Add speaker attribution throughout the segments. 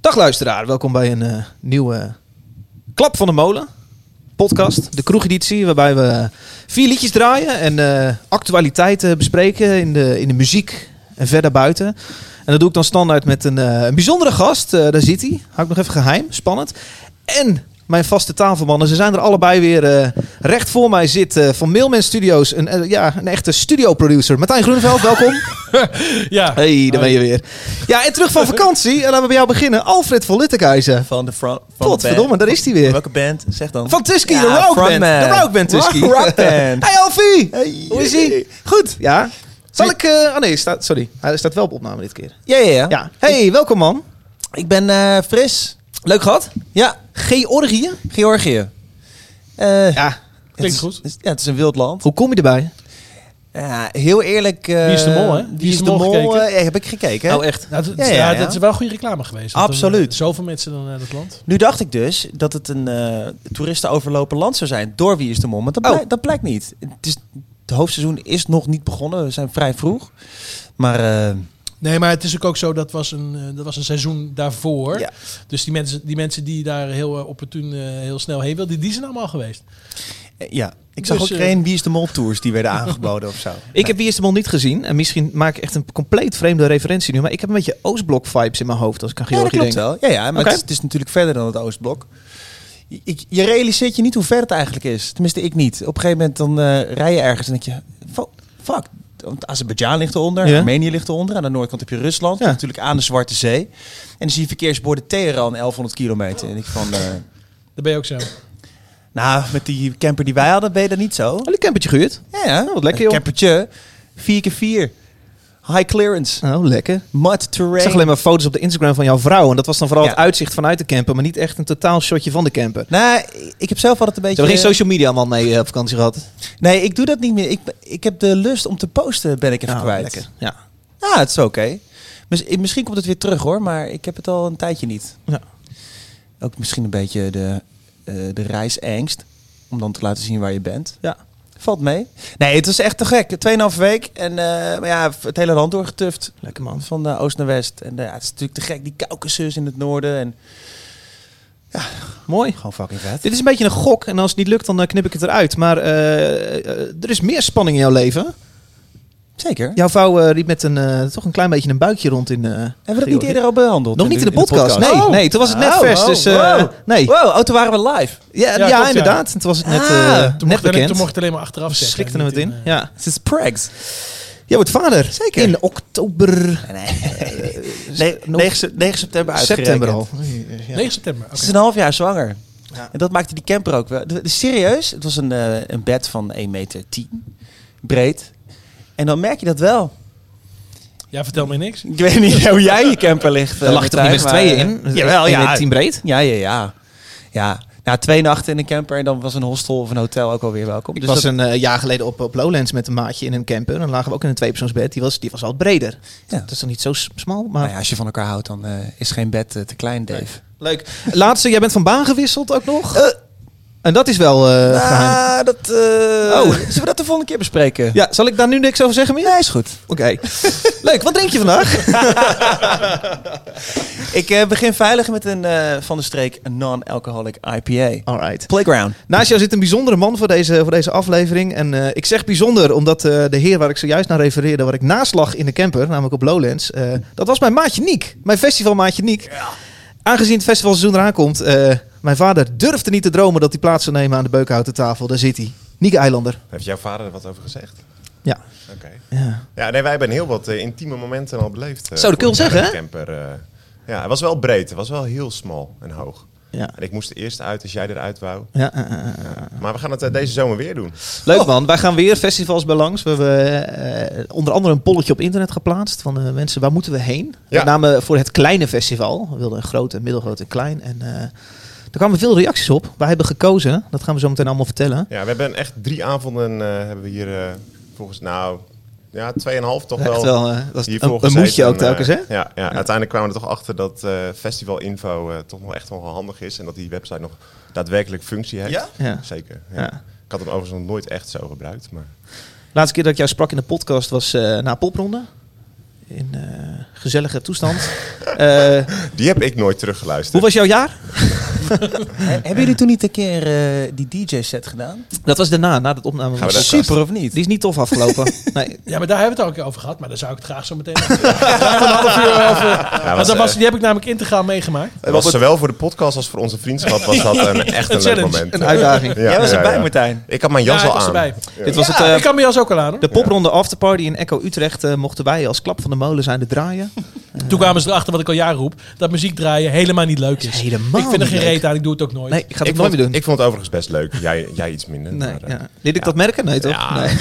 Speaker 1: Dag luisteraar, welkom bij een eh, nieuwe Klap van de Molen podcast. De kroegeditie waarbij we vier liedjes draaien en eh, actualiteiten bespreken in de, in de muziek en verder buiten. En dat doe ik dan standaard met een, eh, een bijzondere gast. Eh, daar zit hij. Hou ik nog even geheim. Spannend. En mijn vaste tafelmannen. Ze zijn er allebei weer. eh, recht voor mij zit eh, van Mailman Studios een, eh, ja, een echte studioproducer. Martijn Groeneveld, welkom.
Speaker 2: Ja.
Speaker 1: Hey, daar ben je weer. Ja, en terug van vakantie. En laten we bij jou beginnen. Alfred van Littekijzen.
Speaker 3: Van de front. Van de
Speaker 1: Potverdomme, daar is hij weer.
Speaker 3: band. Welke band? Zeg dan.
Speaker 1: Van Tusky,
Speaker 3: Ja,
Speaker 1: de rockband.
Speaker 3: frontman.
Speaker 1: De rockband Tusky.
Speaker 3: Rock- rockband.
Speaker 1: Hey Alfie!
Speaker 3: Hey.
Speaker 1: Hoe is ie? Goed, ja. Zal ik... eh, oh nee, staat, sorry. Hij staat wel op opname dit keer.
Speaker 3: Ja, ja, ja.
Speaker 1: Ja. Hey, welkom man.
Speaker 3: Ik ben eh, fris.
Speaker 1: Leuk gehad.
Speaker 3: Ja,
Speaker 1: Georgië?
Speaker 3: Georgië. Eh,
Speaker 1: Ja.
Speaker 3: het is-
Speaker 2: goed.
Speaker 3: is- ja, het is een wild land.
Speaker 1: Hoe kom je erbij?
Speaker 3: Ja, heel eerlijk. eh,
Speaker 2: Wie is de mol, hè?
Speaker 3: Wie, is de mol?
Speaker 2: gekeken?
Speaker 3: eh, ja, heb ik gekeken. hè?
Speaker 1: echt?
Speaker 2: Nou, dat,
Speaker 3: Ja,
Speaker 2: ja,
Speaker 3: ja, ja.
Speaker 2: dat is wel goede reclame geweest. Want er-
Speaker 3: Absoluut.
Speaker 2: Zoveel mensen dan naar dat land.
Speaker 3: Nu dacht ik dus dat het een eh toeristenoverlopen land zou zijn door Wie is de Mol. Maar dat,
Speaker 1: Oh.
Speaker 3: blijkt, dat blijkt niet. Het, is, het hoofdseizoen is nog niet begonnen. We zijn vrij vroeg. Maar eh,
Speaker 2: Nee, maar het is ook, ook zo, dat was een, eh, dat was een seizoen daarvoor.
Speaker 3: Ja.
Speaker 2: Dus die mensen, die mensen die daar heel eh, opportun eh, heel snel heen wilden, die zijn allemaal geweest.
Speaker 3: eh, ja, ik zag
Speaker 2: Dus,
Speaker 3: ook
Speaker 2: eh,
Speaker 3: geen Wie is de Mol tours die werden aangeboden of zo.
Speaker 1: Ik heb Wie is de Mol niet gezien. En misschien maak ik echt een compleet vreemde referentie nu. Maar ik heb een beetje Oostblok-vibes in mijn hoofd als ik aan
Speaker 3: Ja, dat
Speaker 1: Georgië
Speaker 3: klopt
Speaker 1: denk.
Speaker 3: wel. Ja, ja maar
Speaker 1: Oké.
Speaker 3: het, is, het is natuurlijk verder dan het Oostblok. Je, ik- je realiseert je niet hoe ver het eigenlijk is. Tenminste, ik niet. Op een gegeven moment dan eh, rij je ergens en denk je... fo- Fuck, want Azerbeidzjan ligt eronder,
Speaker 1: Ja.
Speaker 3: Armenië ligt eronder. Aan de noordkant heb je Rusland,
Speaker 1: Ja.
Speaker 3: dat is natuurlijk aan de Zwarte Zee. En dan zie je verkeersborden Teheran, 1100 kilometer. En ik van, eh,
Speaker 2: Daar ben je ook zo.
Speaker 3: nou, met die camper die wij hadden ben je dat niet zo.
Speaker 1: Wel een campertje gehuurd.
Speaker 3: Ja, ja.
Speaker 1: wat lekker,
Speaker 3: Een
Speaker 1: joh.
Speaker 3: campertje, 4x4, high clearance,
Speaker 1: Oh, lekker.
Speaker 3: mud
Speaker 1: Ik
Speaker 3: terrain.
Speaker 1: zag alleen maar foto's op de Instagram van jouw vrouw. En dat was dan vooral
Speaker 3: Ja.
Speaker 1: het uitzicht vanuit de camper. Maar niet echt een totaal shotje van de camper. Ze
Speaker 3: Nou, ik heb zelf altijd een beetje...
Speaker 1: hebben geen social media man mee eh, op vakantie gehad.
Speaker 3: Nee, ik doe dat niet meer. Ik, ik heb de lust om te posten, ben ik even
Speaker 1: Ja,
Speaker 3: kwijt.
Speaker 1: Ah, Nou, lekker. Ja.
Speaker 3: Ja, het is oké. Mis- eh, misschien komt het weer terug hoor, maar ik heb het al een tijdje niet.
Speaker 1: Ja.
Speaker 3: Ook misschien een beetje de, eh, de reisangst. Om dan te laten zien waar je bent.
Speaker 1: Ja.
Speaker 3: Valt mee. Nee, het was echt te gek. Tweeënhalf week en eh, maar ja, het hele land doorgetuft.
Speaker 1: Lekker man.
Speaker 3: Van eh, oost naar west. En eh, ja, het is natuurlijk te gek. Die Caucasus in het noorden. En
Speaker 1: Mooi.
Speaker 3: gewoon fucking vet.
Speaker 1: Dit is een beetje een gok. En als het niet lukt, dan eh, knip ik het eruit. Maar eh, eh, er is meer spanning in jouw leven.
Speaker 3: Zeker.
Speaker 1: Jouw vrouw eh, liep met een, eh, toch een klein beetje een buikje rond in. eh,
Speaker 3: Hebben we dat
Speaker 1: Georgië.
Speaker 3: niet eerder al behandeld?
Speaker 1: Nog
Speaker 3: in
Speaker 1: niet in de podcast. Nee,
Speaker 3: Oh.
Speaker 1: nee, toen was het net
Speaker 3: Oh,
Speaker 1: vers.
Speaker 3: oh,
Speaker 1: dus eh,
Speaker 3: wow.
Speaker 1: nee.
Speaker 3: Wow, oh, toen waren we live.
Speaker 1: Ja, ja,
Speaker 2: Ja, klopt,
Speaker 1: inderdaad. En toen was het net, eh,
Speaker 3: Ah,
Speaker 2: Toen
Speaker 1: net
Speaker 2: mocht, alleen, toen
Speaker 1: bekend.
Speaker 2: mocht ik alleen maar achteraf zeggen.
Speaker 1: Schrikten we het
Speaker 2: niet
Speaker 1: in.
Speaker 2: eh,
Speaker 1: Ja.
Speaker 3: Het is prags.
Speaker 1: Jij wordt vader.
Speaker 3: Zeker.
Speaker 1: In oktober.
Speaker 3: Nee, 9, se- 9 september Eh, uitgerekend.
Speaker 1: September al.
Speaker 2: 9 september. oké.
Speaker 3: Ze is een half jaar zwanger.
Speaker 1: Ja.
Speaker 3: En dat maakte die camper ook wel. De- de- serieus, het was een, eh, een bed van 1 meter 10 breed. En dan merk je dat wel.
Speaker 2: Ja, vertel mij niks.
Speaker 3: Ik weet niet hoe jij in je camper ligt.
Speaker 1: Daar
Speaker 3: eh,
Speaker 1: lag je toch niet
Speaker 3: Martijn,
Speaker 1: met z'n
Speaker 3: maar,
Speaker 1: tweeën
Speaker 3: eh,
Speaker 1: in?
Speaker 3: Jawel,
Speaker 1: Eén
Speaker 3: ja.
Speaker 1: met tien breed?
Speaker 3: Ja, ja, ja. Ja, nou, twee nachten in een camper en dan was een hostel of een hotel ook alweer welkom.
Speaker 1: Ik
Speaker 3: Dus
Speaker 1: was
Speaker 3: dat-
Speaker 1: een eh, jaar geleden op, op Lowlands met een maatje in een camper. En dan lagen we ook in een tweepersoonsbed. Die was, die was al breder.
Speaker 3: Ja.
Speaker 1: Dat is dan niet zo s- smal, maar
Speaker 3: nou ja, als je van elkaar houdt, dan eh, is geen bed eh, te klein, Dave.
Speaker 1: leuk. Laatste, jij bent van baan gewisseld ook nog. en dat is wel eh, geheim.
Speaker 3: ah, dat... eh,
Speaker 1: Oh.
Speaker 3: Zullen we dat de volgende keer bespreken?
Speaker 1: Ja, zal ik daar nu niks over zeggen meer?
Speaker 3: Ja, is goed.
Speaker 1: Oké. leuk, wat drink je vandaag?
Speaker 3: Ik eh, begin veilig met een eh, van de streek een non-alcoholic IPA.
Speaker 1: Alright.
Speaker 3: Playground.
Speaker 1: Naast jou zit een bijzondere man voor deze, voor deze aflevering. En eh, ik zeg bijzonder omdat eh, de heer waar ik zojuist naar refereerde, waar ik naslag in de camper, namelijk op Lowlands, eh, dat was mijn maatje Niek. Mijn festivalmaatje Niek. Aangezien het festivalseizoen eraan komt, eh, mijn vader durfde niet te dromen dat hij plaats zou nemen aan de beukenhouten tafel. Daar zit hij. Niek Eilander.
Speaker 4: Heeft jouw vader er wat over gezegd?
Speaker 1: Ja.
Speaker 4: Oké.
Speaker 1: ja.
Speaker 4: Ja, nee, wij hebben heel wat eh, intieme momenten al beleefd. eh,
Speaker 1: Zo, dat kun je
Speaker 4: vorig
Speaker 1: wel
Speaker 4: jaar in de Camper, eh. ja, het was wel breed. Het was wel heel smal en hoog.
Speaker 1: ja.
Speaker 4: En ik moest er eerst uit als jij eruit wou.
Speaker 1: Ja, eh, eh, eh.
Speaker 4: Maar we gaan het eh, deze zomer weer doen.
Speaker 1: Leuk man, wij gaan weer festivals bij langs. We hebben eh, onder andere een polletje op internet geplaatst van eh, mensen, waar moeten we heen?
Speaker 4: Ja.
Speaker 1: Met name voor het kleine festival. We wilden een groot, een middelgroot en klein. En eh daar kwamen veel reacties op. Wij hebben gekozen, dat gaan we zo meteen allemaal vertellen.
Speaker 4: Ja, we hebben echt drie avonden eh, hebben we hier eh, volgens, nou, ja, tweeënhalf toch
Speaker 1: Echt
Speaker 4: wel.
Speaker 1: wel, eh, dat is
Speaker 4: hiervoor
Speaker 1: een, een
Speaker 4: gezeten.
Speaker 1: moedje ook
Speaker 4: En,
Speaker 1: telkens, hè?
Speaker 4: eh, Ja, ja, uiteindelijk kwamen we er toch achter dat eh festivalinfo eh, toch nog echt wel handig is. En dat die website nog daadwerkelijk functie heeft.
Speaker 3: Ja?
Speaker 1: Ja.
Speaker 4: Zeker. Ja.
Speaker 1: Ja.
Speaker 4: Ik had hem overigens nog nooit echt zo gebruikt. Maar
Speaker 1: Laatste keer dat ik jou sprak in de podcast was eh, na popronde. In eh, gezellige toestand. Eh,
Speaker 4: Die heb ik nooit teruggeluisterd.
Speaker 1: Hoe was jouw jaar?
Speaker 3: Hebben jullie toen niet een keer eh, die DJ-set gedaan?
Speaker 1: Dat was daarna, na dat opname.
Speaker 4: Gaan we dat-
Speaker 3: Super of niet?
Speaker 1: Die is niet tof afgelopen. nee.
Speaker 2: Ja, maar daar hebben we het al een keer over gehad. Maar daar zou ik het graag zo meteen over hebben. Graag een half uur over.
Speaker 4: Ja,
Speaker 2: Want
Speaker 4: was,
Speaker 2: dat was,
Speaker 4: eh,
Speaker 2: die heb ik namelijk integraal meegemaakt.
Speaker 4: het was zowel voor de podcast als voor onze vriendschap was dat een, echt een, leuk
Speaker 2: challenge.
Speaker 4: moment.
Speaker 1: Een uitdaging.
Speaker 4: Ja,
Speaker 3: Jij was
Speaker 4: ja,
Speaker 3: erbij,
Speaker 4: ja.
Speaker 3: Martijn.
Speaker 4: Ik had mijn jas
Speaker 2: Ja, ik
Speaker 4: al
Speaker 2: was
Speaker 4: aan.
Speaker 2: erbij.
Speaker 1: Dit was het,
Speaker 2: Ja,
Speaker 1: eh,
Speaker 2: ik kan mijn jas ook al aan. hoor.
Speaker 1: de popronde afterparty in Echo Utrecht eh, mochten wij als klap van de molen zijn de draaien.
Speaker 2: Toen kwamen ze erachter wat ik al jaren roep. Dat muziek draaien helemaal niet leuk is.
Speaker 1: is helemaal
Speaker 2: ik vind er
Speaker 1: niet
Speaker 2: geen
Speaker 1: leuk.
Speaker 2: reet aan. Ik doe het ook nooit.
Speaker 1: Nee, ik ga het
Speaker 4: Ik
Speaker 1: ook nooit
Speaker 4: vond,
Speaker 1: meer doen.
Speaker 4: ik vond het overigens best leuk. Jij, jij iets minder.
Speaker 1: nee,
Speaker 4: maar, eh,
Speaker 1: ja. Liet ik dat merken? Nee, toch?
Speaker 4: Ja.
Speaker 1: Nee.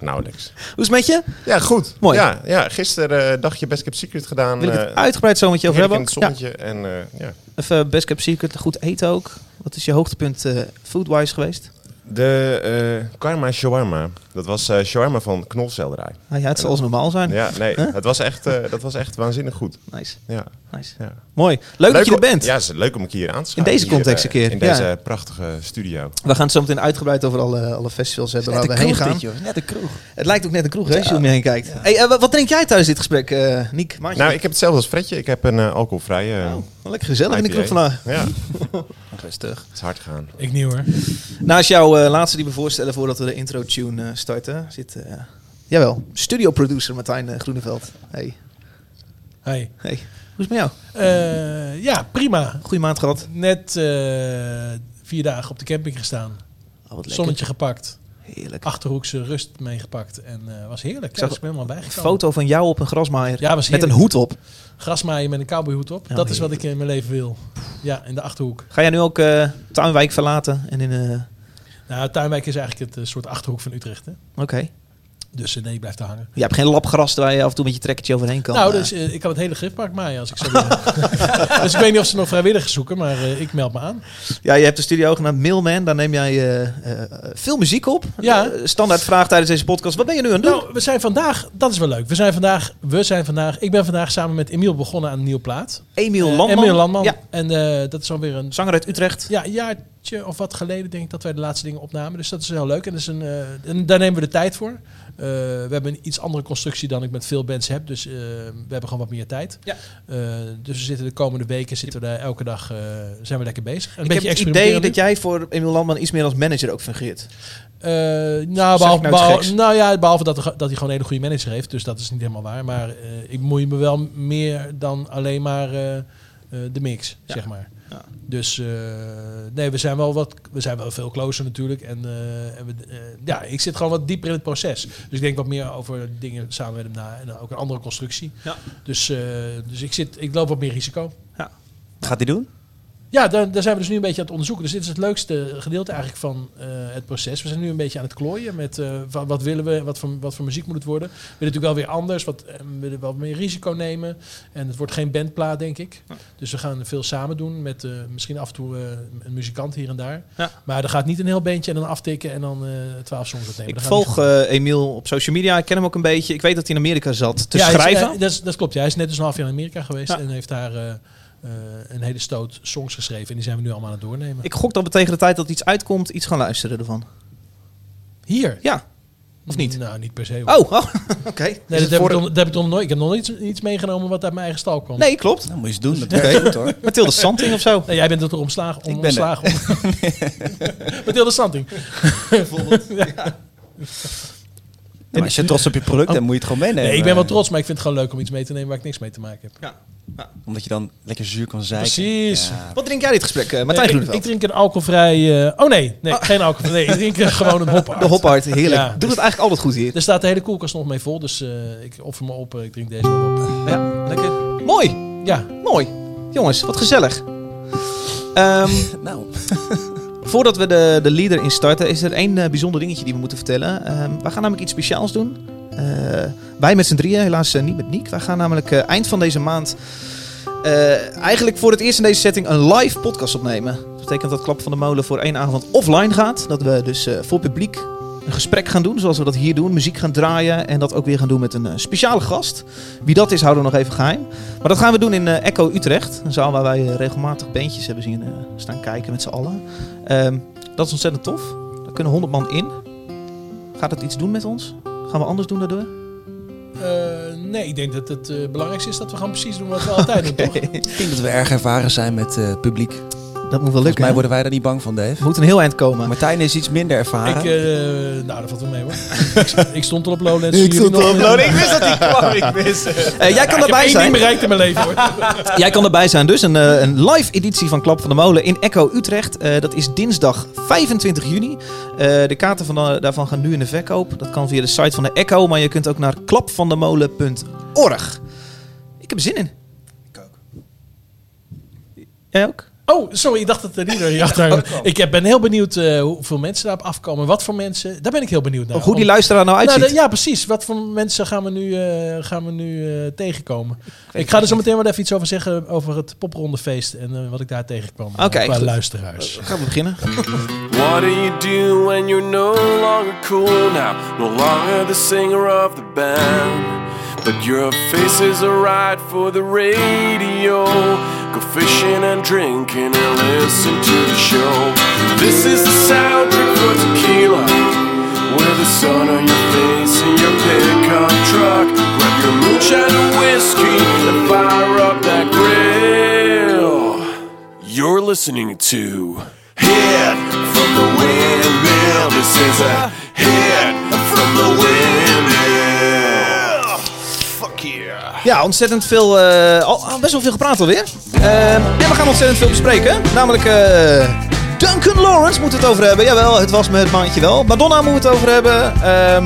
Speaker 4: Nauwelijks.
Speaker 1: Hoe is het met je?
Speaker 4: Ja, goed.
Speaker 1: Mooi.
Speaker 4: Ja, ja, gisteren eh dagje Best Kept Secret gedaan.
Speaker 1: Wil ik het
Speaker 4: eh,
Speaker 1: uitgebreid zo met je over
Speaker 4: heerlijk
Speaker 1: hebben?
Speaker 4: in het
Speaker 1: Ja.
Speaker 4: zonnetje. En, eh, ja.
Speaker 1: Even Best Cap Secret, goed eten ook. Wat is je hoogtepunt eh, foodwise geweest?
Speaker 4: De eh, Karma Shawarma. Dat was eh shawarma van knolselderij.
Speaker 1: Nou ja, het zal als normaal zijn.
Speaker 4: Ja, nee,
Speaker 1: Huh?
Speaker 4: het was echt, eh, dat was echt waanzinnig goed.
Speaker 1: Nice,
Speaker 4: Ja.
Speaker 1: nice.
Speaker 4: Ja.
Speaker 1: Mooi. Leuk, dat je er
Speaker 4: om-
Speaker 1: bent.
Speaker 4: Ja, het is leuk om een keer aan te
Speaker 1: In
Speaker 4: schuiven.
Speaker 1: deze
Speaker 4: hier,
Speaker 1: context een
Speaker 4: eh,
Speaker 1: keer,
Speaker 4: In
Speaker 1: ja.
Speaker 4: deze prachtige studio.
Speaker 1: We gaan het zo meteen uitgebreid over alle, alle festivals hebben waar we heen gaan.
Speaker 3: Net een kroeg.
Speaker 1: Het lijkt ook net een kroeg, hè, als je om je heen kijkt. Hey, eh, wa- wat drink jij tijdens dit gesprek, eh Niek? Maatje?
Speaker 4: Nou, ik heb hetzelfde als Fredje. Ik heb een eh, alcoholvrije. eh,
Speaker 1: Oh, wel lekker gezellig in de
Speaker 4: IPA.
Speaker 1: kroeg vandaag.
Speaker 4: Ja,
Speaker 3: Rustig.
Speaker 4: het is hard gaan.
Speaker 2: Ik niet hoor.
Speaker 1: Naast jouw eh, laatste die we voorstellen voordat we de intro-tune eh, starten, zit... eh, jawel, studio-producer Martijn eh, Groeneveld. Hey,
Speaker 2: Hey.
Speaker 1: hey. Hoe is het met jou?
Speaker 2: Eh, ja, prima.
Speaker 1: Goeie maand gehad.
Speaker 2: Net eh, vier dagen op de camping gestaan.
Speaker 1: Oh, wat lekker.
Speaker 2: Zonnetje gepakt. Ah,
Speaker 1: Heerlijk.
Speaker 2: Achterhoekse rust meegepakt. En eh, was heerlijk.
Speaker 1: zag
Speaker 2: Kijk, ik ben helemaal
Speaker 1: Een
Speaker 2: bijgekomen.
Speaker 1: foto van jou op een grasmaaier.
Speaker 2: Ja, was
Speaker 1: met een Oh,
Speaker 2: heerlijk.
Speaker 1: hoed op.
Speaker 2: Grasmaaien met een cowboyhoed op.
Speaker 1: Ja,
Speaker 2: dat is wat ik in mijn leven wil. Ja, in de Achterhoek.
Speaker 1: Ga jij nu ook eh, Tuinwijk verlaten? En in, eh,
Speaker 2: Nou, Tuinwijk is eigenlijk het eh, soort Achterhoek van Utrecht. Hè?
Speaker 1: Oké.
Speaker 2: Dus eh, nee, ik blijf daar hangen.
Speaker 1: Je hebt geen lap gras waar je af en toe met je trekkertje overheen kan.
Speaker 2: nou,
Speaker 1: eh.
Speaker 2: dus, eh, ik kan het hele grifpark maaien als ik zo wil. dus ik weet niet of ze nog vrijwilligers zoeken, maar eh, ik meld me aan.
Speaker 1: Ja, je hebt een studio genaamd Mailman. Daar neem jij eh, eh, veel muziek op.
Speaker 2: Ja.
Speaker 1: Eh, standaard vraag tijdens deze podcast. Wat ben je nu aan het doen?
Speaker 2: Nou, we zijn vandaag, dat is wel leuk. We zijn vandaag, we zijn vandaag, ik ben vandaag samen met Emiel begonnen aan een nieuwe plaat.
Speaker 1: Emiel
Speaker 2: Eh,
Speaker 1: Landman.
Speaker 2: Emiel Landman.
Speaker 1: Ja,
Speaker 2: En eh, dat is alweer een
Speaker 1: zanger uit Utrecht.
Speaker 2: ja, een jaartje of wat geleden, denk ik, dat wij de laatste dingen opnamen. Dus dat is heel leuk. En, dat is een, eh, en daar nemen we de tijd voor. Eh, we hebben een iets andere constructie dan ik met veel bands heb. Dus eh, we hebben gewoon wat meer tijd.
Speaker 1: Ja.
Speaker 2: Eh, dus we zitten de komende weken zitten we daar elke dag eh, zijn we lekker bezig. Een
Speaker 1: ik heb het idee
Speaker 2: experimenteren nu.
Speaker 1: dat jij voor Emiel Landman iets meer als manager ook fungeert.
Speaker 2: Eh, nou, behalve,
Speaker 1: nou iets
Speaker 2: behalve-
Speaker 1: geks?
Speaker 2: nou ja, behalve dat, dat hij gewoon een hele goede manager heeft. Dus dat is niet helemaal waar. Maar eh, ik moei me wel meer dan alleen maar eh, eh, de mix,
Speaker 1: Ja.
Speaker 2: zeg maar.
Speaker 1: Ja.
Speaker 2: Dus eh, nee, we zijn wel wat, we zijn wel veel closer natuurlijk. En, eh, en we, eh, ja, ik zit gewoon wat dieper in het proces. Dus ik denk wat meer over dingen samen met hem na en ook een andere constructie.
Speaker 1: Ja.
Speaker 2: Dus, eh, dus ik, zit, ik loop wat meer risico.
Speaker 3: Wat gaat hij doen?
Speaker 2: Ja, daar, daar zijn we dus nu een beetje aan het onderzoeken. Dus dit is het leukste gedeelte eigenlijk van eh, het proces. We zijn nu een beetje aan het klooien met eh, wa- wat willen we, wat voor, wat voor muziek moet het worden. We willen natuurlijk wel weer anders, wat, eh, we willen wel meer risico nemen. En het wordt geen bandplaat, denk ik. Dus we gaan veel samen doen met eh, misschien af en toe eh, een muzikant hier en daar.
Speaker 1: Ja.
Speaker 2: Maar er gaat niet een heel bandje en dan aftikken en dan eh, twaalf songs opnemen.
Speaker 1: ik
Speaker 2: Dat gaat niet
Speaker 1: volg eh, Emiel op social media. Ik ken hem ook een beetje. Ik weet dat hij in Amerika zat te
Speaker 2: Ja, hij is-
Speaker 1: schrijven.
Speaker 2: eh, dat, is- dat klopt. Ja. Hij is net dus een half jaar in Amerika geweest
Speaker 1: Ja.
Speaker 2: en heeft daar eh, eh, een hele stoot songs geschreven. En die zijn we nu allemaal aan het doornemen.
Speaker 1: Ik gok dat we tegen de tijd dat iets uitkomt iets gaan luisteren ervan.
Speaker 2: Hier.
Speaker 1: Ja. Of niet?
Speaker 2: Nou, niet per se. hoor.
Speaker 1: Oh, oh, oké.
Speaker 2: Nee,
Speaker 4: Is
Speaker 2: dat
Speaker 4: het
Speaker 2: heb,
Speaker 4: voor
Speaker 2: ik
Speaker 4: de-
Speaker 2: nog, dat heb ik nog nooit. Ik heb nog nooit iets, iets meegenomen wat uit mijn eigen stal kwam.
Speaker 1: Nee, klopt.
Speaker 3: Nou, moet je eens doen. Dat werkt goed hoor.
Speaker 1: Mathilde Santing of zo.
Speaker 2: Nee, jij bent er toch omslagen? Om,
Speaker 3: Ik ben er.
Speaker 2: ontslagen. Mathilde Santing.
Speaker 3: Maar Nou, als je trots op je product bent, moet je het gewoon meenemen.
Speaker 2: Nee, ik ben wel trots, maar ik vind het gewoon leuk om iets mee te nemen waar ik niks mee te maken heb.
Speaker 3: Omdat je dan lekker zuur kan zijn.
Speaker 2: Precies.
Speaker 1: Wat drink jij dit gesprek, eh, Martijn
Speaker 2: Nee, ik,
Speaker 1: Groeneveld?
Speaker 2: ik drink een alcoholvrij... eh, oh nee, nee geen alcohol. Nee, ik drink eh, gewoon een hophard.
Speaker 1: de hophard, heerlijk.
Speaker 2: Ja.
Speaker 1: Doet het eigenlijk altijd goed hier.
Speaker 2: Er staat de hele koelkast nog mee vol, dus eh, ik offer me op. eh, ik drink deze wel op.
Speaker 1: Ja, lekker. Mooi,
Speaker 2: Ja,
Speaker 1: mooi. Jongens, wat gezellig. Ehm,
Speaker 3: Nou,
Speaker 1: voordat we de, de leader in starten, is er één eh, bijzonder dingetje die we moeten vertellen. Ehm we gaan namelijk iets speciaals doen. Eh, wij met z'n drieën, helaas eh, niet met Niek. Wij gaan namelijk eh, eind van deze maand eh, eigenlijk voor het eerst in deze setting een live podcast opnemen. Dat betekent dat Klap van de Molen voor één avond offline gaat. Dat we dus eh, voor publiek een gesprek gaan doen, zoals we dat hier doen. Muziek gaan draaien en dat ook weer gaan doen met een eh, speciale gast. Wie dat is, houden we nog even geheim. Maar dat gaan we doen in eh, Echo Utrecht. Een zaal waar wij eh, regelmatig bandjes hebben zien eh, staan kijken met z'n allen. Ehm, dat is ontzettend tof. Daar kunnen 100 man in. Gaat dat iets doen met ons? Gaan we anders doen daardoor?
Speaker 2: Eh, nee, ik denk dat het eh, belangrijkste is dat we gaan precies doen wat we altijd doen, toch?
Speaker 3: Ik denk dat we erg ervaren zijn met eh, publiek. Volgens
Speaker 1: Dat moet wel lukken.
Speaker 3: mij
Speaker 1: hè?
Speaker 3: worden wij daar niet bang van,
Speaker 1: Er
Speaker 3: Dave.
Speaker 1: moet een heel eind komen.
Speaker 3: Martijn is iets minder ervaren.
Speaker 2: Ik, eh, nou, dat valt wel mee hoor. ik, ik stond al op Lowlands. jullie nog niet.
Speaker 1: Ik wist dat die kwam. Ik wist. Eh, jij kan
Speaker 2: Ik heb
Speaker 1: erbij
Speaker 2: één ding
Speaker 1: zijn.
Speaker 2: bereikt in mijn leven hoor.
Speaker 1: Jij kan erbij zijn. Dus een, eh, een live editie van Klap van de Molen in Echo Utrecht. Eh, dat is dinsdag 25 juni. Eh, de kaarten van, eh, daarvan gaan nu in de verkoop. Dat kan via de site van de Echo. Maar je kunt ook naar klapvandemolen.org. Ik heb er zin in. Ik ook. Jij ook?
Speaker 2: Oh, sorry, ik dacht dat er iedereen achter Oh, Ik heb- ben heel benieuwd eh, hoeveel mensen daarop afkomen. Wat voor mensen. Daar ben ik heel benieuwd naar.
Speaker 1: Hoe die
Speaker 2: Om-
Speaker 1: luisteraar nou
Speaker 2: Nou,
Speaker 1: uitziet.
Speaker 2: de- ja, precies. Wat voor mensen gaan we nu, eh, gaan we nu eh, tegenkomen? Ik, ga er zo meteen wel even iets over zeggen over het poprondefeest en eh, wat ik daar tegenkwam. eh,
Speaker 1: Oké,
Speaker 2: qua
Speaker 1: goed.
Speaker 2: luisteraars.
Speaker 1: Gaan we beginnen.
Speaker 5: What do you do when you're no longer cool now? No longer the singer of the band. But your face is alright for the radio. Go fishing and drinking and listen to the show. This is the soundtrack for tequila. With the sun on your face and your pickup truck. Grab your moonshine and whiskey and fire up that grill. You're listening to Hit from the Windmill. This is a hit from the windmill. Fuck yeah.
Speaker 1: Ja, ontzettend veel. eh, al, al best wel veel gepraat alweer. Ehm ja, we gaan ontzettend veel bespreken. Namelijk. eh, Duncan Lawrence moeten we het over hebben. Jawel, het was me het maandje wel. Madonna moeten we het over hebben. Ehm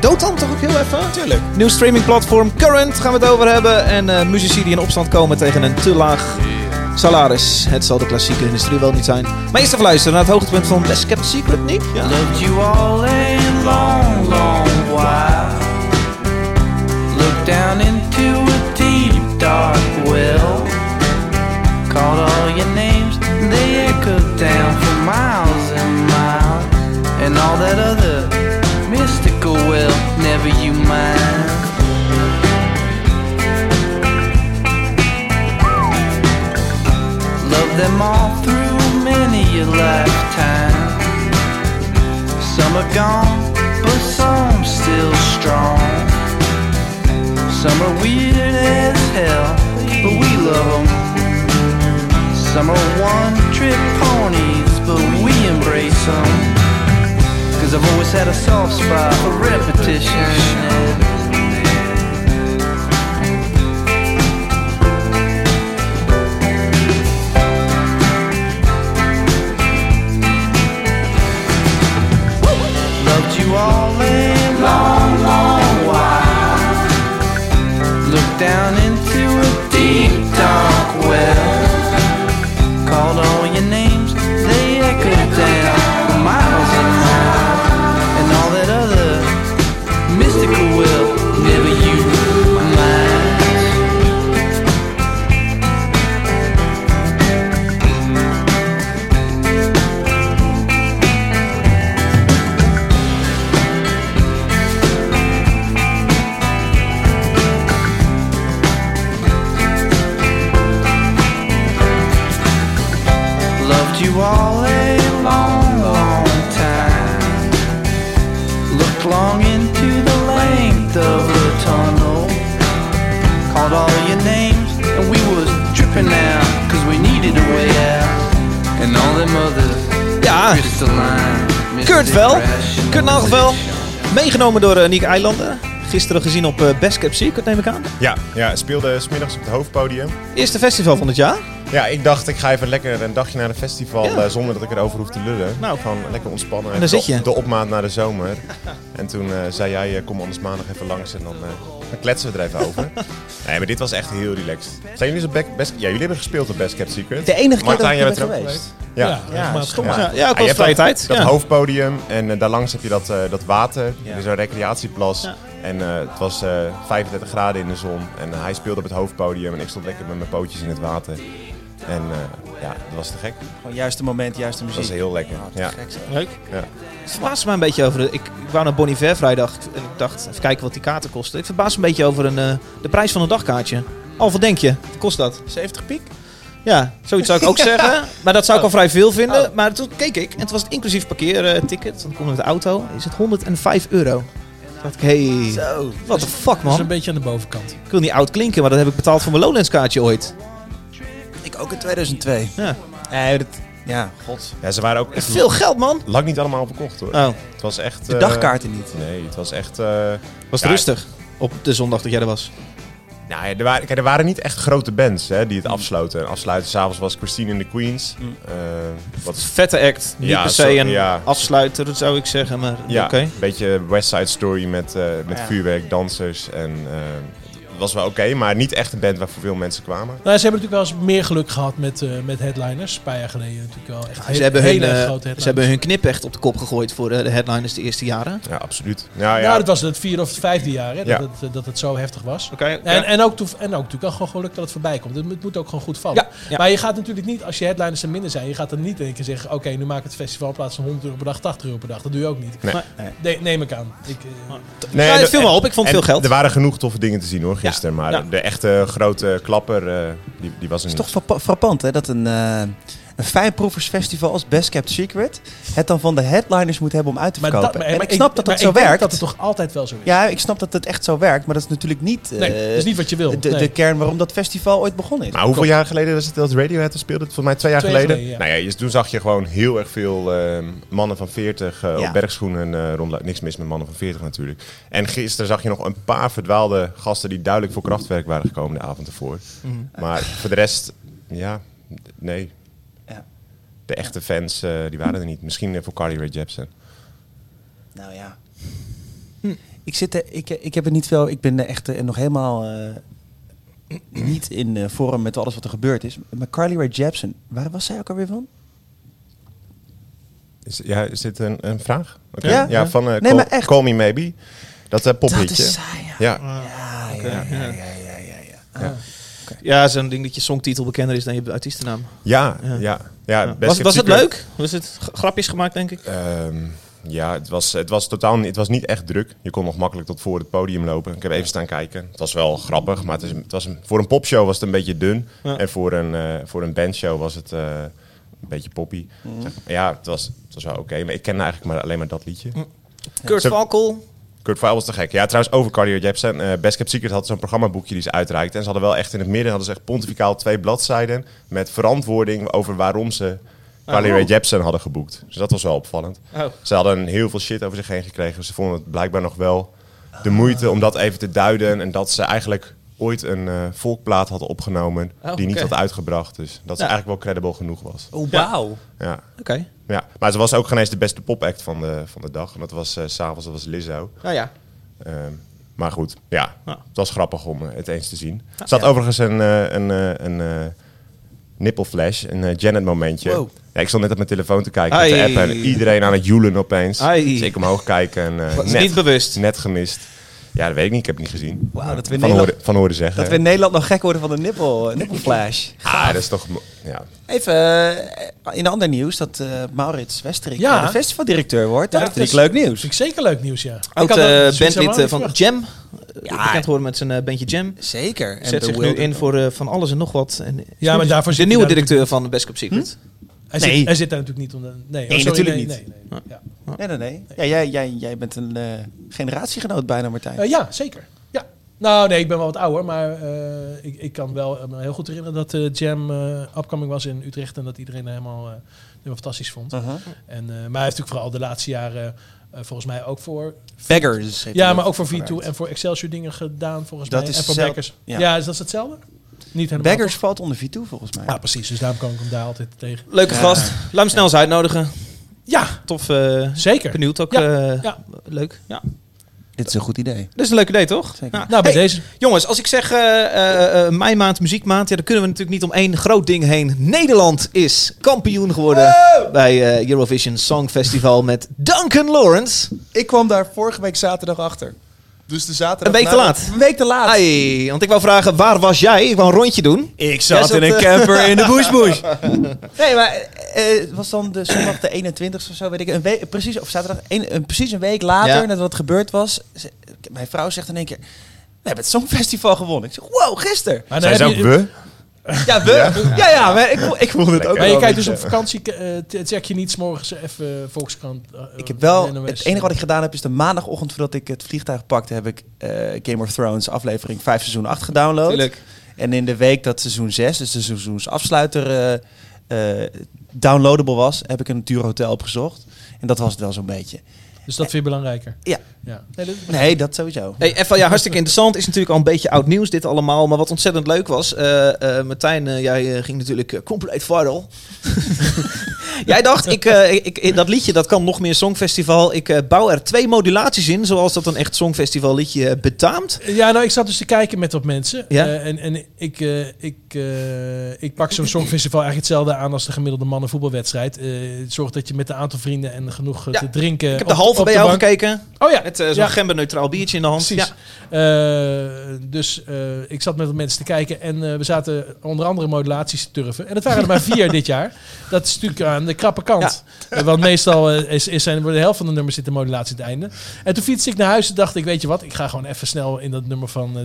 Speaker 1: Dotan toch ook heel even? Tuurlijk. Nieuw streamingplatform Current gaan we het over hebben. En eh, muzici die in opstand komen tegen een te laag salaris. Het zal de klassieke industrie wel niet zijn. Maar eerst even luisteren naar het hoogtepunt van Best Kept Secret, Nick. Ja.
Speaker 6: Loved you all a long, long while. Looked down into a deep, dark well. Called all your names, they echoed down for miles and miles. And all that other mystical well, never you mind. Loved them all through many a lifetime. Some are gone, but some still strong. Some are weird as hell, but we love 'em. Some are one trip ponies, but we embrace 'em. Cause I've always had a soft spot for repetition. Loved you all a long, long while. Looked down into a deep, dark well. Called all your names, they echoed down for miles and miles. And all that other mystical will, never you mind. Loved you all a long, long time. Looked long into the length of the tunnel. Called all your names, and we was tripping out, cause we needed a way out. And all them others,
Speaker 1: Ja.
Speaker 6: crystalline.
Speaker 1: Kurt Vel. Kurt Nagelvel. Meegenomen door eh, Nick Eilander. Gisteren gezien op eh, Best Kept Secret, neem ik aan.
Speaker 4: Ja, ja, speelde smiddags op het hoofdpodium.
Speaker 1: Eerste festival van het jaar.
Speaker 4: Ja, ik dacht, ik ga even lekker een dagje naar een festival
Speaker 1: Ja.
Speaker 4: eh, zonder dat ik erover hoef te lullen.
Speaker 1: Nou.
Speaker 4: gewoon lekker ontspannen.
Speaker 1: En daar
Speaker 4: De-
Speaker 1: zit je.
Speaker 4: De opmaat naar de zomer. En toen eh, zei jij, eh, kom anders maandag even langs en dan, eh, dan kletsen we er even over. nee, maar dit was echt heel relaxed. Zijn jullie zo best... Ja, jullie hebben gespeeld op Best Kept Secret.
Speaker 3: De enige keer dat
Speaker 4: Martijn, jij
Speaker 3: ik
Speaker 4: bent er
Speaker 3: ben
Speaker 4: ook
Speaker 3: geweest.
Speaker 4: Ja.
Speaker 2: regelmatig
Speaker 4: stom.
Speaker 2: gemaakt.
Speaker 1: Ja, ja ik
Speaker 4: je
Speaker 1: was
Speaker 4: hebt
Speaker 1: vrije
Speaker 4: dat-
Speaker 1: Ah, tijd.
Speaker 4: Dat
Speaker 1: ja.
Speaker 4: hoofdpodium en eh, daarlangs heb je dat, eh, dat water.
Speaker 1: Ja.
Speaker 4: Er is een recreatieplas. En eh, het was eh, 35 graden in de zon. En eh, hij speelde op het hoofdpodium en ik stond lekker met mijn pootjes in het water. En eh, ja, dat was te gek.
Speaker 3: Gewoon juiste moment, juiste muziek.
Speaker 4: Dat was heel lekker.
Speaker 3: Ah, te
Speaker 4: Ja.
Speaker 3: gek zo.
Speaker 1: Leuk.
Speaker 4: Ja.
Speaker 1: Ik verbaas me een beetje over... de- ik, ik wou naar Bonnie Ver vrijdag en ik dacht, even kijken wat die kaarten kosten. Ik verbaas me een beetje over een, eh, de prijs van een dagkaartje. Al, wat denk je? Wat kost dat?
Speaker 3: 70 piek?
Speaker 1: Ja, zoiets zou ik ook zeggen. Maar dat zou ik al vrij veel vinden. Maar toen keek ik en toen was het inclusief parkeerticket. Dan kom je met de auto. Is het 105 euro. dacht ik, hey,
Speaker 3: Zo.
Speaker 1: what the fuck
Speaker 2: Dat is een
Speaker 1: man.
Speaker 2: beetje aan de bovenkant.
Speaker 1: Ik wil niet oud klinken, maar dat heb ik betaald voor mijn Lowlands kaartje ooit.
Speaker 3: Ik ook in 2002.
Speaker 1: Ja.
Speaker 3: Nee, dat, ja, god.
Speaker 4: Ja, ze waren ook echt
Speaker 1: Veel geld man.
Speaker 4: lang niet allemaal verkocht hoor.
Speaker 1: Oh,
Speaker 4: Het was echt...
Speaker 3: De
Speaker 4: eh,
Speaker 3: dagkaarten niet.
Speaker 4: Nee, het was echt... eh,
Speaker 1: was het
Speaker 4: Ja.
Speaker 1: rustig op de zondag dat jij er was.
Speaker 4: Nou ja, er waren, kijk, er waren niet echt grote bands hè, die het afsloten. En afsluiten s'avonds was Christine in the Queens. Eh, wat,
Speaker 1: Vette act. Niet
Speaker 4: Ja,
Speaker 1: per se
Speaker 4: zo-
Speaker 1: een
Speaker 4: ja.
Speaker 1: afsluiter, dat zou ik zeggen. Maar
Speaker 4: ja,
Speaker 1: oké.
Speaker 4: een beetje West Side Story met, eh, met
Speaker 3: Ja.
Speaker 4: vuurwerk, dansers. En eh, het was wel oké, maar niet echt een band waar veel mensen kwamen.
Speaker 2: Nou, ze hebben natuurlijk wel eens meer geluk gehad met, eh, met headliners. Een paar jaar geleden natuurlijk wel. Echt
Speaker 1: Ze
Speaker 2: hele,
Speaker 1: hebben, hun,
Speaker 2: hele
Speaker 1: eh,
Speaker 2: grote
Speaker 1: ze
Speaker 2: headliners.
Speaker 1: hebben hun knip echt op de kop gegooid voor eh, de headliners de eerste jaren.
Speaker 4: Ja, absoluut. Nou
Speaker 2: Nou,
Speaker 4: ja,
Speaker 2: dat was het vierde of het vijfde jaar hè,
Speaker 4: Ja.
Speaker 2: dat, het, eh, dat het zo heftig was.
Speaker 1: Oké.
Speaker 2: En, en, ook toef- en ook natuurlijk wel gewoon geluk dat het voorbij komt. Het moet- het moet ook gewoon goed vallen.
Speaker 1: Ja, ja.
Speaker 2: Maar je gaat natuurlijk niet, als je headliners er minder zijn, je gaat dan niet denken zeggen, oké, nu maak ik het festival in plaats van 100 euro per dag, 80 euro per dag. Dat doe je ook niet.
Speaker 4: Nee.
Speaker 2: Maar- nee, neem ik aan. Ik, eh,
Speaker 4: nee,
Speaker 1: Ja, het
Speaker 4: de-
Speaker 1: nou, viel me op, ik vond
Speaker 4: en
Speaker 1: veel geld.
Speaker 4: Er waren genoeg toffe dingen te zien hoor, gisteren. Maar
Speaker 1: ja.
Speaker 4: de echte grote klapper, eh, die, die was er
Speaker 3: Het
Speaker 4: niet.
Speaker 3: is toch frappa- frappant hè, dat een, eh een fijnproeversfestival als Best Kept Secret het dan van de headliners moet hebben om uit te
Speaker 2: maar
Speaker 3: verkopen.
Speaker 2: maar-
Speaker 3: en
Speaker 2: maar
Speaker 3: ik snap dat
Speaker 2: maar
Speaker 3: dat zo
Speaker 2: ik denk
Speaker 3: werkt.
Speaker 2: dat het toch altijd wel zo is.
Speaker 3: Ja, ik snap dat het echt zo werkt, maar dat is natuurlijk niet, eh,
Speaker 2: nee, dat is niet wat je wil.
Speaker 3: de,
Speaker 2: Nee.
Speaker 3: de kern waarom dat festival ooit begonnen is.
Speaker 4: Maar hoeveel jaar geleden was het dat Radiohead er speelde? Volgens mij twee jaar
Speaker 2: Twee jaar
Speaker 4: geleden.
Speaker 2: geleden, ja.
Speaker 4: Nou ja, je- toen zag je gewoon heel erg veel ehm, mannen van 40 eh,
Speaker 3: Ja.
Speaker 4: op bergschoenen eh rondlopen. Niks mis met mannen van 40 natuurlijk. En gisteren zag je nog een paar verdwaalde gasten die duidelijk voor krachtwerk waren gekomen de avond ervoor.
Speaker 2: Mhm.
Speaker 4: Maar voor de rest, ja, nee.
Speaker 3: Ja.
Speaker 4: De echte fans, eh, die waren er niet. Misschien eh, voor Carly Rae Jepsen.
Speaker 3: Nou ja. Ik, zit er, ik, ik heb er niet veel. Ik ben er echt eh, nog helemaal eh, niet in eh, vorm met alles wat er gebeurd is. Maar Carly Rae Jepsen, waar was zij ook alweer van?
Speaker 4: Is, ja, is dit een, een vraag? Oké.
Speaker 3: Ja.
Speaker 4: Ja, van eh,
Speaker 3: Nee,
Speaker 4: call,
Speaker 3: maar echt.
Speaker 4: Call Me Maybe. Dat eh, pophitje.
Speaker 3: Dat is zij. Ja.
Speaker 4: ja.
Speaker 2: Ah.
Speaker 3: Ja, ja, ja, ja, ja, ja, ja.
Speaker 1: Ja, zo'n ding dat je songtitel bekender is dan je artiestennaam.
Speaker 4: Ja,
Speaker 1: Ja.
Speaker 4: ja. ja.
Speaker 1: Ja.
Speaker 4: Best
Speaker 1: Was,
Speaker 4: Kept
Speaker 1: was het
Speaker 4: Secret.
Speaker 1: leuk? Was het g- grapjes gemaakt, denk ik?
Speaker 4: Ehm, ja, het was, het was totaal niet- het was niet echt druk. Je kon nog makkelijk tot voor het podium lopen. Ik heb even staan kijken. Het was wel grappig, maar het is, het was een, voor een popshow was het een beetje dun.
Speaker 1: Ja.
Speaker 4: En voor een, eh, voor een bandshow was het eh, een beetje poppy. Zeg maar. Ja, het was, het was wel oké. Maar ik ken eigenlijk maar, alleen maar dat liedje.
Speaker 1: Kurt
Speaker 4: Ze-
Speaker 2: Oh.
Speaker 1: Valkel.
Speaker 4: Kurt Vile was te gek. Ja, trouwens over Cardio Jepsen. eh Best Kept Secret had zo'n programmaboekje die ze uitreikt. En ze hadden wel echt in het midden hadden ze echt pontificaal twee bladzijden... met verantwoording over waarom ze Carly Rae Jepsen hadden geboekt. Dus dat was wel opvallend.
Speaker 1: Oh.
Speaker 4: Ze hadden heel veel shit over zich heen gekregen. Ze vonden het blijkbaar nog wel de moeite om dat even te duiden. En dat ze eigenlijk ooit een eh, volkplaat hadden opgenomen...
Speaker 1: Oh,
Speaker 4: die niet
Speaker 1: oké.
Speaker 4: had uitgebracht. Dus dat ze
Speaker 1: Ja.
Speaker 4: eigenlijk wel credible genoeg was.
Speaker 3: Oh, wauw.
Speaker 4: Ja.
Speaker 1: Oké.
Speaker 4: ja. Maar ze was ook geen eens de beste popact van de, van de dag. En dat was eh, s s'avonds, dat was Lizzo.
Speaker 1: Nou ja.
Speaker 4: Ehm, maar goed, ja,
Speaker 1: Ja.
Speaker 4: het was grappig om eh, het eens te zien. Er zat overigens een, eh, een, eh, een eh, nippelflash, een eh, Janet momentje.
Speaker 3: Wow.
Speaker 4: Ja, ik stond net op mijn telefoon te kijken op de
Speaker 1: Ai.
Speaker 4: app en iedereen aan het joelen opeens.
Speaker 1: Ai.
Speaker 4: Dus ik omhoog kijken en eh,
Speaker 1: Was
Speaker 4: net,
Speaker 1: niet bewust.
Speaker 4: net gemist. Ja, dat weet ik niet, ik heb het niet gezien.
Speaker 3: Wauw,
Speaker 4: Maar
Speaker 3: dat we in
Speaker 4: van,
Speaker 3: Nederland-
Speaker 4: horen, van horen zeggen.
Speaker 3: Dat we in Nederland nog gek worden van de nippel, eh, nippelflash.
Speaker 4: Ah, dat is toch... mo- Ja.
Speaker 3: Even eh, in ander nieuws dat eh, Maurits Westerik
Speaker 2: Ja.
Speaker 3: eh, de festivaldirecteur wordt.
Speaker 2: Ja,
Speaker 3: Dat
Speaker 2: dat
Speaker 3: vind ik
Speaker 2: is-
Speaker 3: leuk nieuws.
Speaker 2: Vind ik zeker leuk nieuws, ja.
Speaker 1: Ook
Speaker 2: Ik had dat-
Speaker 1: eh
Speaker 2: zoiets oh, helemaal
Speaker 1: bandlid eh,
Speaker 2: niet
Speaker 1: van
Speaker 2: verwacht.
Speaker 1: Jam. Eh,
Speaker 3: Ja.
Speaker 1: Bekend geworden met zijn eh, bandje Jam.
Speaker 3: Zeker.
Speaker 1: Zet zich nu in voor eh, van alles en nog wat. En
Speaker 2: Ja, maar daarvoor
Speaker 1: de
Speaker 2: zit
Speaker 1: nieuwe
Speaker 2: hij daar
Speaker 1: directeur van Best Cup Secret.
Speaker 2: Hij,
Speaker 3: Nee.
Speaker 2: zit, hij zit daar natuurlijk niet onder. Nee, Oh,
Speaker 3: Nee, natuurlijk niet.
Speaker 2: Nee, nee, Ja.
Speaker 3: Nee, nee, nee. Ja, jij, jij, jij bent een eh, generatiegenoot bijna, Martijn.
Speaker 2: Eh, ja, zeker. Ja. Nou, nee, ik ben wel wat ouder, maar eh, ik, ik kan wel eh, me heel goed herinneren dat eh, Jam eh upcoming was in Utrecht en dat iedereen er helemaal, eh, helemaal fantastisch vond.
Speaker 3: Uh-huh.
Speaker 2: En, eh, maar hij heeft natuurlijk vooral de laatste jaren eh, volgens mij ook voor.
Speaker 3: Beggars. heeft
Speaker 2: Ja,
Speaker 3: hij
Speaker 2: maar ook
Speaker 3: ook
Speaker 2: voor V2
Speaker 3: gemaakt.
Speaker 2: en voor Excelsior dingen gedaan volgens
Speaker 3: Dat
Speaker 2: mij.
Speaker 3: is
Speaker 2: en voor
Speaker 3: hetzelfde,
Speaker 2: Beggars.
Speaker 3: ja.
Speaker 2: Ja. is dat hetzelfde? Niet helemaal.
Speaker 3: Beggars valt onder V2 volgens mij.
Speaker 2: toch? Ja, precies. Dus daarom kan ik hem daar altijd tegen.
Speaker 1: Leuke gast. Laat hem snel eens uitnodigen.
Speaker 2: Ja,
Speaker 1: Tof. eh,
Speaker 2: zeker.
Speaker 1: benieuwd ook.
Speaker 2: Ja.
Speaker 1: eh,
Speaker 2: Ja.
Speaker 1: Leuk. Ja.
Speaker 3: Dit is een goed idee.
Speaker 1: Dat is een leuke idee, toch?
Speaker 3: Zeker.
Speaker 1: Ja.
Speaker 2: Nou, bij
Speaker 1: Hey,
Speaker 2: deze.
Speaker 1: Jongens, als ik zeg eh, eh, eh, mijn maand, muziekmaand, ja, dan kunnen we natuurlijk niet om één groot ding heen. Nederland is kampioen geworden bij eh, Eurovision Song Festival met Duncan Lawrence.
Speaker 3: Ik kwam daar vorige week zaterdag achter. Dus de zaterdag...
Speaker 1: Een week te
Speaker 3: na-
Speaker 1: laat.
Speaker 3: Een week te laat.
Speaker 1: Ai, want ik wou vragen, waar was jij? Ik wou een rondje doen.
Speaker 3: Ik
Speaker 1: Jij zat, eh,
Speaker 3: camper in de bushbush. nee, maar eh, het was dan de zondag de 21ste of zo, weet ik. Een week, precies, of zaterdag, een, een- precies een week later,
Speaker 1: Ja.
Speaker 3: nadat het gebeurd was. ze- mijn vrouw zegt in één keer, we hebben het Songfestival gewonnen. Ik zeg, wow, gisteren.
Speaker 2: Maar dan
Speaker 4: Zijn ze
Speaker 2: heb
Speaker 4: ook
Speaker 2: je-
Speaker 4: we?
Speaker 1: Ja, we? Ja, ja, maar ik, voel- ik voelde het ook
Speaker 4: Lekker.
Speaker 2: Maar
Speaker 1: wel
Speaker 2: je
Speaker 1: een
Speaker 2: kijkt dus op
Speaker 1: beetje.
Speaker 2: vakantie, eh, t- check je niet 's morgens even eh, Volkskrant. eh,
Speaker 3: Ik heb wel,
Speaker 2: NOS.
Speaker 3: het enige wat ik gedaan heb is de maandagochtend voordat ik het vliegtuig pakte, heb ik eh, Game of Thrones aflevering 5 seizoen 8 gedownload.
Speaker 1: Tuurlijk.
Speaker 3: En in de week dat seizoen 6, dus de seizoensafsluiter, eh, eh, downloadable was, heb ik een duur hotel opgezocht. En dat was het wel zo'n beetje.
Speaker 2: Dus dat vind je belangrijker?
Speaker 3: Ja.
Speaker 2: ja. Nee, dat-
Speaker 3: Nee, dat sowieso.
Speaker 1: Hey, even, ja, hartstikke interessant. Is natuurlijk al een beetje oud nieuws dit allemaal. Maar wat ontzettend leuk was. eh, eh, Martijn, eh, jij eh, ging natuurlijk eh, compleet viral. jij dacht, ik, eh, ik, ik- dat liedje dat kan nog meer Songfestival. Ik eh, bouw er twee modulaties in. Zoals dat een echt Songfestival liedje eh, betaamt.
Speaker 2: Ja, nou, ik zat dus te kijken met wat mensen.
Speaker 1: Ja.
Speaker 2: Eh, en en ik, eh, ik, eh, ik pak zo'n songfestival eigenlijk hetzelfde aan als de gemiddelde mannenvoetbalwedstrijd. Eh, zorg dat je met een aantal vrienden en genoeg eh,
Speaker 1: Ja,
Speaker 2: te drinken.
Speaker 1: Ik heb de halve bij jou gekeken.
Speaker 2: Oh ja,
Speaker 1: Met eh, zo'n
Speaker 2: Ja.
Speaker 1: genderneutraal biertje in de hand.
Speaker 2: precies.
Speaker 1: Ja.
Speaker 2: Eh, dus eh, ik zat met wat mensen te kijken en eh, we zaten onder andere modulaties te turven. En dat waren er maar vier dit jaar. Dat is natuurlijk aan de krappe kant. Eh, want meestal eh, is, is zijn, voor de helft van de nummers zit de modulatie aan het einde. En toen fietste ik naar huis en dacht ik, weet je wat, ik ga gewoon even snel in dat nummer van... eh,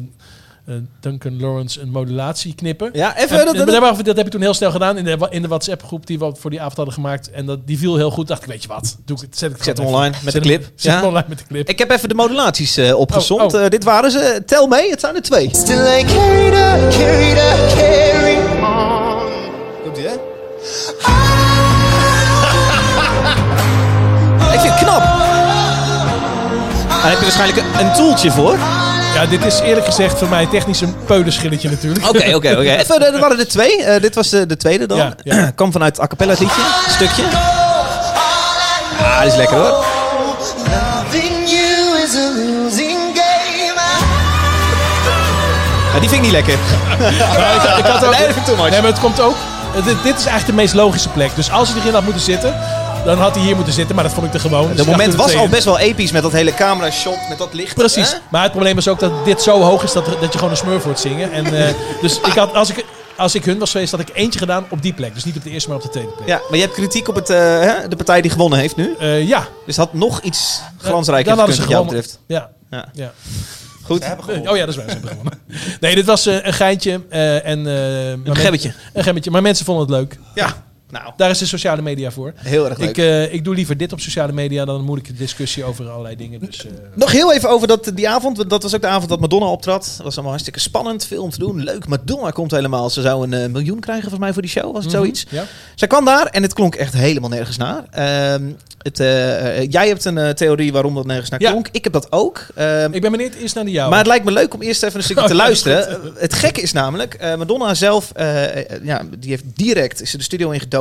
Speaker 2: eh, Duncan Lawrence een modulatie knippen.
Speaker 1: Ja,
Speaker 2: En-
Speaker 1: even.
Speaker 2: en-
Speaker 1: dat- dat-
Speaker 2: maar daarover- dat heb ik toen heel snel gedaan in de, wa- in de WhatsApp-groep die we voor die avond hadden gemaakt. En dat, die viel heel goed. Dacht ik, weet je wat, doe ik, het- zet ik het
Speaker 1: Zet hem
Speaker 2: gewoon
Speaker 1: online
Speaker 2: even.
Speaker 1: met
Speaker 2: Zet
Speaker 1: de
Speaker 2: hem-
Speaker 1: clip.
Speaker 2: Zet hem
Speaker 1: Ja.
Speaker 2: online met de clip.
Speaker 1: Ik heb even de modulaties eh opgezond.
Speaker 2: Oh, oh.
Speaker 1: Eh, dit waren ze. Tel mee, het zijn er twee.
Speaker 7: Still I carry the, carry the, carry on.
Speaker 1: Komt ie, hè? Ik vind het knap. Daar heb je waarschijnlijk een, een toeltje voor. Oké,
Speaker 2: Ja, dit is eerlijk gezegd voor mij technisch een peulenschilletje natuurlijk.
Speaker 1: oké, oké. Even, eh, Er waren er twee. Eh, dit was de, de tweede dan.
Speaker 2: Ja, ja.
Speaker 1: Kwam vanuit het a cappella liedje. Stukje. Ah, die is lekker hoor.
Speaker 7: Loving you is a losing game.
Speaker 1: Ja, die vind ik niet lekker.
Speaker 2: Maar ik, ik had ook,
Speaker 1: Nee, dat vind ik too much.
Speaker 2: Nee, maar het komt ook... eh, Dit, dit is eigenlijk de meest logische plek. Dus als hij erin had moeten zitten, dan had hij hier moeten zitten. Maar dat vond ik te gewoon. Dus
Speaker 1: Het
Speaker 2: ik dacht,
Speaker 1: moment
Speaker 2: doe het
Speaker 1: was al
Speaker 2: tegen.
Speaker 1: best wel episch met dat hele camera shot, met dat licht.
Speaker 2: Precies.
Speaker 1: hè?
Speaker 2: Maar het probleem is ook dat dit zo hoog is dat, er- dat je gewoon een smurf wordt zingen. En, eh, dus ik had, als, ik, als ik hun was geweest, had ik eentje gedaan op die plek. Dus niet op de eerste, maar op de tweede plek.
Speaker 1: Ja, maar je hebt kritiek op het, eh, hè, de partij die gewonnen heeft nu.
Speaker 2: Eh, ja.
Speaker 1: Dus het had nog iets
Speaker 2: Dan
Speaker 1: glansrijker
Speaker 2: hadden
Speaker 1: gekund
Speaker 2: ze
Speaker 1: wat jou
Speaker 2: gewonnen.
Speaker 1: betreft.
Speaker 2: Ja.
Speaker 1: Ja.
Speaker 2: ja.
Speaker 1: Goed.
Speaker 2: Oh ja, dat is waar. Ze hebben gewonnen. Nee, dit was eh, een geintje. eh, en, eh, maar men-
Speaker 1: gebbetje.
Speaker 2: Een gebbetje. Maar mensen vonden het leuk.
Speaker 1: Ja, nou,
Speaker 2: Daar is de sociale media voor.
Speaker 1: heel erg leuk.
Speaker 2: Ik, eh, ik doe liever dit op sociale media dan een moeilijke discussie over allerlei dingen. Dus, eh,
Speaker 1: Nog heel even over dat, die avond. want Dat was ook de avond dat Madonna optrad. Dat was allemaal hartstikke spannend. Veel om te doen. Leuk. Madonna komt helemaal. Ze zou een eh, miljoen krijgen volgens mij voor die show. Was het zoiets?
Speaker 2: ja.
Speaker 1: Zij kwam daar en het klonk echt helemaal nergens naar. Ehm, het, eh, eh, jij hebt een eh, theorie waarom dat nergens naar
Speaker 2: Ja.
Speaker 1: klonk. Ik heb dat ook. Ehm,
Speaker 2: Ik ben benieuwd eerst naar de jouwe.
Speaker 1: maar het lijkt me leuk om eerst even een stukje
Speaker 2: Oh,
Speaker 1: te
Speaker 2: ja,
Speaker 1: luisteren. Eh, Het gekke is namelijk, eh, Madonna zelf, eh, eh, ja, die heeft direct is ze de studio ingedoken.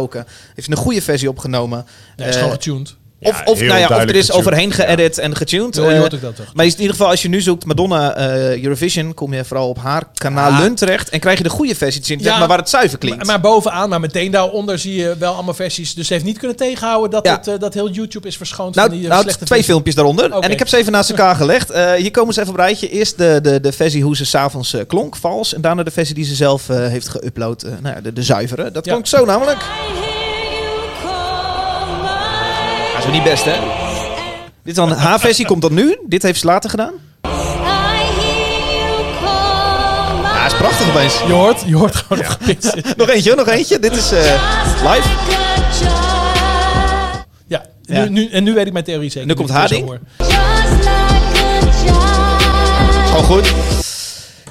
Speaker 1: Heeft een goede versie opgenomen.
Speaker 2: Nee, het is
Speaker 1: Eh,
Speaker 2: gewoon getuned.
Speaker 1: of,
Speaker 4: Ja,
Speaker 1: of,
Speaker 4: heel
Speaker 1: nou ja, of er
Speaker 4: duidelijk
Speaker 1: is
Speaker 4: getuned,
Speaker 1: overheen
Speaker 4: ja.
Speaker 1: geëdit en getuned.
Speaker 2: Zo, je
Speaker 1: Eh,
Speaker 2: hoort ook dat toch?
Speaker 1: maar is in ieder geval, als je nu zoekt Madonna eh, Eurovision, kom je vooral op haar kanalen terecht. En krijg je de goede versie te zien, zeg
Speaker 2: Ah. Ja,
Speaker 1: maar waar het zuiver klinkt.
Speaker 2: Maar, maar bovenaan, maar meteen daaronder zie je wel allemaal versies. Dus ze heeft niet kunnen tegenhouden dat,
Speaker 1: Ja.
Speaker 2: het, eh, dat heel YouTube is verschoond van
Speaker 1: nou,
Speaker 2: die eh,
Speaker 1: nou
Speaker 2: slechte
Speaker 1: twee filmpjes daaronder.
Speaker 2: Oké.
Speaker 1: En ik heb ze even naast elkaar gelegd. Eh, hier komen ze even op een rijtje. Eerst de, de, de versie hoe ze s'avonds eh klonk, vals. En daarna de versie die ze zelf eh, heeft geüpload. eh, nou ja, de, de zuivere. Dat
Speaker 2: Ja.
Speaker 1: klonk zo namelijk.
Speaker 8: I
Speaker 1: Dat is wel niet best, hè? Dit dan, haar versie komt dan nu. Dit heeft ze later gedaan.
Speaker 8: hear you call my
Speaker 1: Ja, is prachtig opeens.
Speaker 2: Je hoort, je hoort gewoon nog gepikt.
Speaker 1: Nog eentje, hoor, nog eentje. Dit is eh, live.
Speaker 8: Just like a child.
Speaker 2: Ja,
Speaker 1: Ja.
Speaker 2: Nu, nu, en nu weet ik mijn theorie zeker.
Speaker 1: Nu komt
Speaker 2: Ik het
Speaker 1: haar
Speaker 2: zo
Speaker 1: ding.
Speaker 2: hoor.
Speaker 8: Just like a child.
Speaker 1: Gewoon goed.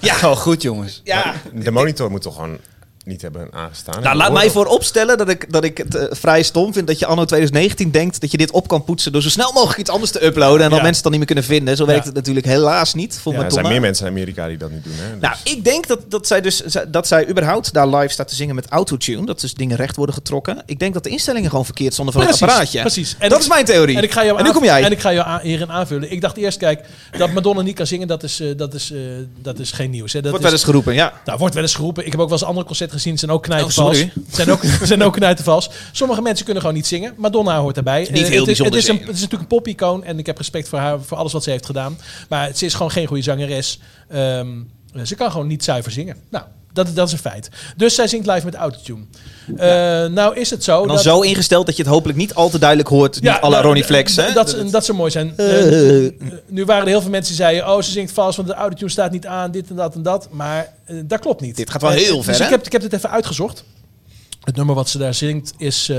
Speaker 3: Ja, gewoon goed jongens.
Speaker 1: Ja.
Speaker 4: De monitor moet toch gewoon niet hebben aangestaan.
Speaker 1: Nou, laat mij vooropstellen dat ik, dat ik het eh, vrij stom vind dat je anno 2019 denkt dat je dit op kan poetsen door zo snel mogelijk iets anders te uploaden en dat
Speaker 2: Ja.
Speaker 1: mensen het dan niet meer kunnen vinden. Zo werkt
Speaker 2: Ja.
Speaker 1: het natuurlijk helaas niet voor
Speaker 2: Ja,
Speaker 1: ja,
Speaker 2: er
Speaker 4: Er zijn meer mensen in Amerika die dat niet doen. Hè? Dus-
Speaker 1: Nou, ik denk dat, dat, zij dus, dat zij überhaupt daar live staat te zingen met autotune. Dat dus dingen recht worden getrokken. Ik denk dat de instellingen gewoon verkeerd stonden van
Speaker 2: Precies,
Speaker 1: het apparaatje.
Speaker 2: precies. En
Speaker 1: dat
Speaker 2: ik-
Speaker 1: is mijn theorie.
Speaker 2: En, ik ga jou
Speaker 1: nu
Speaker 2: aan-
Speaker 1: kom jij.
Speaker 2: En ik ga jou aan- hierin aanvullen. Ik dacht eerst, kijk, dat Madonna niet kan zingen, dat is, eh, dat is, eh, dat is geen nieuws. Hè. Dat
Speaker 1: Wordt
Speaker 2: is,
Speaker 1: wel eens geroepen, ja.
Speaker 2: Nou, wordt wel eens geroepen. Ik heb ook wel eens andere concerten gezien. Het zijn ook
Speaker 1: Oh,
Speaker 2: knijtenvals.
Speaker 1: sorry.
Speaker 2: Het zijn ook, het zijn ook knijtenvals. Sommige mensen kunnen gewoon niet zingen. Madonna hoort daarbij. Eh,
Speaker 1: heel
Speaker 2: het, is, het,
Speaker 1: bijzonder
Speaker 2: is een,
Speaker 1: zingen.
Speaker 2: het is natuurlijk een popicoon. En ik heb respect voor haar, voor alles wat ze heeft gedaan. Maar ze is gewoon geen goede zangeres. Ehm, ze kan gewoon niet zuiver zingen. Nou, Dat, dat is een feit. Dus zij zingt live met autotune. Eh, Nou is het zo...
Speaker 1: En dan
Speaker 2: dat-
Speaker 1: zo ingesteld dat je het hopelijk niet al te duidelijk hoort. niet alle
Speaker 2: nou,
Speaker 1: Ronnie Flex.
Speaker 2: d-
Speaker 1: Hè?
Speaker 2: Dat, ze- dat zou mooi zijn.
Speaker 1: Eh.
Speaker 2: Eh, nu waren er heel veel mensen die zeiden... oh, ze zingt vals, want de autotune staat niet aan, dit en dat en dat. Maar eh, dat klopt niet.
Speaker 1: Dit gaat wel
Speaker 2: Eh,
Speaker 1: heel
Speaker 2: dus
Speaker 1: ver, hè?
Speaker 2: ik heb, ik heb dit even uitgezocht. Het nummer wat ze daar zingt is eh,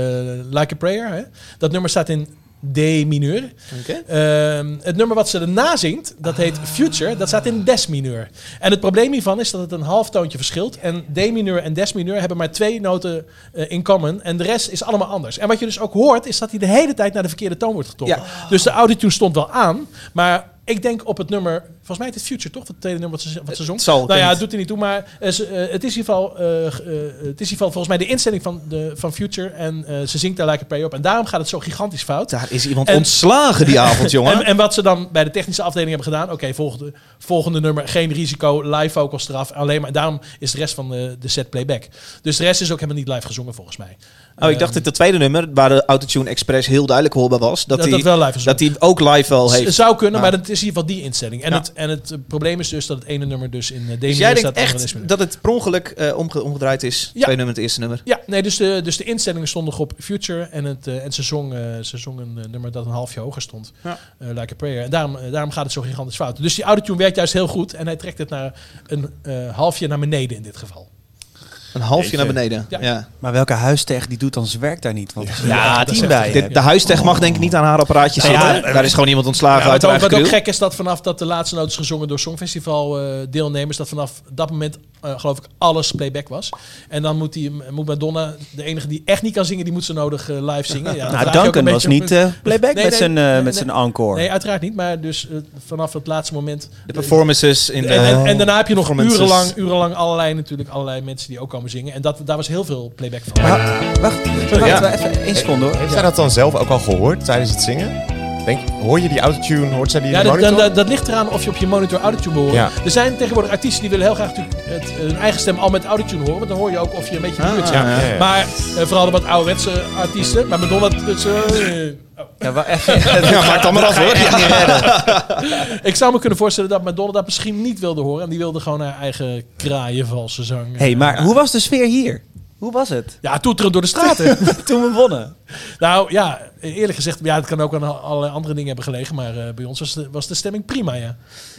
Speaker 2: Like a Prayer. Hè? Dat nummer staat in D mineur.
Speaker 1: Oké. Ah.
Speaker 2: Ehm, het nummer wat ze erna zingt, dat heet Future, dat staat in des mineur. En het probleem hiervan is dat het een halftoontje verschilt. En D mineur en des mineur hebben maar twee noten eh, in common. En de rest is allemaal anders. En wat je dus ook hoort, is dat hij de hele tijd naar de verkeerde toon wordt getrokken. Dus de autotune stond wel aan, maar... Ik denk op het nummer, volgens mij is het Future toch? Dat tweede nummer wat ze, wat ze zong.
Speaker 1: zal, ik
Speaker 2: nou
Speaker 1: weet
Speaker 2: ja,
Speaker 1: niet.
Speaker 2: het doet er niet toe, maar eh, ze, eh, het, is in ieder geval, eh, g- eh, het is in ieder geval volgens mij de instelling van, de, van Future. En eh, ze zingt daar Like a Prayer op. En daarom gaat het zo gigantisch fout.
Speaker 1: Daar is iemand
Speaker 2: En-
Speaker 1: ontslagen die avond, jongen.
Speaker 2: En, en wat ze dan bij de technische afdeling hebben gedaan. Oké, volgende, volgende nummer, geen risico, live vocals eraf. Alleen maar, daarom is de rest van de, de set playback. Dus de rest is ook helemaal niet live gezongen volgens mij. Ehm,
Speaker 1: oh, ik dacht dat het tweede nummer, waar de autotune express heel duidelijk hoorbaar was, dat,
Speaker 2: Dat-
Speaker 1: hij,
Speaker 2: dat wel live is.
Speaker 1: dat hij ook live wel
Speaker 2: Z-
Speaker 1: heeft.
Speaker 2: Zou kunnen,
Speaker 1: Nou.
Speaker 2: maar het is in ieder geval die instelling. En,
Speaker 1: Ja.
Speaker 2: het, en het eh, probleem is dus dat het ene nummer dus in eh, D
Speaker 1: dus
Speaker 2: mineur
Speaker 1: jij
Speaker 2: staat.
Speaker 1: denkt
Speaker 2: en het andere is
Speaker 1: echt
Speaker 2: mineur.
Speaker 1: dat het per ongeluk eh, omge- omgedraaid is.
Speaker 2: Ja.
Speaker 1: Twee nummer, het eerste nummer.
Speaker 2: Ja, nee, dus de, dus de instellingen stonden nog op Future en, het, eh, en ze, zong, eh, ze zong een eh, nummer dat een halfje hoger stond.
Speaker 1: Ja.
Speaker 2: Eh, like a Prayer. En daarom, eh, daarom gaat het zo gigantisch fout. Dus die autotune werkt juist heel goed en hij trekt het naar een eh, halfje naar beneden in dit geval.
Speaker 1: Een halfje
Speaker 4: Jeetje.
Speaker 1: naar beneden. Ja.
Speaker 2: Ja.
Speaker 3: Maar welke huistech die doet dan zijn werk daar niet? Want er zitten echt
Speaker 2: dat is
Speaker 3: tien
Speaker 2: echt
Speaker 3: bij.
Speaker 2: gek.
Speaker 3: hè?
Speaker 1: Dit- de huistech mag denk ik niet aan haar apparaatje
Speaker 2: Nou ja,
Speaker 1: zitten. Daar is gewoon iemand ontslagen
Speaker 2: Ja, wat,
Speaker 1: uit haar
Speaker 2: ook,
Speaker 1: eigen
Speaker 2: wat ook
Speaker 1: crew.
Speaker 2: gek is dat vanaf dat de laatste noot is gezongen door Songfestival eh, deelnemers, dat vanaf dat moment eh, geloof ik alles playback was. En dan moet, die, eh, moet Madonna, de enige die echt niet kan zingen, die moet ze nodig eh, live zingen. Ja, dan vraag je
Speaker 3: Nou,
Speaker 2: ook een
Speaker 3: Duncan was
Speaker 2: beetje-
Speaker 3: niet eh, playback
Speaker 2: Nee,
Speaker 3: met
Speaker 2: nee,
Speaker 3: zijn eh,
Speaker 2: nee,
Speaker 3: met
Speaker 2: nee.
Speaker 3: zijn encore.
Speaker 2: Nee, uiteraard niet. Maar dus eh, vanaf het laatste moment.
Speaker 1: De performances in de...
Speaker 2: en, en, en daarna heb je nog
Speaker 1: performances.
Speaker 2: urenlang, urenlang allerlei, natuurlijk allerlei mensen die ook komen zingen. En dat, daar was heel veel playback van.
Speaker 3: Maar, wacht, wacht
Speaker 4: ja.
Speaker 3: wel even één seconde hoor.
Speaker 4: Heeft zij dat dan zelf ook al gehoord tijdens het zingen? Denk, hoor je die autotune? Hoort zij die
Speaker 2: Ja,
Speaker 4: in de
Speaker 2: dat,
Speaker 4: monitor?
Speaker 2: dat, dat, dat ligt eraan of je op je monitor autotune behoort.
Speaker 4: Ja.
Speaker 2: Er zijn tegenwoordig artiesten die willen heel graag natuurlijk het, hun eigen stem al met autotune horen. Want dan hoor je ook of je een beetje in de buurt zit.
Speaker 4: Ah, ja, ja, ja.
Speaker 2: Maar eh, vooral de wat ouderwetse artiesten. Maar Madonna... dat ze- eh,
Speaker 3: Ja, wa- even.
Speaker 1: Ja, maak dan maar af hoor.
Speaker 2: ik zou me kunnen voorstellen dat Madonna dat misschien niet wilde horen. En die wilde gewoon haar eigen kraaien valse zang.
Speaker 3: hey, maar hoe was de sfeer hier? Hoe was het?
Speaker 2: Ja, toeteren door de straten.
Speaker 3: Toen we wonnen.
Speaker 2: Nou ja, eerlijk gezegd, ja, het kan ook aan allerlei andere dingen hebben gelegen. Maar eh, bij ons was de, was de stemming prima, ja.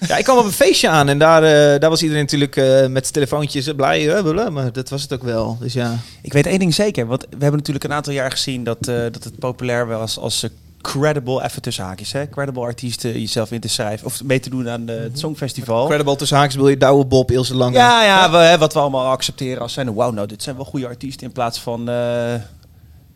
Speaker 1: Ja, ik kwam op een feestje aan en daar, eh, daar was iedereen natuurlijk eh, met zijn telefoontjes eh, blij. eh, blablabla, maar dat was het ook wel. Dus ja.
Speaker 3: Ik weet één ding zeker, want we hebben natuurlijk een aantal jaar gezien dat, eh, dat het populair was als eh, credible, even tussen haakjes, hè, credible artiesten jezelf in te schrijven of mee te doen aan eh,
Speaker 1: Mhm.
Speaker 3: het Songfestival.
Speaker 1: Incredible tussen haakjes wil je Douwe Bob, Ilse Lange.
Speaker 3: Ja, ja, we, hè, wat we allemaal accepteren als zijn, wow, nou, dit zijn wel goede artiesten in plaats van eh,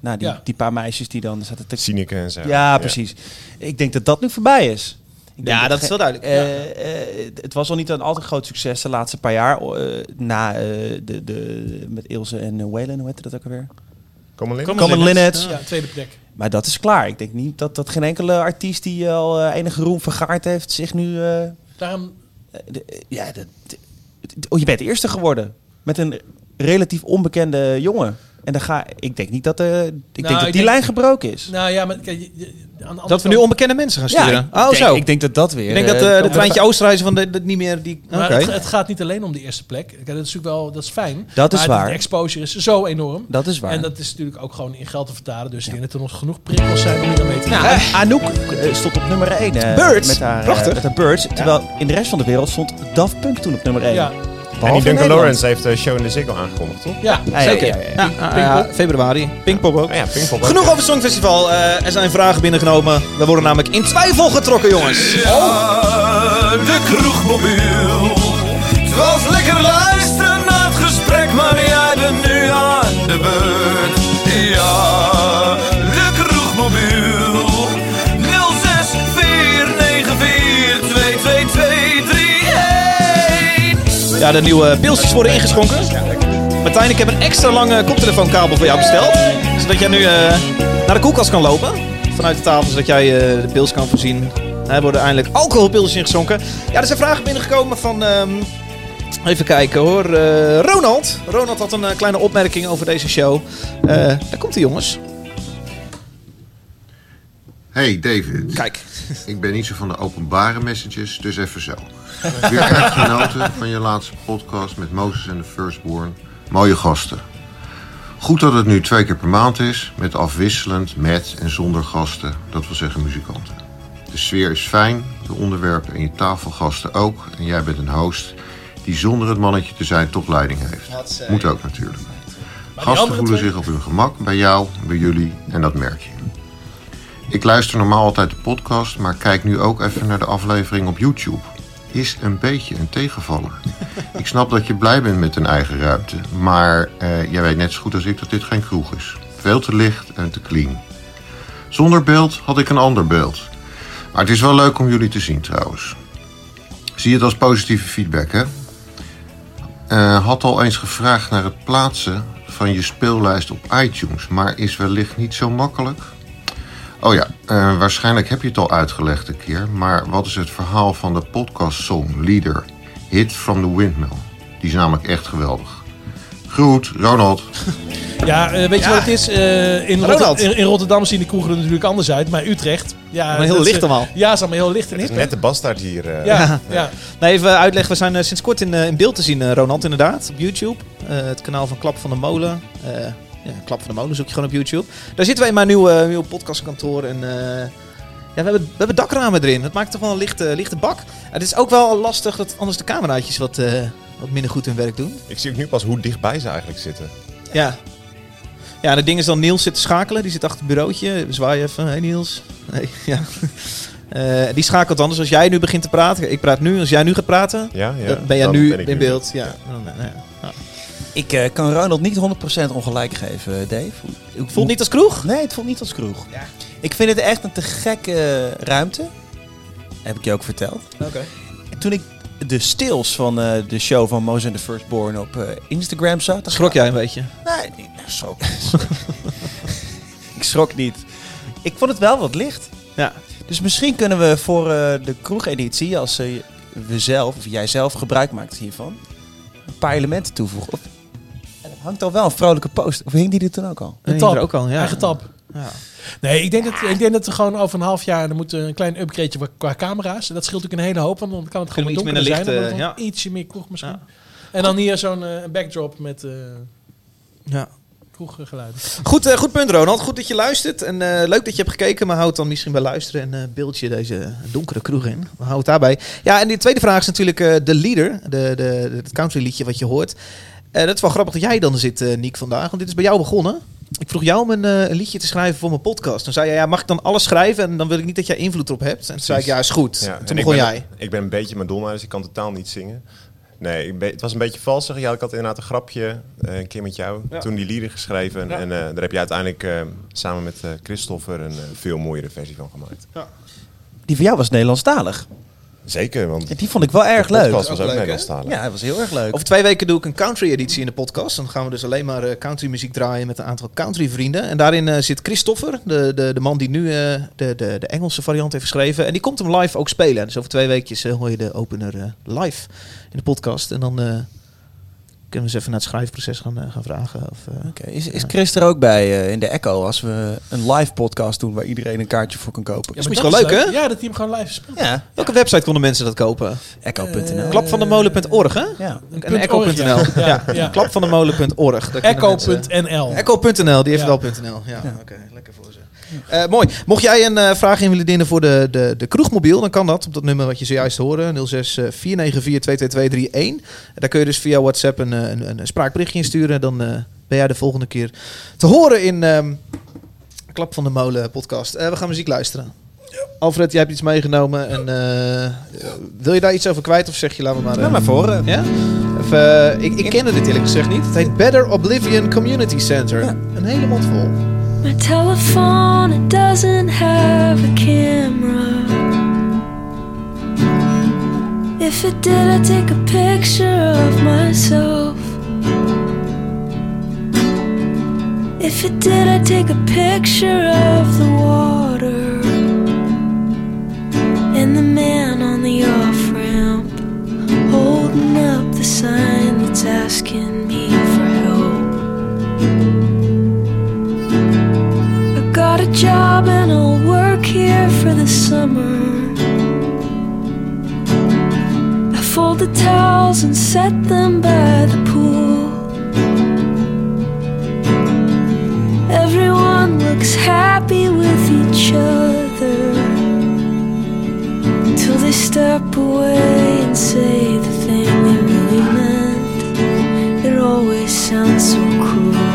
Speaker 3: nou, die,
Speaker 2: Ja.
Speaker 3: die paar meisjes die dan zaten te...
Speaker 4: Sineke en zo.
Speaker 3: Ja, precies. Ik denk dat dat nu voorbij is. Ik denk
Speaker 1: Ja, dat is wel duidelijk.
Speaker 3: eh, eh, het- het was al niet een al te groot succes de laatste paar jaar. eh, na eh, de, de, met Ilse en eh, Waylon, hoe heette dat ook alweer?
Speaker 4: Kom maar in.
Speaker 3: Common Linnets.
Speaker 2: Ja, tweede plek.
Speaker 3: Maar dat is klaar. Ik denk niet dat, dat geen enkele artiest die al eh, enige roem vergaard heeft zich nu... eh, eh,
Speaker 2: Daarom,
Speaker 3: de- eh, ja, de- de- de- oh, je bent eerste geworden. Met een relatief onbekende jongen. En dan ga ik denk niet dat, eh ik
Speaker 1: Nou,
Speaker 3: denk dat
Speaker 2: ik
Speaker 3: die
Speaker 2: denk-
Speaker 3: lijn gebroken is.
Speaker 2: nou ja, maar kijk, je- je- aan de andere
Speaker 1: Dat we
Speaker 2: kant-
Speaker 1: nu onbekende mensen gaan
Speaker 3: ja,
Speaker 1: sturen.
Speaker 3: ik,
Speaker 1: oh,
Speaker 3: denk,
Speaker 1: zo.
Speaker 3: ik denk dat dat weer...
Speaker 1: Ik denk dat
Speaker 3: eh,
Speaker 1: eh de treintje Oostenrijzer van de, dat niet meer die. Oké.
Speaker 2: Maar het, het gaat niet alleen om de eerste plek. Kijk, dat is natuurlijk wel, dat is fijn.
Speaker 3: Dat is
Speaker 2: maar
Speaker 3: waar.
Speaker 2: De exposure is zo enorm.
Speaker 3: Dat is waar.
Speaker 2: En dat is natuurlijk ook gewoon in geld te vertalen. Dus ik denk dat er nog genoeg prikkels zijn om hier aan mee te
Speaker 3: Nou,
Speaker 2: doen.
Speaker 3: Anouk eh, stond op nummer 1.
Speaker 1: Birds.
Speaker 3: Met haar, eh,
Speaker 1: Prachtig.
Speaker 3: met haar Birds. Terwijl in de rest van de wereld stond Daft Punk toen op nummer 1.
Speaker 2: Ja,
Speaker 4: En die
Speaker 3: in
Speaker 4: Duncan
Speaker 3: Nederland.
Speaker 4: Lawrence heeft de show in de Ziggo aangekondigd, toch?
Speaker 2: ja,
Speaker 3: Ah, ja,
Speaker 2: zeker.
Speaker 3: ja, ja, ja.
Speaker 1: Ja, ah, ja, februari. Pinkpop ook.
Speaker 4: Ah ja, Pinkpop ook.
Speaker 1: Genoeg over het Songfestival. Eh, er zijn vragen binnengenomen. We worden namelijk in twijfel getrokken, jongens.
Speaker 5: de kroegmobiel. Het was lekker luisteren naar het gesprek, maar jij bent nu aan de beurt. Ja, de kroegmobiel. 06 494 22231.
Speaker 1: Ja, de nieuwe pilsjes worden ingeschonken. Martijn, ik heb een extra lange koptelefoonkabel voor jou besteld. Zodat jij nu eh, naar de koelkast kan lopen. Vanuit de tafel, zodat jij eh, de pils kan voorzien. Er worden eindelijk alcoholpilsjes ingeschonken. Ja, er zijn vragen binnengekomen van... ehm, even kijken hoor. Eh, Ronald. Ronald had een eh, kleine opmerking over deze show. Eh, daar komt hij jongens.
Speaker 9: Hey David,
Speaker 1: Kijk.
Speaker 9: ik ben niet zo van de openbare messages, dus even zo. Weer erg genoten van je laatste podcast met Moses en de Firstborn. Mooie gasten. Goed dat het nu twee keer per maand is, met afwisselend met en zonder gasten, dat wil zeggen muzikanten. De sfeer is fijn, de onderwerpen en je tafelgasten ook. En jij bent een host die zonder het mannetje te zijn toch leiding heeft. Moet ook natuurlijk. Gasten
Speaker 2: andere
Speaker 9: voelen
Speaker 2: twee?
Speaker 9: zich op hun gemak bij jou, bij jullie en dat merk je. Ik luister normaal altijd de podcast, maar kijk nu ook even naar de aflevering op YouTube. Is een beetje een tegenvaller. Ik snap dat je blij bent met een eigen ruimte, maar eh, jij weet net zo goed als ik dat dit geen kroeg is. Veel te licht en te clean. Zonder beeld had ik een ander beeld. Maar het is wel leuk om jullie te zien trouwens. Zie het als positieve feedback, hè? Eh, had al eens gevraagd naar het plaatsen van je speellijst op iTunes, maar is wellicht niet zo makkelijk. Oh ja, eh, waarschijnlijk heb je het al uitgelegd een keer, maar wat is het verhaal van de podcastsong Leader Hit from the Windmill? Die is namelijk echt geweldig. Groet, Ronald.
Speaker 2: Ja, eh, weet je wat het is? Eh, in,
Speaker 1: Ronald.
Speaker 2: Rotter- in, in Rotterdam zien de kroegen er natuurlijk anders uit, maar Utrecht... Ja,
Speaker 1: Maar heel
Speaker 2: dat is,
Speaker 1: licht
Speaker 2: eh,
Speaker 1: allemaal.
Speaker 2: Ja, is allemaal heel licht en
Speaker 4: Het is
Speaker 2: hip.
Speaker 4: net de bastaard hier. eh.
Speaker 2: Ja, ja.
Speaker 1: Nou, even uitleggen. We zijn eh, sinds kort in, eh, in beeld te zien, eh, Ronald, inderdaad. Op YouTube. Eh, het kanaal van Klap van de Molen. Eh, ja, Klap van de Molen zoek je gewoon op YouTube. Daar zitten we in mijn nieuwe, eh, nieuwe podcastkantoor. En, eh, ja, we, hebben, we hebben dakramen erin. Dat maakt toch wel een lichte, lichte bak. En het is ook wel lastig dat anders de cameraatjes wat, eh, wat minder goed hun werk doen.
Speaker 4: Ik zie ook nu pas hoe dichtbij ze eigenlijk zitten.
Speaker 1: Ja. Ja, en het ding is dan Niels zit te schakelen. Die zit achter het bureautje. Zwaai even. Hé hey Niels. Nee, ja. Eh, die schakelt anders. Als jij nu begint te praten. Ik praat nu. Als jij nu gaat praten.
Speaker 4: Ja, ja.
Speaker 1: Dan ben jij
Speaker 4: Dan
Speaker 1: nu
Speaker 4: ben ik
Speaker 1: in beeld. Ja. Nou, nou, nou, nou.
Speaker 3: Ik eh, kan Ronald niet 100% ongelijk geven, Dave. Ik
Speaker 1: Voelt niet als kroeg?
Speaker 3: Nee, het voelt niet als kroeg. Ik vind het echt een te gekke ruimte. Heb ik je ook verteld.
Speaker 1: Oké.
Speaker 3: Toen ik de stills van eh, de show van Moses and the Firstborn op eh, Instagram zag... dacht
Speaker 1: Schrok
Speaker 3: ik,
Speaker 1: jij een beetje?
Speaker 3: Nee, nee, nou, schrok. ik schrok niet. Ik vond het wel wat licht.
Speaker 1: Ja.
Speaker 3: Dus misschien kunnen we voor eh, de kroegeditie, als eh, we zelf, of jij zelf gebruik maakt hiervan, een paar elementen toevoegen. Of, en er hangt al wel een vrolijke post. Of hing die er toen ook al?
Speaker 1: Die
Speaker 2: De
Speaker 1: is
Speaker 2: tap.
Speaker 1: er ook al, ja.
Speaker 2: Eigen tap.
Speaker 1: Ja.
Speaker 2: Nee, ik denk, dat, ik denk dat we gewoon over een half jaar... dan moet er een klein upgradeje wa- qua camera's. En dat scheelt natuurlijk een hele hoop, want dan kan het gewoon
Speaker 1: Kunnen we
Speaker 2: wat
Speaker 1: iets
Speaker 2: donkerder
Speaker 1: minder
Speaker 2: zijn.
Speaker 1: licht, eh,
Speaker 2: dan wordt het Ietsje meer kroeg misschien. En dan hier zo'n eh, backdrop met eh
Speaker 1: ja.
Speaker 2: kroeggeluid.
Speaker 1: Goed, eh, goed punt, Ronald. Goed dat je luistert. En eh, leuk dat je hebt gekeken, maar houd dan misschien bij luisteren en eh, beeld je deze donkere kroeg in. We houden het daarbij. Ja, en die tweede vraag is natuurlijk eh, de leader, de, de, de- het country liedje wat je hoort. Eh, dat is wel grappig dat jij dan zit, eh Niek, vandaag. Want dit is bij jou begonnen. Ik vroeg jou om een, eh, een liedje te schrijven voor mijn podcast. Dan zei jij, ja, mag ik dan alles schrijven? En dan wil ik niet dat jij invloed erop hebt. En toen zei ik, ja, is goed.
Speaker 4: Ja,
Speaker 1: En
Speaker 4: en
Speaker 1: toen begon
Speaker 4: ik ben,
Speaker 1: jij.
Speaker 4: Ik ben een beetje Madonna, dus ik kan totaal niet zingen. Nee, ik ben- het was een beetje valsig. Ja, ik had inderdaad een grapje, eh, een keer met jou, toen die liederen geschreven. En eh, daar heb je uiteindelijk eh, samen met eh, Christopher een eh, veel mooiere versie van gemaakt.
Speaker 3: Die van jou was Nederlandstalig.
Speaker 4: Zeker, want
Speaker 3: En die vond ik wel erg
Speaker 4: de podcast
Speaker 3: leuk.
Speaker 4: was ook Nederlandstalig.
Speaker 3: Ja, hij was heel erg leuk.
Speaker 1: Over twee weken doe ik een country editie in de podcast. Dan gaan we dus alleen maar eh, country muziek draaien met een aantal country vrienden. En daarin eh, zit Christopher, de, de, de man die nu eh, de, de, de Engelse variant heeft geschreven. En die komt hem live ook spelen. Dus over twee weekjes eh, hoor je de opener eh, live in de podcast. En dan eh, kunnen we eens even naar het schrijfproces gaan, eh, gaan vragen. Of, eh,
Speaker 3: Oké, Is, is Chris er ook bij eh, in de Echo als we een live podcast doen waar iedereen een kaartje voor kan kopen?
Speaker 1: maar misschien wel leuk,
Speaker 2: Ja, dat hij hem gewoon live speelt.
Speaker 3: Ja,
Speaker 1: Welke website konden mensen dat kopen?
Speaker 3: echo.nl.
Speaker 1: Klapvandemolen.org, hè?
Speaker 3: Ja.
Speaker 1: En
Speaker 2: .org, ja.
Speaker 1: echo.nl. Ja,
Speaker 2: Ja, ja.
Speaker 1: Klapvandemolen.org. Daar kunnen mensen-
Speaker 2: Echo.nl.
Speaker 1: Echo.nl, die heeft
Speaker 2: Ja.
Speaker 1: wel.nl. Ja, oké, lekker voor ze. Eh, mooi. Mocht jij een eh, vraag in willen dienen voor de, de, de kroegmobiel, dan kan dat op dat nummer wat je zojuist hoorde: 06 eh, 494 22231. Daar kun je dus via WhatsApp een, eh, een, een spraakberichtje insturen. Dan eh, ben jij de volgende keer te horen in ehm, Klap van de Molen podcast. Eh, we gaan muziek luisteren. Alfred, jij hebt iets meegenomen. En, eh, eh, wil je daar iets over kwijt of zeg je, laten we maar... eh,
Speaker 3: Laat maar voor. eh.
Speaker 1: ja? Of, eh, ik, ik kende dit eerlijk gezegd niet. Het heet Better Oblivion Community Center. Een hele mond vol.
Speaker 8: My telephone, it doesn't have a camera. If it did, I'd take a picture of myself. If it did, I'd take a picture of the water and the man on the off ramp holding up the sign that's asking me for help. I got a job and I'll work here for the summer. the towels and set them by the pool. Everyone looks happy with each other until they step away and say the thing they really meant. It always sounds so cruel.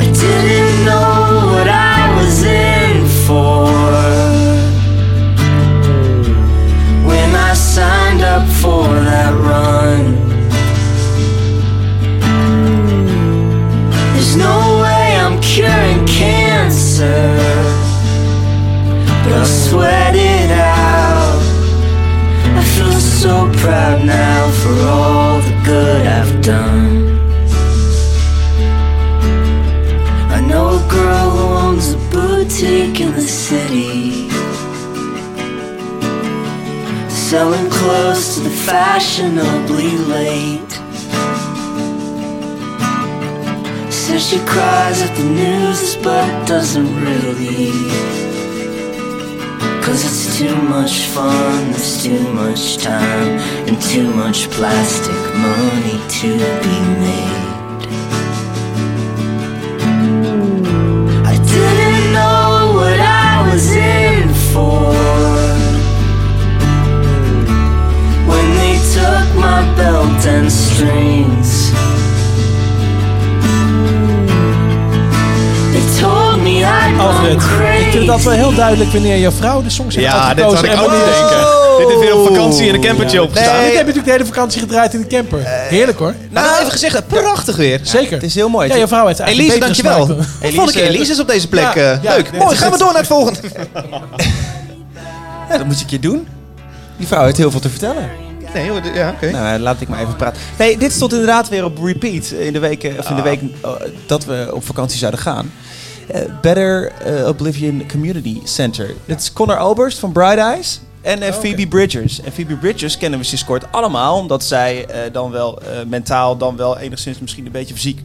Speaker 8: I didn't know what I was in for when I signed up for that run. There's no way I'm curing cancer, but I'll sweat it out. I feel so proud now for all the good I've done. I know a girl who owns a boutique in the city. Selling clothes to the fashionably late. Says she cries at the news, but doesn't really. Cause it's too much fun, there's too much time, and too much plastic money to be made. I didn't know what I was in for when they took my belt and strings. They told me I'd gone
Speaker 2: Alfred, ik vind het altijd
Speaker 8: crazy.
Speaker 2: wel heel duidelijk wanneer jouw vrouw de songs heeft
Speaker 4: Ja, dit
Speaker 2: uitgekozen.
Speaker 4: had Dus ik
Speaker 2: en
Speaker 4: ook
Speaker 2: wanneer-
Speaker 4: niet denken. Dit is weer op vakantie in een campertje opgestaan.
Speaker 2: Dit heb je natuurlijk de hele vakantie gedraaid in de camper. Heerlijk hoor.
Speaker 1: Nou, dat even gezegd, prachtig weer.
Speaker 2: Zeker.
Speaker 3: Het is heel mooi.
Speaker 2: Ja, jouw vrouw heeft eigenlijk
Speaker 1: Elise,
Speaker 2: betere
Speaker 1: dankjewel.
Speaker 2: smaak dan-
Speaker 1: Wat vond ik Elise is op deze plek?
Speaker 2: Ja,
Speaker 1: eh,
Speaker 2: ja,
Speaker 1: leuk.
Speaker 2: dit
Speaker 1: Mooi,
Speaker 2: is
Speaker 1: gaan we
Speaker 2: het.
Speaker 1: door naar het volgende.
Speaker 3: dat moet ik je doen. Die vrouw heeft heel veel te vertellen.
Speaker 1: Nee, hoor, d- ja, oké.
Speaker 3: Nou, laat ik maar even praten. Nee, dit stond inderdaad weer op repeat in de week, eh, of
Speaker 1: Ah.
Speaker 3: in de week eh, dat we op vakantie zouden gaan. Eh, Better eh, Oblivion Community Center. Dit is Connor Oberst van Bright Eyes en
Speaker 1: Oh,
Speaker 3: eh, Phoebe Bridgers. En Phoebe Bridgers kennen we sinds kort allemaal, omdat zij eh, dan wel eh, mentaal, dan wel enigszins misschien een beetje fysiek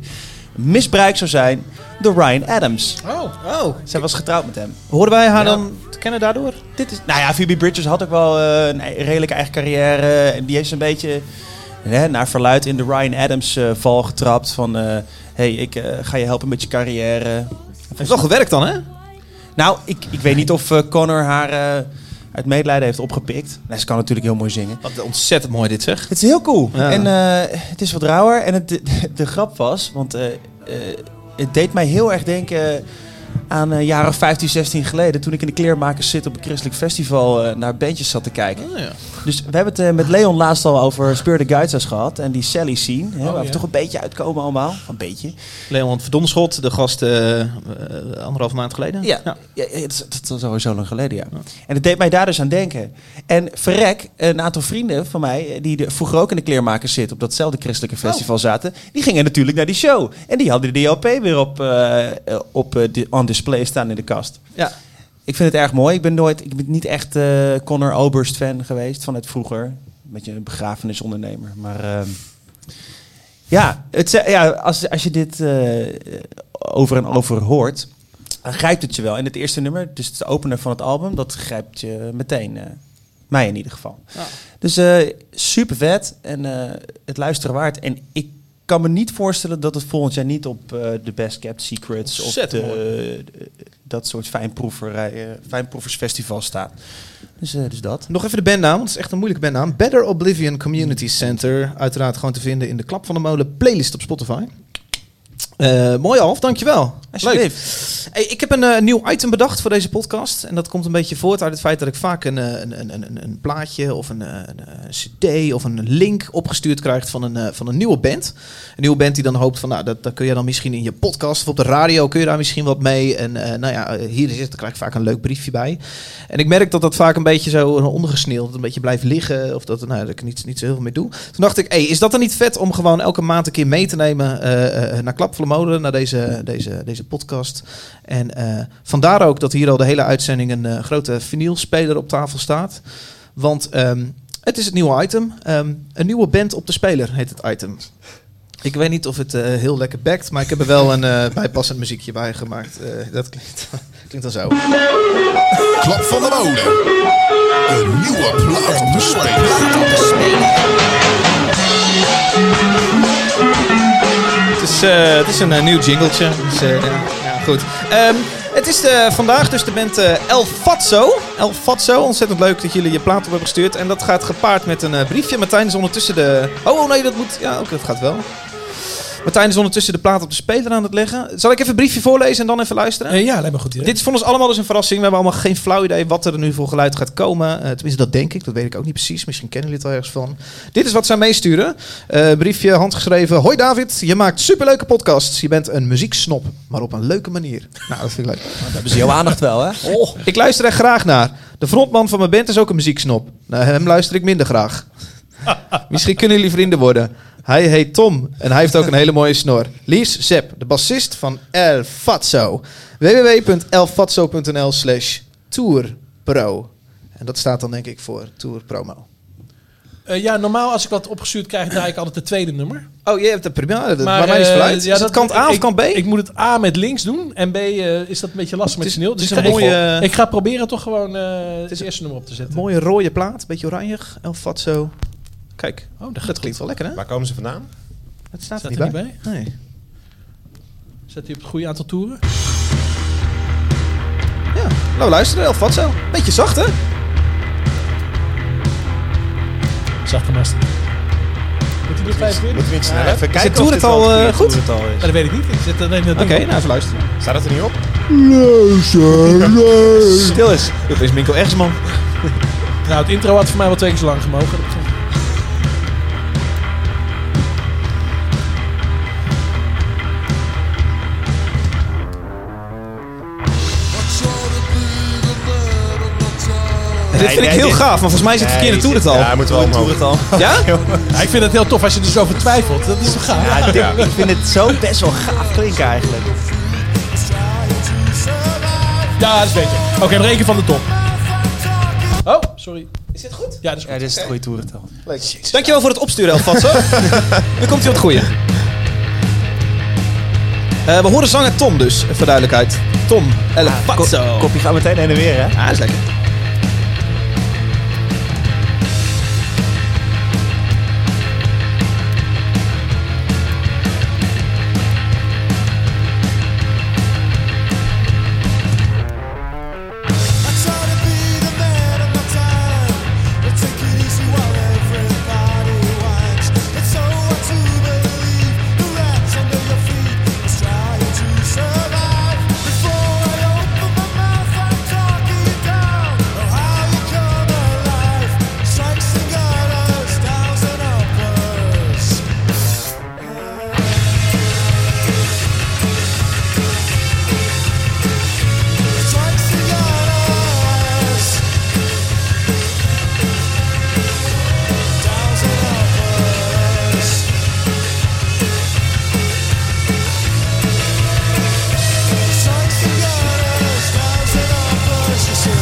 Speaker 3: misbruikt zou zijn door Ryan Adams.
Speaker 1: Oh, oh.
Speaker 3: Zij was getrouwd met hem.
Speaker 1: Horen wij haar dan te kennen daardoor?
Speaker 3: Dit is, nou ja, Phoebe Bridgers had ook wel eh, een redelijke eigen carrière. En die heeft een beetje hè, naar verluid in de Ryan Adams eh, val getrapt. Van, hé, hey, ik eh, ga je helpen met je carrière.
Speaker 1: Heeft wel gewerkt dan, hè?
Speaker 3: Nou, ik, ik weet niet of eh, Connor haar eh, uit medelijden heeft opgepikt. Nee, ze kan natuurlijk heel mooi zingen.
Speaker 1: Wat ontzettend mooi dit, zeg.
Speaker 3: Het is heel cool.
Speaker 1: Ja.
Speaker 3: En eh, het is wat rauwer. En het, de, de grap was, want eh, eh, het deed mij heel erg denken aan eh jaren 15, 16 geleden. Toen ik in de kleermakers zit op een christelijk festival eh, naar bandjes zat te kijken.
Speaker 1: Oh, ja.
Speaker 3: Dus we hebben het eh, met Leon laatst al over Speur de Guides gehad. En die Sally scene. Hè, waar
Speaker 2: ja.
Speaker 3: we toch een beetje uitkomen allemaal. Een beetje.
Speaker 1: Leon Verdonschot, de gast eh, eh, anderhalf maand geleden.
Speaker 3: Ja, ja. het is- dat was alweer zo lang geleden, ja. En het deed mij daar dus aan denken. En verrek, een aantal vrienden van mij, eh, die de, vroeger ook in de kleermakers zitten, op datzelfde christelijke festival zaten, die gingen natuurlijk naar die show. En die hadden de DLP weer op, eh, eh, op eh, di- on display staan in de kast.
Speaker 1: Ja.
Speaker 3: Ik vind het erg mooi. Ik ben nooit, ik ben niet echt eh Connor Oberst fan geweest van het vroeger. Een beetje een begrafenisondernemer. Maar ehm, ja, het, ze- ja als, als je dit eh, over en over hoort, dan grijpt het je wel. En het eerste nummer, dus het opener van het album, dat grijpt je meteen. eh, mij in ieder geval. Dus eh, super vet en eh, het luisteren waard. En ik kan me niet voorstellen dat het volgend jaar niet op eh, de Best Kept Secrets of
Speaker 1: Ontzettend
Speaker 3: de, eh, dat soort fijnproeverij, eh, fijnproeversfestival staat. Dus, eh, dus dat.
Speaker 1: Nog even de bandnaam, want het is echt een moeilijke bandnaam. Better Oblivion Community Center. Uiteraard gewoon te vinden in de Klap van de Molen playlist op Spotify. Eh, mooi Alf, dankjewel. Leuk. Hey, ik heb een eh, nieuw item bedacht voor deze podcast. En dat komt een beetje voort uit het feit dat ik vaak een, eh, een, een, een, een plaatje of een, eh, een, eh, cd of een link opgestuurd krijg van een, eh, van een nieuwe band. Een nieuwe band die dan hoopt van, nou, dat, dat kun je dan misschien in je podcast of op de radio kun je daar misschien wat mee. En eh, nou ja, eh, hier is het, daar krijg ik vaak een leuk briefje bij. En ik merk dat dat vaak een beetje zo ondergesneeld, een beetje blijft liggen. Of dat, nou, dat ik er niet, niet zo heel veel mee doe. Toen dacht ik, hey, is dat dan niet vet om gewoon elke maand een keer mee te nemen eh, eh, naar Klap van de Molen, naar deze, deze, deze podcast. En eh, vandaar ook dat hier al de hele uitzending een eh, grote vinylspeler op tafel staat. Want ehm, het is het nieuwe item. Ehm, een nieuwe band op de speler heet het item. Ik weet niet of het eh, heel lekker backt, maar ik heb er wel een eh, bijpassend muziekje bij gemaakt. Eh, dat klinkt, klinkt dan zo.
Speaker 10: Klap van de molen. Een nieuwe plaat op de speler.
Speaker 1: Het is, eh, het is een eh, nieuw jingletje. Dus, eh, ja, ja, goed. Ehm, het is eh, vandaag dus de band eh, El Fatso. El Fatso, ontzettend leuk dat jullie je plaat op hebben gestuurd. En dat gaat gepaard met een eh, briefje. Martijn is ondertussen de... Oh, oh, nee, dat moet... Ja, ook dat gaat wel. Martijn is ondertussen de plaat op de speler aan het leggen. Zal ik even een briefje voorlezen en dan even luisteren?
Speaker 2: Eh, ja, lijkt me een goed idee.
Speaker 1: Dit is voor ons allemaal dus een verrassing. We hebben allemaal geen flauw idee wat er nu voor geluid gaat komen. Eh, tenminste, dat denk ik. Dat weet ik ook niet precies. Misschien kennen jullie het wel ergens van. Dit is wat zij meesturen. Eh, briefje, handgeschreven. Hoi David, je maakt superleuke podcasts. Je bent een muzieksnop, maar op een leuke manier. Nou, dat vind ik leuk.
Speaker 3: hebben ze jouw aandacht wel, hè? Oh.
Speaker 1: Ik luister er graag naar. De frontman van mijn band is ook een muzieksnop. Naar hem luister ik minder graag. Misschien kunnen jullie vrienden worden. Hij heet Tom en hij heeft ook een hele mooie snor. Lies Sepp, de bassist van El Fatso. www.elfatso.nl slash tourpro. En dat staat dan denk ik voor Tour Promo.
Speaker 2: Eh, ja, normaal als ik wat opgestuurd krijg, draai ik altijd het tweede nummer.
Speaker 1: Oh, je hebt de première. Dat- Maar, mij is
Speaker 2: eh,
Speaker 1: het uit.
Speaker 2: ja,
Speaker 1: is het kant A of
Speaker 2: ik-
Speaker 1: kant B?
Speaker 2: Ik moet het A met links doen en B eh, is dat een beetje lastig met
Speaker 1: Het is-
Speaker 2: sneeuw.
Speaker 1: het
Speaker 2: Dus ik
Speaker 1: is een
Speaker 2: ga-
Speaker 1: mooie-
Speaker 2: Ik, ik ga proberen toch gewoon eh, het
Speaker 1: is een-
Speaker 2: eerste nummer op te zetten.
Speaker 1: Mooie rode plaat, beetje oranjig. El Fatso. Kijk,
Speaker 2: Oh,
Speaker 1: dat,
Speaker 2: daar gaat
Speaker 1: klinkt wel lekker hè?
Speaker 4: Waar komen ze vandaan?
Speaker 1: Dat staat
Speaker 2: Staat
Speaker 1: er niet
Speaker 2: er
Speaker 1: bij.
Speaker 2: niet
Speaker 1: Nee.
Speaker 2: Zet hij op het goede aantal toeren.
Speaker 1: Ja, nou we luisteren. El Fatso. Beetje zacht hè?
Speaker 2: Zachte mast. Moet hij er 25?
Speaker 4: Moeten we iets sneller even kijken?
Speaker 1: Zit Tour
Speaker 4: of
Speaker 1: het
Speaker 4: dit
Speaker 1: al
Speaker 4: wel-
Speaker 1: eh, goed?
Speaker 3: het al is.
Speaker 2: Ja, Nou, dat weet ik niet. Ik zet alleen dat
Speaker 1: Oké,
Speaker 2: nummer.
Speaker 1: nou even luisteren.
Speaker 4: Staat dat er niet op?
Speaker 1: Stil is. Dat is Minko Egsman.
Speaker 2: Nou, het intro had voor mij wel twee keer zo lang gemogen.
Speaker 1: dit vind ik
Speaker 4: nee,
Speaker 1: heel
Speaker 4: dit-
Speaker 1: gaaf, maar volgens mij is het verkeerde
Speaker 4: Nee,
Speaker 1: toer het
Speaker 4: dit-
Speaker 1: al.
Speaker 4: Ja, hij moet wel omhoog.
Speaker 3: al.
Speaker 1: Ja?
Speaker 2: Ja, ik vind het heel tof als je er dus over twijfelt. Dat is toch gaaf?
Speaker 4: Ja, ja.
Speaker 3: Ik vind het zo best wel gaaf klinken eigenlijk.
Speaker 2: Ja, dat is beter. Oké, nog één keer van de top. Oh, sorry.
Speaker 1: Is dit goed?
Speaker 2: Ja, dat is goed.
Speaker 3: Ja, dit is het goede toerental.
Speaker 1: Dankjewel voor het opsturen, Elfatso. nu komt hij op het goede. Eh, we horen zanger Tom dus, voor duidelijkheid. Tom Elfatso. Ah,
Speaker 3: Kopje gaat meteen heen en weer, hè?
Speaker 1: is lekker.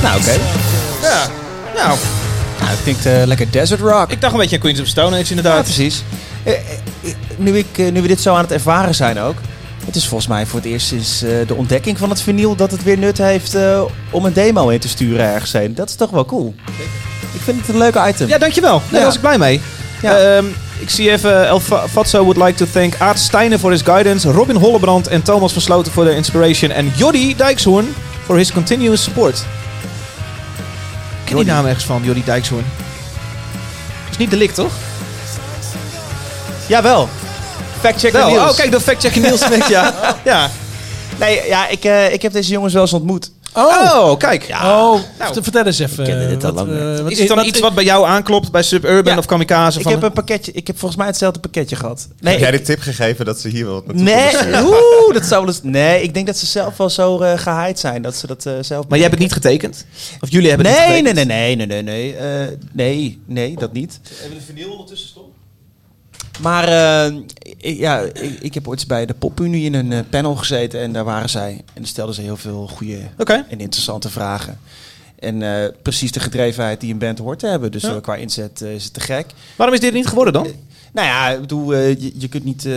Speaker 3: Nou, oké.
Speaker 1: Ja. Nou,
Speaker 3: Nou, het klinkt eh, lekker desert rock.
Speaker 1: ik dacht een beetje aan Queens of Stone Age
Speaker 3: Ja,
Speaker 1: inderdaad.
Speaker 3: precies. Eh, eh, Nu, ik, eh, nu we dit zo aan het ervaren zijn ook. Het is volgens mij voor het eerst sinds eh, de ontdekking van het vinyl dat het weer nut heeft eh, om een demo in te sturen ergens heen. Dat is toch wel cool. Ik vind het een leuk item.
Speaker 1: Ja, dankjewel. Nee, Daar
Speaker 3: Ja.
Speaker 1: was ik blij mee.
Speaker 3: Ja.
Speaker 1: Ehm, ik zie even, El Fa- Fatso would like to thank Aad Steijnen for his guidance, Robin Hollebrand en Thomas van Sloten voor their inspiration en Jordi Dijkshoorn for his continuous support. Ik ken die naam ergens van, Jordi Dijkshoorn. Dat is niet delict, toch?
Speaker 3: Jawel. Fact check
Speaker 1: Wel, oh kijk, dat fact-check Niels net, ja. ja.
Speaker 3: Nee, ja, ik, eh, ik heb deze jongens wel eens ontmoet.
Speaker 1: Oh, kijk.
Speaker 2: Oh, vert- vertel eens even.
Speaker 3: kende dit al
Speaker 2: wat,
Speaker 3: lang
Speaker 2: eh,
Speaker 3: niet.
Speaker 2: wat-
Speaker 1: Nou. Is het dan
Speaker 2: wat-
Speaker 1: iets wat bij jou aanklopt, bij Suburban
Speaker 3: Ja.
Speaker 1: of Kamikaze?
Speaker 3: Ik
Speaker 1: van
Speaker 3: heb een pakketje. Ik heb volgens mij hetzelfde pakketje gehad.
Speaker 4: Heb
Speaker 3: Nee,
Speaker 4: jij
Speaker 3: ik-
Speaker 4: de tip gegeven dat ze hier wel wat naartoe
Speaker 3: nee,
Speaker 4: konden sturen?
Speaker 3: oeh, dat zou wel eens. Nee, ik denk dat ze zelf wel zo eh gehaaid zijn dat ze dat eh, zelf.
Speaker 1: Maar jij hebt het niet getekend? Of jullie hebben het niet
Speaker 3: Nee,
Speaker 1: getekend?
Speaker 3: nee, nee, nee, nee, nee, nee, eh, nee, nee, dat niet.
Speaker 1: Hebben we de vinyl ondertussen stond?
Speaker 3: Maar eh, ik, ja, ik, ik heb ooit bij de PopUnie in een eh, panel gezeten en daar waren zij. En daar stelden ze heel veel goede
Speaker 1: Oké.
Speaker 3: en interessante vragen. En eh, precies de gedrevenheid die een band hoort te hebben. Dus
Speaker 1: Ja.
Speaker 3: eh, qua inzet eh, is het te gek.
Speaker 1: Waarom is dit niet geworden dan?
Speaker 3: Nou ja, ik bedoel, eh, je, je kunt niet eh,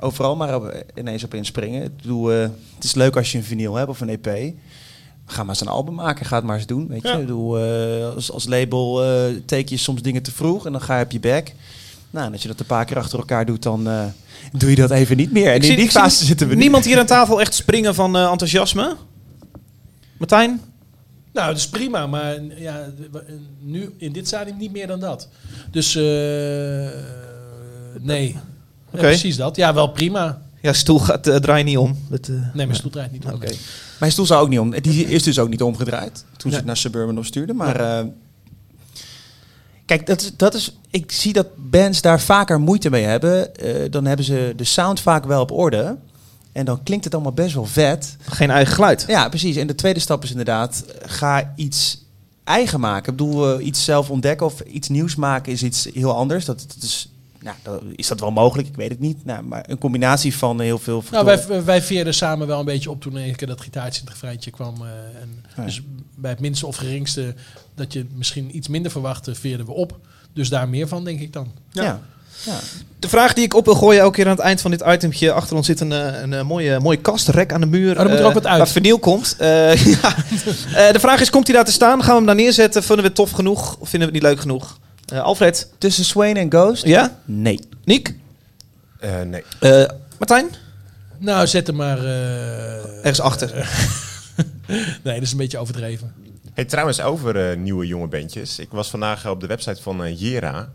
Speaker 3: overal maar op- ineens op inspringen. Ik bedoel, eh, het is leuk als je een vinyl hebt of een EP. Ga maar eens een album maken, ga het maar eens doen. Weet je? Ik bedoel, eh, als, als label eh teken je soms dingen te vroeg en dan ga je op je bek. Nou, en als je dat een paar keer achter elkaar doet, dan eh, doe je dat even niet meer. En
Speaker 1: zie-
Speaker 3: in die
Speaker 1: ik zie
Speaker 3: fase zitten we nu.
Speaker 1: Niemand hier aan tafel echt springen van eh, enthousiasme? Martijn?
Speaker 2: Nou, dat is prima, maar ja, we- nu in dit stadium niet meer dan dat. Dus eh, nee. Ja, precies dat. Ja, wel prima.
Speaker 1: Ja, stoel gaat, eh, draai niet om. Dat, eh,
Speaker 2: Nee, mijn stoel draait niet om.
Speaker 1: Oké.
Speaker 3: Mijn stoel zou ook niet om. Die is dus ook niet omgedraaid toen ze het naar Suburban opstuurde. Maar eh, kijk, dat is, dat is, ik zie dat bands daar vaker moeite mee hebben. Eh, dan hebben ze de sound vaak wel op orde. En dan klinkt het allemaal best wel vet.
Speaker 1: Geen eigen geluid.
Speaker 3: Ja, precies. En de tweede stap is inderdaad, eh, ga iets eigen maken. Ik bedoel, eh, iets zelf ontdekken of iets nieuws maken is iets heel anders. Dat, dat is, nou, dat- is dat wel mogelijk? Ik weet het niet. Nou, maar een combinatie van heel veel
Speaker 2: Nou,
Speaker 3: factoren.
Speaker 2: wij, wij- wij veerden samen wel een beetje op toen ik dat gitaartje in het refreintje kwam. eh, en
Speaker 3: Ja.
Speaker 2: Dus bij het minste of geringste dat je misschien iets minder verwachtte, veerden we op. Dus daar meer van, denk ik dan.
Speaker 3: ja. ja.
Speaker 1: De vraag die ik op wil gooien elke keer aan het eind van dit itempje. Achter ons zit een, eh, een, eh, mooie, mooie kast, rek aan de muur.
Speaker 2: Oh, dan moet er
Speaker 1: eh,
Speaker 2: ook wat uit.
Speaker 1: Waar vinyl komt. Eh, ja. Eh, de vraag is, komt hij daar te staan? Gaan we hem daar neerzetten? Vinden we het tof genoeg? Of vinden we het niet leuk genoeg? Eh, Alfred?
Speaker 3: Tussen Swain en Ghost?
Speaker 1: Ja?
Speaker 3: Nee.
Speaker 1: Niek?
Speaker 4: Eh, nee.
Speaker 1: Martijn?
Speaker 2: Nou, zet hem maar. eh,
Speaker 1: Ergens achter.
Speaker 2: nee, dat is een beetje overdreven.
Speaker 4: Hey, trouwens, over eh, nieuwe jonge bandjes. Ik was vandaag op de website van eh, Jera.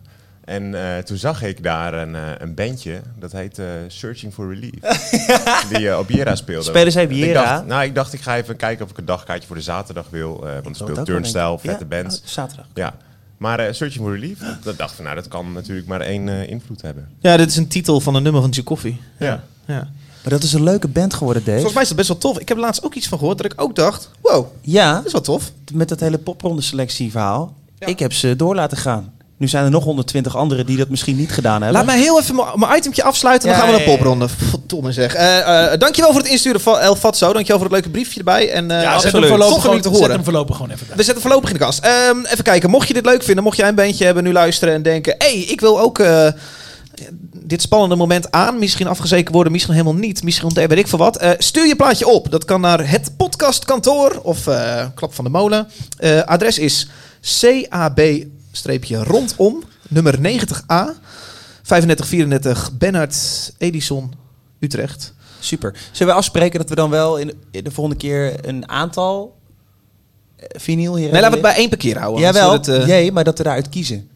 Speaker 4: En eh, toen zag ik daar een, eh, een bandje. Dat heet eh, Searching for Relief. die eh, op Jera speelde.
Speaker 3: Spelen zij op
Speaker 4: Ik
Speaker 3: Jera?
Speaker 4: dacht- nou, ik dacht ik ga even kijken of ik een dagkaartje voor de zaterdag wil. eh,
Speaker 3: Oh,
Speaker 4: want er speelt Turnstile, vette bands.
Speaker 3: zaterdag.
Speaker 4: Ja. Maar eh, Searching for Relief, dat, dat dacht ik, nou, dat kan natuurlijk maar één eh, invloed hebben.
Speaker 1: Ja, dit is een titel van een nummer van Coffee.
Speaker 4: Ja.
Speaker 1: Ja.
Speaker 3: Maar dat is een leuke band geworden, Dave.
Speaker 1: Volgens mij is dat best wel tof. Ik heb laatst ook iets van gehoord dat ik ook dacht... Wow,
Speaker 3: Ja,
Speaker 1: dat is wel tof.
Speaker 3: met dat hele popronde selectie verhaal. Ik heb ze door laten gaan. Nu zijn er nog 120 anderen die dat misschien niet gedaan hebben.
Speaker 1: Laat mij heel even mijn- mijn itemtje afsluiten. Dan
Speaker 3: Ja,
Speaker 1: gaan we naar
Speaker 3: ja, ja.
Speaker 1: popronde. Verdomme zeg. Eh, eh, dankjewel voor het insturen van El Fatso. Dankjewel voor het leuke briefje erbij. En eh
Speaker 2: zet, hem
Speaker 1: absoluut. Tof
Speaker 2: voorlopig
Speaker 1: om jullie te
Speaker 2: gewoon, zet
Speaker 1: horen.
Speaker 2: hem voorlopig gewoon even. daar.
Speaker 1: We zetten voorlopig in de kast. Ehm, even kijken. Mocht je dit leuk vinden, mocht jij een bandje hebben, nu luisteren en denken: hé, hey, ik wil ook eh, dit spannende moment aan. Misschien afgezekerd worden, misschien helemaal niet. Misschien ontdekt, weet ik veel wat. Eh, stuur je plaatje op. Dat kan naar het podcastkantoor of eh, Klap van de Molen. Eh, adres is CAB-rondom, nummer 90A, 3534 Bernard Edison, Utrecht.
Speaker 3: Super. Zullen we afspreken dat we dan wel in de, in de volgende keer een aantal eh, vinyl hier
Speaker 1: Nee, laten we het bij één per keer houden. want
Speaker 3: Jawel,
Speaker 1: we het, eh,
Speaker 3: jee, maar dat we daaruit kiezen.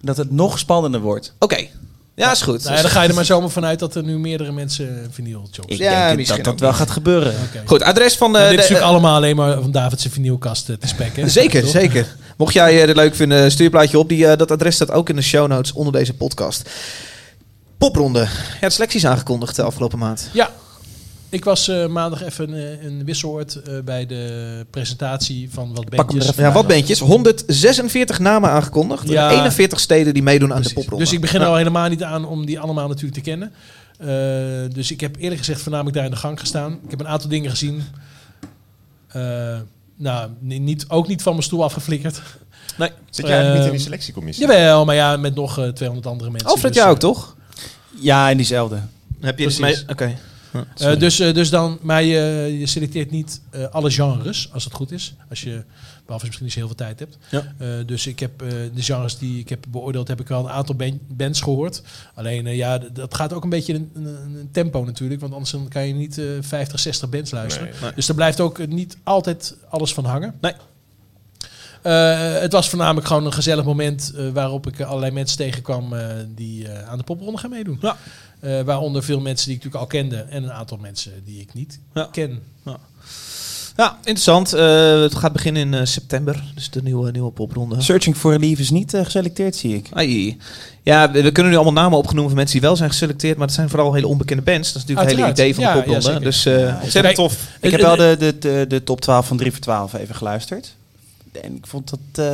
Speaker 3: Dat het nog spannender wordt.
Speaker 1: Oké. Ja, is goed.
Speaker 2: Nou ja, dan ga je er maar zomaar vanuit dat er nu meerdere mensen vinyl jobs
Speaker 3: Ik
Speaker 1: Ja,
Speaker 3: denk dat
Speaker 1: misschien
Speaker 3: dat, dat
Speaker 1: ook
Speaker 3: wel
Speaker 1: niet.
Speaker 3: gaat gebeuren.
Speaker 1: Goed, adres van eh,
Speaker 2: Maar dit is
Speaker 1: de,
Speaker 2: natuurlijk allemaal alleen maar van David's vinylkast eh, te spekken. hè?
Speaker 1: Zeker,
Speaker 2: Toch?
Speaker 1: zeker. Mocht jij eh, dit leuk vinden, stuur een plaatje op. Die, eh, dat adres staat ook in de show notes onder deze podcast. Popronde. Ja, de selectie is aangekondigd de afgelopen maand.
Speaker 2: Ja, ik was eh, maandag even eh, een wisseloord eh, bij de presentatie van wat
Speaker 3: hem
Speaker 2: bandjes.
Speaker 3: er even
Speaker 1: Ja, wat bandjes? 146 namen aangekondigd.
Speaker 2: Ja.
Speaker 1: 41 steden die meedoen aan de
Speaker 2: Precies.
Speaker 1: popronde.
Speaker 2: Dus ik begin er al helemaal niet aan om die allemaal natuurlijk te kennen. Eh, dus ik heb eerlijk gezegd voornamelijk daar in de gang gestaan. Ik heb een aantal dingen gezien. Eh, nou, ni- niet, ook niet van mijn stoel afgeflikkerd.
Speaker 4: Zit jij eigenlijk niet in
Speaker 2: Ehm,
Speaker 4: die selectiecommissie?
Speaker 2: Jawel, maar ja, met nog eh, 200 andere mensen.
Speaker 1: Alfred,
Speaker 2: Dus,
Speaker 1: jij
Speaker 2: eh,
Speaker 1: ook toch?
Speaker 3: Ja, in diezelfde.
Speaker 1: Heb
Speaker 2: dit mee-
Speaker 1: Oké.
Speaker 2: Eh, dus, eh, dus dan, maar je, je selecteert niet eh, alle genres, als het goed is. Als je, behalve als je misschien niet zo heel veel tijd hebt.
Speaker 1: Ja.
Speaker 2: Eh, dus ik heb eh, de genres die ik heb beoordeeld, heb ik wel een aantal ban- bands gehoord. Alleen, eh, ja, d- dat gaat ook een beetje in een, een- een tempo natuurlijk. Want anders dan kan je niet eh 50, 60 bands luisteren.
Speaker 4: Nee.
Speaker 2: Dus er blijft ook eh, niet altijd alles van hangen. Nee. Eh, het was voornamelijk gewoon een gezellig moment eh, waarop ik eh, allerlei mensen tegenkwam eh, die eh, aan de popronde gaan meedoen. Eh, waaronder veel mensen die ik natuurlijk al kende en een aantal mensen die ik niet
Speaker 1: Ja.
Speaker 2: ken.
Speaker 1: Ja, interessant. Eh, het gaat beginnen in eh, september. Dus de nieuwe, nieuwe popronde.
Speaker 3: Searching for Relief is niet eh, geselecteerd, zie ik.
Speaker 1: Ai. Ja, we, we kunnen nu allemaal namen opgenoemen van mensen die wel zijn geselecteerd. Maar het zijn vooral hele onbekende bands. Dat is natuurlijk het
Speaker 2: Uiteraard.
Speaker 1: hele idee van de
Speaker 2: Ja,
Speaker 1: popronde.
Speaker 2: ja, zeker.
Speaker 1: dus eh ontzettend
Speaker 2: Kijk,
Speaker 1: tof.
Speaker 3: Ik heb
Speaker 2: Eh,
Speaker 3: wel
Speaker 2: eh,
Speaker 3: de, de, de, de top 12 van 3 voor 12 even geluisterd. En ik vond dat eh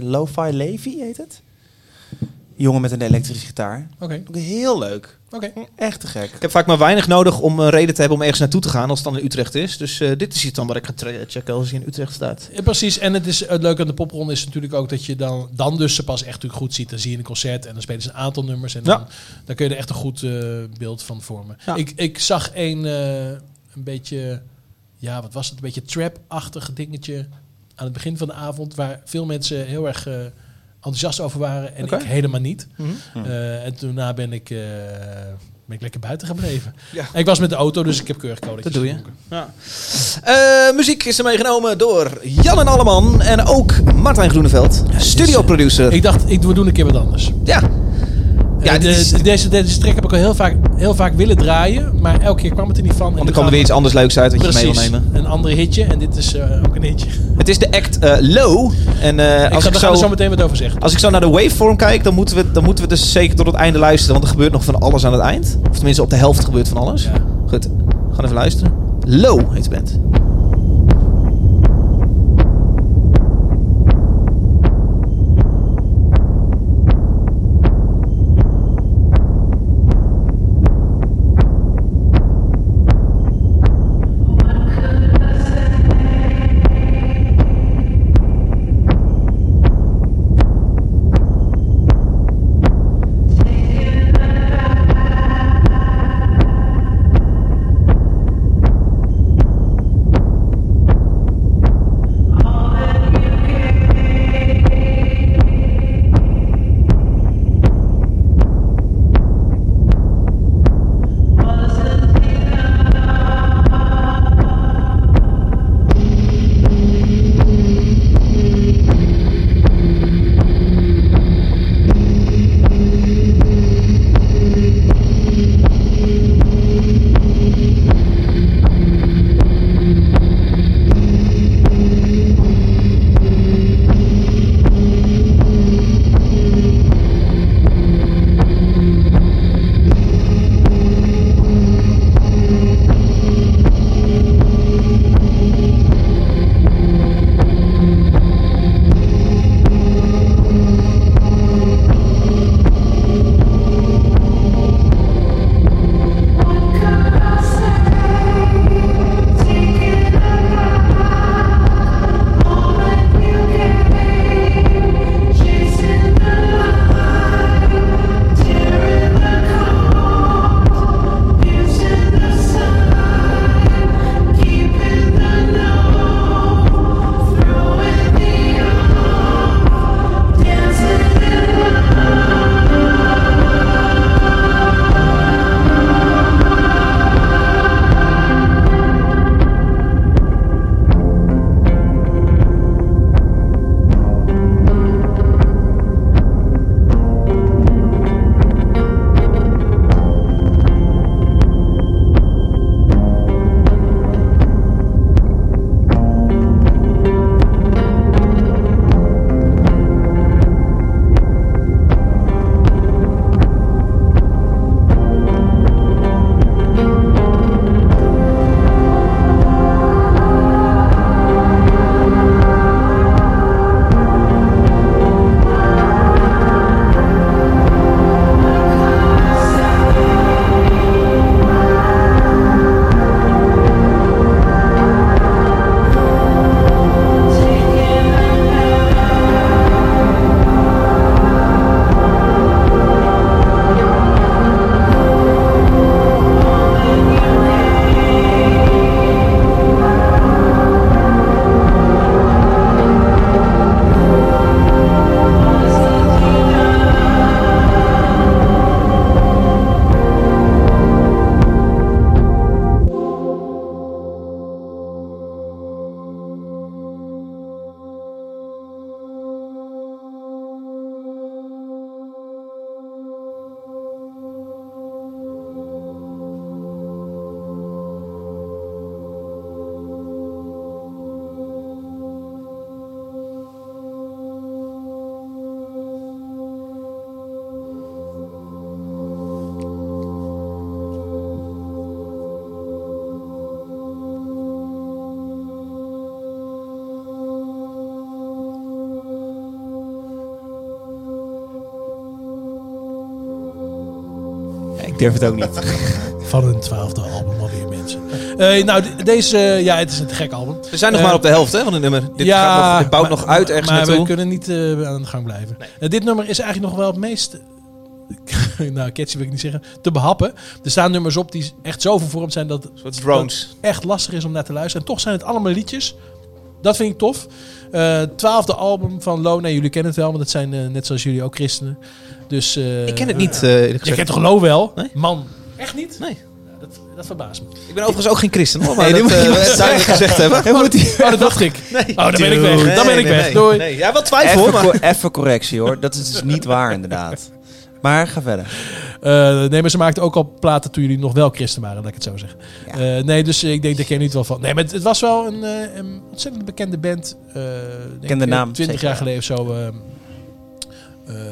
Speaker 3: Lo-Fi Levy heet het. jongen met een elektrische gitaar.
Speaker 2: Oké,
Speaker 3: Ook heel leuk.
Speaker 2: oké.
Speaker 3: Echt te gek.
Speaker 1: Ik heb vaak maar weinig nodig om een reden te hebben om ergens naartoe te gaan als het dan in Utrecht is. Dus eh, dit is iets dan waar ik ga tra- checken als hij in Utrecht staat.
Speaker 2: Ja, Eh, precies, en het, is, het leuke aan de popronde is natuurlijk ook dat je dan, dan dus ze pas echt natuurlijk goed ziet. Dan zie je een concert en dan spelen ze een aantal nummers. En
Speaker 1: Ja.
Speaker 2: dan, dan kun je er echt een goed eh, beeld van vormen.
Speaker 1: Ja.
Speaker 2: Ik, ik zag een, eh, een beetje, ja wat was het, een beetje trap-achtig dingetje aan het begin van de avond. Waar veel mensen heel erg eh, enthousiast over waren en
Speaker 1: Oké.
Speaker 2: ik helemaal niet.
Speaker 1: Mhm.
Speaker 2: Eh, en toen ben ik, eh, ben ik lekker buiten gebleven.
Speaker 1: Ja.
Speaker 2: En ik was met de auto, dus ik heb keurig codetjes
Speaker 1: Dat doe je.
Speaker 2: gedronken.
Speaker 1: Ja. Eh, muziek is er meegenomen door Jan en Alleman en ook Martijn Groeneveld, studioproducer.
Speaker 2: Ik dacht, ik, we doen een keer wat anders.
Speaker 1: Ja. Ja,
Speaker 2: Ja,
Speaker 1: dit is,
Speaker 2: deze, deze track heb ik al heel vaak, heel vaak willen draaien, maar elke keer kwam het er niet van. En
Speaker 1: want
Speaker 2: nu
Speaker 1: er kwam er
Speaker 2: gaan
Speaker 1: weer iets anders leuks uit wat
Speaker 2: we-
Speaker 1: je mee wil
Speaker 2: precies,
Speaker 1: nemen.
Speaker 2: Een ander hitje en dit is eh, ook een hitje.
Speaker 1: Het is de act eh, Low. En eh,
Speaker 2: ik
Speaker 1: als
Speaker 2: ga
Speaker 1: ik
Speaker 2: daar gaan
Speaker 1: zo...
Speaker 2: we zo meteen wat over zeggen.
Speaker 1: Als ik zo naar de waveform kijk, dan moeten, we, dan moeten we dus zeker tot het einde luisteren. Want er gebeurt nog van alles aan het eind. Of tenminste, op de helft gebeurt van alles.
Speaker 2: Ja.
Speaker 1: Goed, we gaan even luisteren. Low heet de band.
Speaker 11: Thank
Speaker 1: Ik durf het ook niet.
Speaker 2: Van hun twaalfde album alweer, mensen. Eh, nou, de- deze... eh, ja, het is een te gek album.
Speaker 1: We zijn nog
Speaker 2: Eh,
Speaker 1: maar op de helft hè, van het nummer. Dit, gaat nog, dit bouwt
Speaker 2: maar-
Speaker 1: nog uit ergens
Speaker 2: Maar
Speaker 1: naartoe.
Speaker 2: we kunnen niet eh, aan de gang blijven. Eh, dit nummer is eigenlijk nog wel het meest... nou, catchy wil ik niet zeggen. Te behappen. Er staan nummers op die echt zo vervormd zijn dat het
Speaker 1: Een soort drones.
Speaker 2: echt lastig is om naar te luisteren. En toch zijn het allemaal liedjes. Dat vind ik tof. Eh, twaalfde album van Lona. Jullie kennen het wel, want het zijn eh, net zoals jullie ook christenen. Dus, eh,
Speaker 1: Ik ken het niet. eh eerlijk
Speaker 2: Je
Speaker 1: gezegd.
Speaker 2: kent toch Lo wel?
Speaker 1: Nee.
Speaker 2: Man. Echt niet?
Speaker 1: Nee.
Speaker 2: Nou, dat, dat verbaasst me.
Speaker 1: Ik ben overigens ook geen christen hoor, maar
Speaker 3: Nee,
Speaker 1: dat
Speaker 3: dit moet
Speaker 1: eh,
Speaker 3: je
Speaker 1: we
Speaker 3: niet
Speaker 1: duidelijk gezegd hebben.
Speaker 2: Oh, dat dacht ik. Oh, dan ben ik weg.
Speaker 1: Nee,
Speaker 2: Dan ben ik
Speaker 1: nee,
Speaker 2: weg.
Speaker 1: nee.
Speaker 2: Doei.
Speaker 1: Nee, Ja, wel twijfel hoor,
Speaker 3: Even,
Speaker 1: maar...
Speaker 3: co- even correctie hoor, dat is dus niet waar inderdaad. Maar ga verder.
Speaker 2: Eh, nee, maar ze maakten ook al platen toen jullie nog wel christen waren, laat ik het zo zeggen.
Speaker 3: Ja.
Speaker 2: Eh, nee, dus ik denk dat ken je niet wel van. Nee, maar het, het was wel een, eh, een ontzettend bekende band. eh, denk
Speaker 3: ken de
Speaker 2: ik,
Speaker 3: naam,
Speaker 2: 20
Speaker 3: zeker.
Speaker 2: jaar geleden of zo. eh, eh,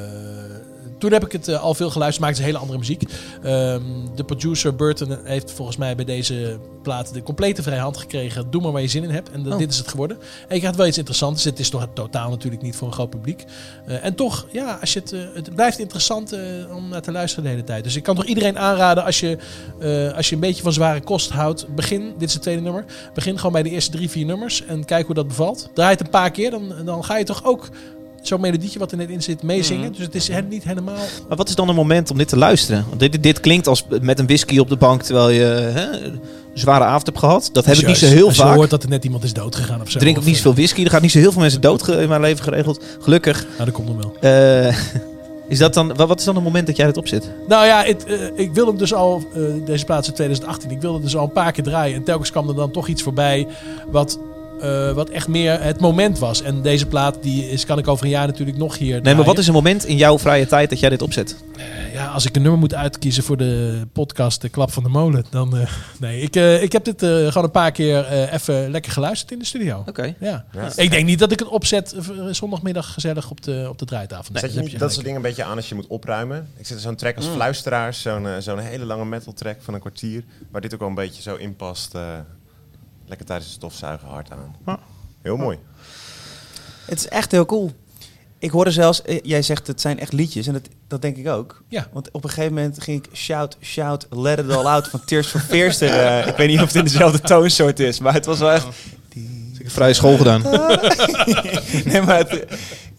Speaker 2: toen heb ik het eh, al veel geluisterd, maakte ze hele andere muziek. Ehm, de producer Burton heeft volgens mij bij deze plaat de complete vrije hand gekregen. Doe maar waar je zin in hebt. En dat- dit is het geworden. En je krijgt wel iets interessants. Het is toch totaal natuurlijk niet voor een groot publiek. Eh, en toch, ja, als je het, eh, het blijft interessant eh, om naar te luisteren de hele tijd. Dus ik kan toch iedereen aanraden als je, eh, als je een beetje van zware kost houdt. Begin, dit is het tweede nummer. Begin gewoon bij de eerste drie, vier nummers. En kijk hoe dat bevalt. Draai het een paar keer. Dan, dan ga je toch ook zo'n melodietje wat er net in zit meezingen. Dus het is he- niet helemaal...
Speaker 1: Maar wat is dan een moment om dit te luisteren? Want dit, dit klinkt als met een whisky op de bank terwijl je hè, een zware avond hebt gehad. Dat heb ik niet zo heel
Speaker 2: als
Speaker 1: vaak.
Speaker 2: je hoort
Speaker 1: Ik
Speaker 2: dat er net iemand is doodgegaan of zo.
Speaker 1: drink ook
Speaker 2: Of, eh,
Speaker 1: niet zoveel whisky. Er gaat niet zo heel veel mensen dood ge- in mijn leven geregeld. Gelukkig.
Speaker 2: eh, Nou, dat komt nog wel.
Speaker 1: Eh, is dat dan, wa- wat is dan een moment dat jij dit opzet?
Speaker 2: Nou ja, het, eh, ik wil hem dus al, eh, deze plaats in 2018, ik wilde dus al een paar keer draaien. En telkens kwam er dan toch iets voorbij wat, eh, wat echt meer het moment was. En deze plaat die is, kan ik over een jaar natuurlijk nog hier
Speaker 1: Nee, maar
Speaker 2: draaien.
Speaker 1: wat is een moment in jouw vrije tijd dat jij dit opzet?
Speaker 2: Ja, als ik een nummer moet uitkiezen voor de podcast De Klap van de Molen, dan... eh, nee, ik, eh, ik heb dit eh, gewoon een paar keer eh, even lekker geluisterd in de studio.
Speaker 1: Oké.
Speaker 2: Ja.
Speaker 4: Ja.
Speaker 2: Ik denk niet dat ik het opzet eh, zondagmiddag gezellig op de, op de draaitafel.
Speaker 4: Zet je
Speaker 2: Daar
Speaker 4: niet
Speaker 2: heb
Speaker 4: dat soort
Speaker 2: gelijk.
Speaker 4: dingen een beetje aan als je moet opruimen? Ik zit er zo'n track als Fluisteraars, zo'n eh, zo'n hele lange metal track van een kwartier, waar dit ook wel een beetje zo in past. eh, lekker tijdens het stofzuigen hard aan. Heel mooi.
Speaker 3: Het is echt heel cool. Ik hoorde zelfs, eh, jij zegt het zijn echt liedjes en dat, dat denk ik ook.
Speaker 2: Ja.
Speaker 3: Want op een gegeven moment ging ik Shout, Shout, Let It All Out van Tears for Fears. er, eh, ik weet niet of het in dezelfde toonsoort is, maar het was wel echt...
Speaker 1: Ik heb vrije school gedaan.
Speaker 2: Oh.
Speaker 3: Nee, maar het,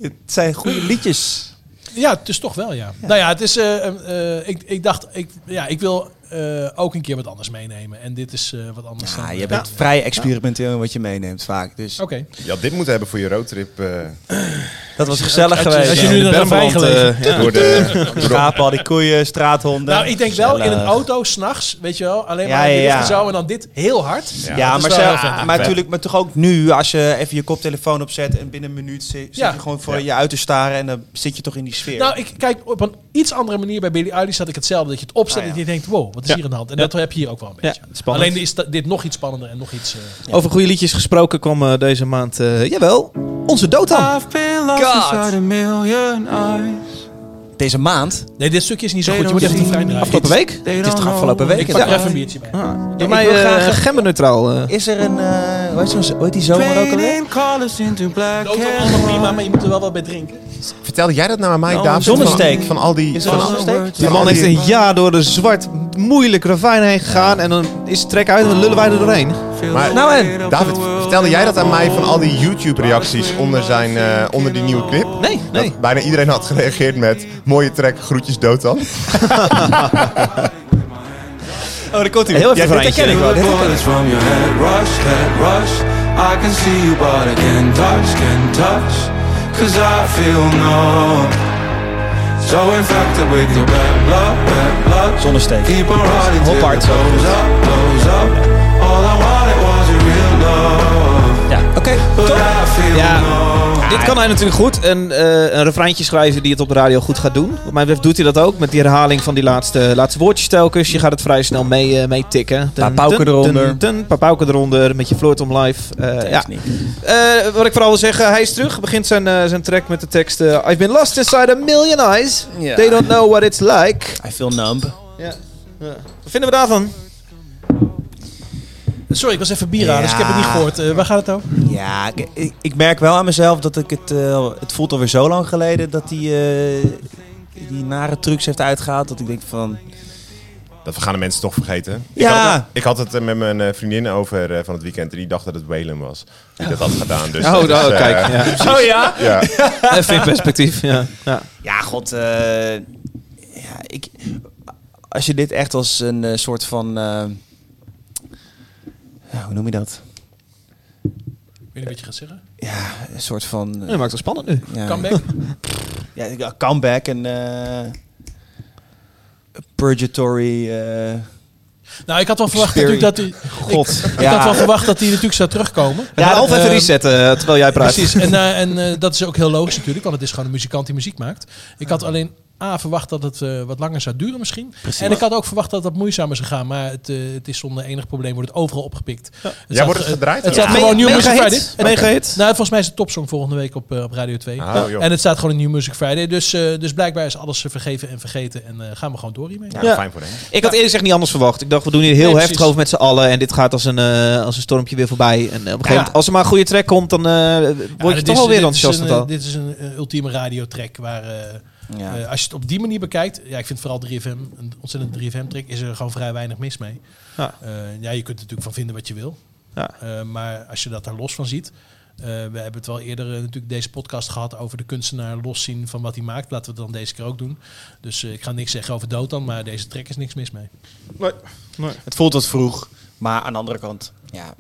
Speaker 3: het zijn goede liedjes.
Speaker 2: Ja, het is toch wel, ja. Nou ja, het is. eh, eh, eh, ik, ik dacht, ik, ja, ik wil eh, ook een keer wat anders meenemen. En dit is eh, wat anders.
Speaker 3: Ja,
Speaker 2: dan-
Speaker 3: Ah, je bent vrij experimenteel in wat je meeneemt vaak. Dus
Speaker 2: Oké.
Speaker 4: Je had dit moeten hebben voor je roadtrip eh,
Speaker 3: dat was gezellig
Speaker 2: als je-
Speaker 3: geweest.
Speaker 2: als je nu
Speaker 3: Ja.
Speaker 2: naar de vijgen
Speaker 3: eh,
Speaker 2: leeft.
Speaker 4: door de...
Speaker 3: Schapen, al die koeien, straathonden.
Speaker 2: Nou, ik denk wel in een
Speaker 3: Gezellig.
Speaker 2: auto, s'nachts, weet je wel. Alleen
Speaker 3: Ja,
Speaker 2: maar in
Speaker 3: ja,
Speaker 2: de lucht
Speaker 3: ja.
Speaker 2: en zo. En dan dit heel hard.
Speaker 3: Ja,
Speaker 2: dat is
Speaker 3: maar,
Speaker 2: wel
Speaker 3: ze-
Speaker 2: heel vet.
Speaker 3: maar natuurlijk, maar toch ook nu, als je even je koptelefoon opzet en binnen een minuut zi- zit
Speaker 2: Ja.
Speaker 3: je gewoon voor je uit te staren en dan zit je toch in die sfeer.
Speaker 2: Nou, ik kijk op een iets andere manier bij Billy Eilish had ik hetzelfde. Dat je het opzet
Speaker 3: Ah,
Speaker 2: en
Speaker 3: ja.
Speaker 2: je denkt, wow, wat is hier aan de hand? En dat heb je hier ook wel een beetje.
Speaker 1: spannend.
Speaker 2: Alleen is dat- dit nog iets spannender en nog iets... eh,
Speaker 1: Over goede liedjes gesproken kwam eh, deze maand, eh, jawel, onze Dotan.
Speaker 6: I've been lost inside a million eyes.
Speaker 3: Deze maand,
Speaker 2: Nee, dit stukje is niet zo
Speaker 6: Nee,
Speaker 2: goed. Je moet
Speaker 6: dan
Speaker 2: even
Speaker 6: zie
Speaker 2: de
Speaker 6: je-
Speaker 2: vrij draaien.
Speaker 1: Afgelopen week.
Speaker 6: They
Speaker 3: het is
Speaker 6: don't
Speaker 3: toch
Speaker 6: know
Speaker 3: afgelopen
Speaker 6: when
Speaker 3: week?
Speaker 2: Ik pak er
Speaker 3: Ja.
Speaker 2: even een biertje bij.
Speaker 3: Ah,
Speaker 1: Door
Speaker 3: ik
Speaker 1: mij
Speaker 3: wil
Speaker 1: eh,
Speaker 3: graag-
Speaker 1: genderneutraal. eh.
Speaker 3: is er een, eh, hoe heet zo'n- hoe heet die zomer ook
Speaker 6: Pain
Speaker 3: alweer?
Speaker 6: and colors into black
Speaker 3: Oh,
Speaker 2: Ook wel allemaal prima, maar je moet er wel wat bij drinken.
Speaker 4: Vertelde jij dat nou aan mij,
Speaker 6: Nou,
Speaker 4: David?
Speaker 3: zonnesteek.
Speaker 4: Van, van al die...
Speaker 3: Is er
Speaker 4: van-
Speaker 3: een zonnesteek?
Speaker 4: Die
Speaker 1: Die man heeft een jaar door de zwart, moeilijk ravijn heen gegaan. En dan is het trek uit en dan lullen wij er doorheen.
Speaker 4: Maar
Speaker 3: Nou, en-
Speaker 4: David, vertelde jij dat aan mij van al die YouTube-reacties onder, zijn, eh, onder die nieuwe clip?
Speaker 1: Nee, nee.
Speaker 4: Dat bijna iedereen had gereageerd met mooie track, groetjes, Dotan.
Speaker 3: Oh, daar komt hij.
Speaker 1: Heel even
Speaker 3: ja,
Speaker 1: voor
Speaker 3: dit
Speaker 1: eentje.
Speaker 3: herken ik wel. Dit-
Speaker 6: Bullets from your head rush, head rush. I can see you, but I can't touch, can't touch. Cause I feel numb. So infected with your bad blood, bad blood.
Speaker 3: Zonnesteek.
Speaker 6: Keep on riding till
Speaker 3: Hoppard.
Speaker 6: it blows up, blows up. All I wanted was your real love.
Speaker 3: Ja, oké.
Speaker 6: But I feel
Speaker 1: Ja.
Speaker 6: numb.
Speaker 1: Dit kan hij natuurlijk goed. En eh, een refreintje schrijven die het op de radio goed gaat doen. Wat mij betreft doet hij dat ook. Met die herhaling van die laatste, laatste woordjes telkens. Je gaat het vrij snel mee, eh, mee tikken. Dun,
Speaker 3: Papauken
Speaker 1: dun,
Speaker 3: eronder.
Speaker 1: dun, dun, papauken eronder. Met je Floort om live. Eh, ja.
Speaker 3: Ja.
Speaker 1: Eh, wat ik vooral wil zeggen. Hij is terug. Begint zijn, eh, zijn track met de tekst. eh, I've been lost inside a million eyes.
Speaker 3: Ja.
Speaker 1: They don't know what it's like.
Speaker 3: I feel numb.
Speaker 1: Wat vinden we daarvan?
Speaker 2: Sorry, ik was even bier aan, dus ik heb het niet
Speaker 3: Ja.
Speaker 2: gehoord. Eh, waar gaat het over?
Speaker 3: Ja, ik, ik- ik merk wel aan mezelf dat ik het... eh, het voelt alweer zo lang geleden dat hij eh, die nare trucs heeft uitgehaald. Dat ik denk van...
Speaker 4: Dat gaan de mensen toch vergeten.
Speaker 3: Ja.
Speaker 4: Ik, had, ik had het eh, met mijn eh, vriendin over eh, van het weekend. En die dacht dat het Whalen was. Die dat had gedaan. Dus dat
Speaker 1: Oh,
Speaker 4: is,
Speaker 1: nou,
Speaker 4: eh,
Speaker 1: kijk. Ja.
Speaker 3: Oh ja?
Speaker 4: ja.
Speaker 1: Even in perspectief. Ja. Ja.
Speaker 3: Ja, god. eh, ja, ik, als je dit echt als een eh, soort van... eh, ja, hoe noem je dat?
Speaker 2: Wil je een beetje gaan zeggen?
Speaker 3: Ja, een soort van... eh,
Speaker 1: Dat maakt het spannend nu.
Speaker 3: ja,
Speaker 2: Comeback?
Speaker 3: Ja, ja, comeback en... eh, purgatory... eh,
Speaker 2: Nou, ik had wel verwacht
Speaker 3: Spirit.
Speaker 2: natuurlijk dat hij...
Speaker 3: God,
Speaker 2: Ik, ik
Speaker 3: ja.
Speaker 2: had wel verwacht dat hij natuurlijk zou terugkomen.
Speaker 1: We gaan altijd
Speaker 2: ehm,
Speaker 1: resetten eh, terwijl jij praat.
Speaker 2: Precies, en, eh, en eh, dat is ook heel logisch natuurlijk, want het is gewoon een muzikant die muziek maakt. Ik had alleen A verwacht dat het eh, wat langer zou duren misschien. En ik had ook verwacht dat dat moeizamer zou gaan, maar het, eh, het is zonder enig probleem, wordt het overal opgepikt. Het staat-
Speaker 4: wordt het gedraaid?
Speaker 2: Het
Speaker 4: Ja.
Speaker 2: staat gewoon New Music Friday.
Speaker 1: Meegehit? Meegehit?
Speaker 2: Nou, volgens mij is het topsong volgende week op, eh, op Radio 2.
Speaker 4: Ah, joh.
Speaker 2: en het staat gewoon in New Music Friday, dus, eh, dus blijkbaar is alles eh, vergeven en vergeten en eh, gaan we gewoon door hiermee.
Speaker 4: Ja,
Speaker 1: Ja.
Speaker 4: Nou, fijn voor hem.
Speaker 1: Ik had eerlijk gezegd niet anders verwacht. Ik dacht, we doen hier heel
Speaker 2: Nee,
Speaker 1: heftig
Speaker 2: precies.
Speaker 1: over met z'n allen. En dit gaat als een, eh, als een stormpje weer voorbij. En eh, op een gegeven moment, als er maar een goede track komt, dan eh, word je
Speaker 2: dit
Speaker 1: toch
Speaker 2: is-
Speaker 1: alweer
Speaker 2: dit is
Speaker 1: enthousiast.
Speaker 2: een,
Speaker 1: en
Speaker 2: eh,
Speaker 1: al.
Speaker 2: Dit is een eh, ultieme radiotrack waar... eh,
Speaker 3: ja.
Speaker 2: Eh, als je het op die manier bekijkt, ja, ik vind vooral 3FM, een ontzettend 3FM-trick, is er gewoon vrij weinig mis mee.
Speaker 1: Ja.
Speaker 2: Ja, ja je kunt er natuurlijk van vinden wat je wil.
Speaker 1: Ja.
Speaker 2: Eh, maar als je dat daar los van ziet. eh, we hebben het wel eerder eh, natuurlijk deze podcast gehad over de kunstenaar loszien van wat hij maakt. Laten we het dan deze keer ook doen. Dus eh, ik ga niks zeggen over Dotan, maar deze track is niks mis mee.
Speaker 3: Het voelt wat vroeg, maar aan de andere kant, ja,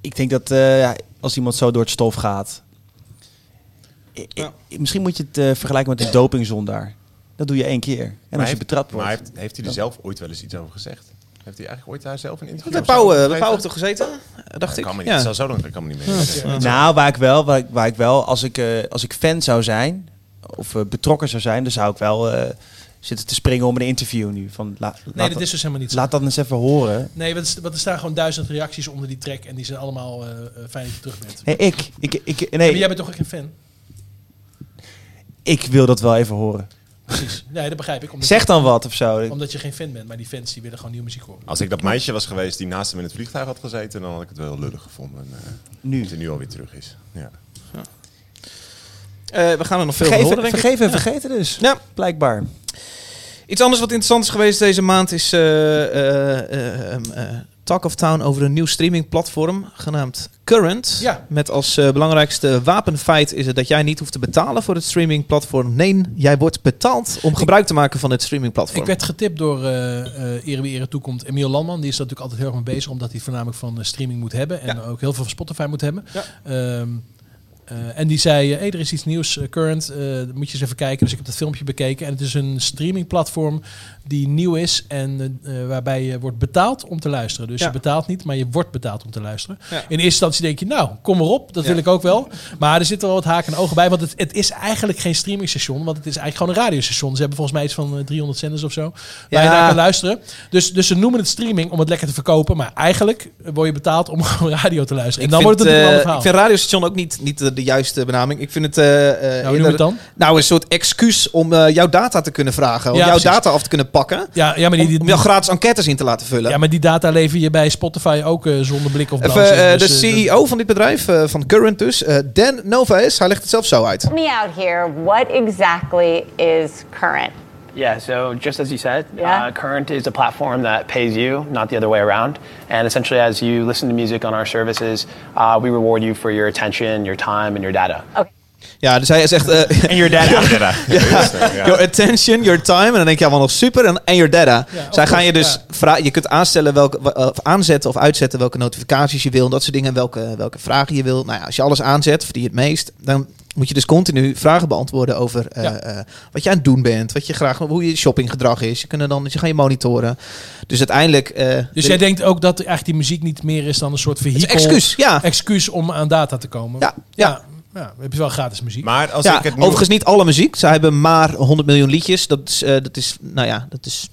Speaker 3: ik denk dat eh, ja, als iemand zo door het stof gaat, i- i- misschien moet je het eh, vergelijken met een dopingzondaar. Dat doe je één keer. En als je betrapt
Speaker 4: Maar
Speaker 3: wordt.
Speaker 4: heeft, heeft hij er zelf ooit wel eens iets over gezegd? Heeft hij eigenlijk ooit daar zelf een interview
Speaker 1: Met de
Speaker 4: of zo
Speaker 1: pauw,
Speaker 4: over
Speaker 1: eh, de
Speaker 4: gegeven?
Speaker 1: pauw heeft toch gezeten? Eh, Dacht
Speaker 4: Dat
Speaker 1: ik.
Speaker 4: kan me niet.
Speaker 1: Ja.
Speaker 4: Zo, zo lang kan me niet meer.
Speaker 3: Nou, waar ik wel, waar ik, waar ik wel als, ik, eh, als ik fan zou zijn, of eh, betrokken zou zijn, dan zou ik wel eh, zitten te springen om een interview nu. Van, la-
Speaker 2: Nee,
Speaker 3: laat,
Speaker 2: dat is dus helemaal niet zo.
Speaker 3: laat dat eens even horen.
Speaker 2: Nee, want er st- want er staan gewoon duizend reacties onder die track en die zijn allemaal eh, eh, fijn dat je terug bent.
Speaker 3: Nee, ik, ik, ik,
Speaker 2: Maar jij
Speaker 3: nee,
Speaker 2: bent toch ook geen fan?
Speaker 3: ik wil dat wel even horen.
Speaker 2: Precies. Nee, dat begrijp ik. Omdat,
Speaker 3: Zeg dan wat of zo.
Speaker 2: omdat je geen fan bent, maar die fans die willen gewoon nieuwe muziek horen.
Speaker 4: Als ik dat meisje was geweest die naast hem in het vliegtuig had gezeten, dan had ik het wel heel lullig gevonden. eh,
Speaker 3: Nu.
Speaker 4: Dat hij nu alweer terug is. Ja.
Speaker 1: Eh, we gaan er nog veel van horen,
Speaker 3: Vergeven,
Speaker 1: denk ik.
Speaker 3: vergeven en vergeten dus.
Speaker 1: Ja.
Speaker 3: Blijkbaar.
Speaker 1: Iets anders wat interessant is geweest deze maand is eh, eh, ehm, eh, Talk of Town over een nieuw streamingplatform genaamd Current.
Speaker 2: Ja.
Speaker 1: Met als eh, belangrijkste wapenfeit is het dat jij niet hoeft te betalen voor het streamingplatform. Nee, jij wordt betaald om gebruik te maken van het streamingplatform.
Speaker 2: Ik werd getipt door eh eh Ere Wie Ere Toekomt. Emiel Landman, die is daar natuurlijk altijd heel erg mee bezig. Omdat hij voornamelijk van eh, streaming moet hebben. En ook heel veel van Spotify moet hebben. Ehm, eh, en die zei, eh, hey, er is iets nieuws, eh, Current. eh, dat moet je eens even kijken. Dus ik heb dat filmpje bekeken. En het is een streamingplatform die nieuw is. En eh, waarbij je wordt betaald om te luisteren. Dus
Speaker 1: Ja.
Speaker 2: je betaalt niet, maar je wordt betaald om te luisteren.
Speaker 1: Ja.
Speaker 2: In eerste instantie denk je, nou, kom erop. Dat
Speaker 1: Ja.
Speaker 2: wil ik ook wel. Maar er zitten wel wat haken en ogen bij. Want het, het is eigenlijk geen streamingstation. Want het is eigenlijk gewoon een radiostation. Ze hebben volgens mij iets van eh, 300 zenders of zo. Waar je
Speaker 1: Ja.
Speaker 2: naar kan luisteren. Dus, dus ze noemen het streaming om het lekker te verkopen. Maar eigenlijk word je betaald om gewoon radio te luisteren. En dan Nou wordt het
Speaker 1: eh,
Speaker 2: natuurlijk wel
Speaker 1: ik
Speaker 2: een
Speaker 1: vind
Speaker 2: verhaal.
Speaker 1: radiostation ook niet, niet de, de juiste benaming. Ik vind het, eh, eh,
Speaker 2: Nou, hoe noem je
Speaker 1: eerder-
Speaker 2: het dan?
Speaker 1: nou, een soort excuus om eh, jouw data te kunnen vragen. Om
Speaker 2: Ja,
Speaker 1: jouw
Speaker 2: precies.
Speaker 1: data af te kunnen pakken.
Speaker 2: Ja, ja, maar
Speaker 1: Om,
Speaker 2: die, die-
Speaker 1: om jou gratis enquêtes in te laten vullen.
Speaker 2: ja, maar die data lever je bij Spotify ook eh, zonder blik of Dus, blauw.
Speaker 1: Even, eh, de CEO van dit bedrijf, eh, van Current dus, eh, Dan Novaes, hij legt het zelf zo uit.
Speaker 11: me out here. What exactly is current?
Speaker 12: Yeah, so just as you said,
Speaker 11: Yeah.
Speaker 12: uh, Current is a platform that pays you, not the other way around. And essentially, as you listen to music on our services, uh, we reward you for your attention, your time, and your data.
Speaker 1: Ja, dus hij zegt, eh,
Speaker 3: En your data.
Speaker 4: Ja.
Speaker 1: your attention, your time, en dan denk je allemaal nog super, en en your data.
Speaker 2: Ja,
Speaker 1: Zij
Speaker 2: of-
Speaker 1: gaan je dus,
Speaker 2: ja.
Speaker 1: vra- je kunt aanstellen welke, wa- of aanzetten of uitzetten welke notificaties je wil, en dat soort dingen, en welke, welke vragen je wil. Nou ja, als je alles aanzet, verdien je het meest, dan moet je dus continu vragen beantwoorden over eh,
Speaker 2: Ja.
Speaker 1: eh, wat je aan het doen bent, wat je graag, hoe je shoppinggedrag is. Je kunnen dan, je gaan je monitoren. Dus uiteindelijk... eh,
Speaker 2: Dus
Speaker 1: de-
Speaker 2: jij denkt ook dat eigenlijk die muziek niet meer is dan een soort vehikel.
Speaker 1: Het is excuus, ja.
Speaker 2: Excuus om aan data te komen.
Speaker 1: Ja,
Speaker 2: ja. ja, heb je wel gratis muziek.
Speaker 4: Maar als
Speaker 1: ja,
Speaker 4: ik het nu...
Speaker 1: overigens niet alle muziek. Ze hebben maar 100 miljoen liedjes. Dat is, eh, dat is, nou ja, dat is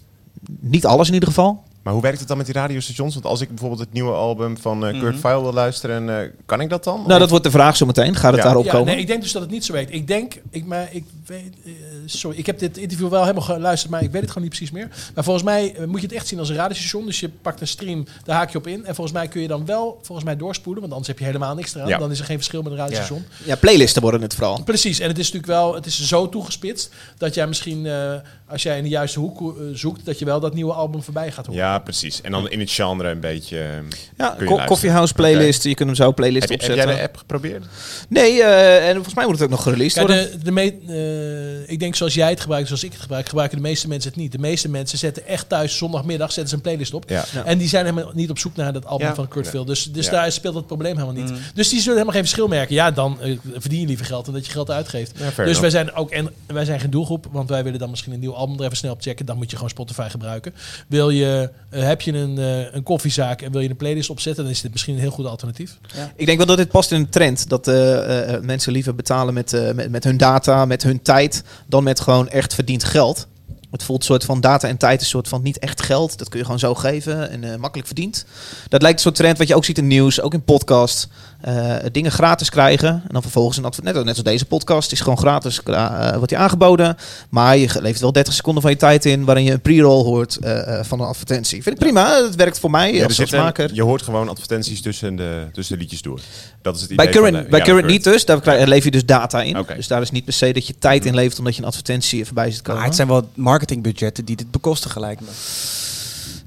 Speaker 1: niet alles in ieder geval.
Speaker 4: Maar hoe werkt het dan met die radiostations? Want als ik bijvoorbeeld het nieuwe album van eh, Kurt
Speaker 2: Mhm.
Speaker 4: Vile wil luisteren, eh, kan ik dat dan?
Speaker 1: Nou, dat wordt de vraag zometeen. Gaat het
Speaker 4: Ja.
Speaker 1: daarop komen?
Speaker 2: nee, ik denk dus dat het niet zo werkt. Ik denk, ik, maar ik weet, eh, sorry, ik heb dit interview wel helemaal geluisterd, maar ik weet het gewoon niet precies meer. Maar volgens mij eh, moet je het echt zien als een radiostation. Dus je pakt een stream, daar haak je op in. En volgens mij kun je dan wel, volgens mij doorspoelen, want anders heb je helemaal niks eraan.
Speaker 1: Ja.
Speaker 2: Dan is er geen verschil met een radiostation.
Speaker 1: Ja, playlisten worden het vooral.
Speaker 2: Precies, en het is natuurlijk wel, het is zo toegespitst dat jij misschien, eh, als jij in de juiste hoek eh, zoekt, dat je wel dat nieuwe album voorbij gaat horen.
Speaker 4: Ja, precies. En dan in het genre een beetje. eh,
Speaker 1: Ja,
Speaker 4: kun je
Speaker 1: co-
Speaker 4: luisteren.
Speaker 1: Coffeehouse playlist.
Speaker 4: Oké.
Speaker 1: Je kunt hem zo
Speaker 4: heb,
Speaker 1: playlist
Speaker 4: je-
Speaker 1: opzetten.
Speaker 4: Heb jij de app geprobeerd?
Speaker 1: Nee, eh, en volgens mij moet het ook nog gereleased
Speaker 2: Kijk,
Speaker 1: worden.
Speaker 2: de, de me- eh, ik denk zoals jij het gebruikt, zoals ik het gebruik, gebruiken de meeste mensen het niet. De meeste mensen zetten echt thuis zondagmiddag zetten ze een playlist op.
Speaker 4: Ja. Ja.
Speaker 2: En die zijn helemaal niet op zoek naar dat album
Speaker 4: Ja.
Speaker 2: van Kurt
Speaker 4: Ja.
Speaker 2: Veel. Dus, dus
Speaker 4: Ja. Mm.
Speaker 2: daar speelt het probleem helemaal niet. Dus die zullen helemaal geen verschil merken. Ja, dan eh, verdien je liever geld dan dat je geld uitgeeft.
Speaker 4: Ja, fair
Speaker 2: dus
Speaker 4: enough.
Speaker 2: wij zijn ook en wij zijn geen doelgroep, want wij willen dan misschien een nieuw album er even snel op checken. Dan moet je gewoon Spotify gebruiken. Wil je, eh, heb je een, eh, een koffiezaak en wil je een playlist opzetten, dan is dit misschien een heel goed alternatief.
Speaker 1: Ik denk wel dat dit past in een trend. Dat eh, eh, mensen liever betalen met, eh, met, met hun data, met hun tijd, dan met gewoon echt verdiend geld. Het voelt een soort van data en tijd, een soort van niet echt geld. Dat kun je gewoon zo geven en eh, makkelijk verdiend. Dat lijkt een soort trend wat je ook ziet in nieuws, ook in podcasts. Eh, dingen gratis krijgen en dan vervolgens een advert. Net, net als deze podcast is gewoon gratis, eh wordt je aangeboden. Maar je ge- levert wel 30 seconden van je tijd in waarin je een pre-roll hoort eh, eh, van een advertentie. Vind ik prima, dat werkt voor mij
Speaker 4: Ja, er
Speaker 1: als
Speaker 4: zit een-
Speaker 1: maker.
Speaker 4: je hoort gewoon advertenties tussen de, tussen de liedjes door. Dat is het idee.
Speaker 1: Bij current,
Speaker 4: van de-
Speaker 1: bij
Speaker 4: ja, Mm-hmm.
Speaker 1: current
Speaker 4: Current.
Speaker 1: niet dus, daar krijg- lever je dus data in. Dus daar is niet per se dat je tijd in levert omdat je een advertentie voorbij zit komen.
Speaker 3: Maar het zijn wel marketingbudgetten die dit bekostigen, lijkt me.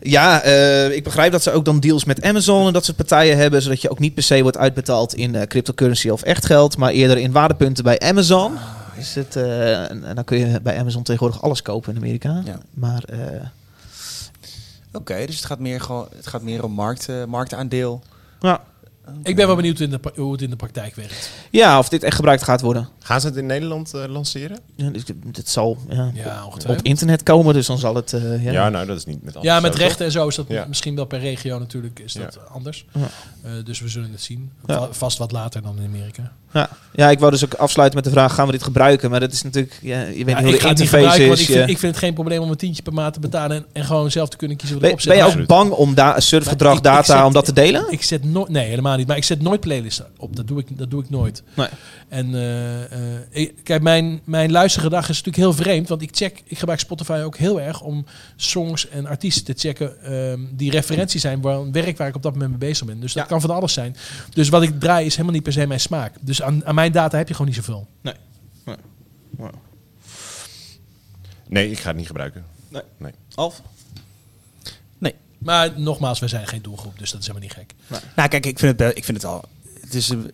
Speaker 1: Ja, eh, ik begrijp dat ze ook dan deals met Amazon en dat soort partijen hebben, zodat je ook niet per se wordt uitbetaald in eh, cryptocurrency of echt geld, maar eerder in waardepunten bij Amazon.
Speaker 3: Ah,
Speaker 1: Is het, eh, en, en dan kun je bij Amazon tegenwoordig alles kopen in Amerika.
Speaker 3: Ja.
Speaker 1: Maar eh,
Speaker 3: Oké, dus het gaat meer, gewoon, het gaat meer om markt, eh, marktaandeel.
Speaker 1: Ja.
Speaker 2: Ik ben wel benieuwd in de pra- hoe het in de praktijk werkt.
Speaker 1: ja, of dit echt gebruikt gaat worden.
Speaker 4: Gaan ze het in Nederland eh, lanceren?
Speaker 1: Ja, dus dit zal ja,
Speaker 2: Ja,
Speaker 1: op- op,
Speaker 2: ongetwijfeld.
Speaker 1: internet komen, dus dan zal het... eh, ja.
Speaker 4: Ja, nou, dat is niet met
Speaker 2: Ja,
Speaker 4: alles
Speaker 2: met
Speaker 4: zo,
Speaker 2: rechten
Speaker 4: toch?
Speaker 2: en zo is dat
Speaker 4: Ja.
Speaker 2: misschien wel per regio natuurlijk is dat anders.
Speaker 1: Ja.
Speaker 2: Eh, dus we zullen het zien.
Speaker 1: Ja.
Speaker 2: Va- Vast wat later dan in Amerika.
Speaker 1: Ja. ja, ik wou dus ook afsluiten met de vraag, gaan we dit gebruiken? Maar dat is natuurlijk, ja, je weet
Speaker 2: Ja,
Speaker 1: niet
Speaker 2: ik
Speaker 1: hoe de
Speaker 2: ga het niet
Speaker 1: interface
Speaker 2: gebruiken, want
Speaker 1: is.
Speaker 2: ik vind,
Speaker 1: je-
Speaker 2: ik vind het geen probleem om een tientje per maand te betalen en, en gewoon zelf te kunnen kiezen wat
Speaker 1: Ben,
Speaker 2: ik
Speaker 1: ben
Speaker 2: opzet.
Speaker 1: je ook bang om da surfgedrag,
Speaker 2: Maar ik- ik
Speaker 1: data,
Speaker 2: zet-
Speaker 1: om dat te delen?
Speaker 2: Ik zet nooit, nee, helemaal niet. Maar ik zet nooit playlisten op. Dat doe ik, dat doe ik nooit.
Speaker 1: Nee.
Speaker 2: En eh, eh, ik- kijk, mijn, mijn luistergedrag is natuurlijk heel vreemd. Want ik check, ik gebruik Spotify ook heel erg om songs en artiesten te checken ehm, die referentie zijn voor een werk waar ik op dat moment mee bezig ben. Dus dat kan van alles zijn. Dus wat ik draai is helemaal niet per se mijn smaak. Dus aan, aan mijn data heb je gewoon niet zoveel.
Speaker 1: Nee. nee.
Speaker 4: Nee, ik ga het niet gebruiken.
Speaker 1: Nee.
Speaker 4: nee.
Speaker 1: Alf?
Speaker 2: Maar nogmaals, we zijn geen doelgroep, dus dat is helemaal niet gek.
Speaker 3: Nou, kijk, ik vind het, wel- ik vind het al. Het is een-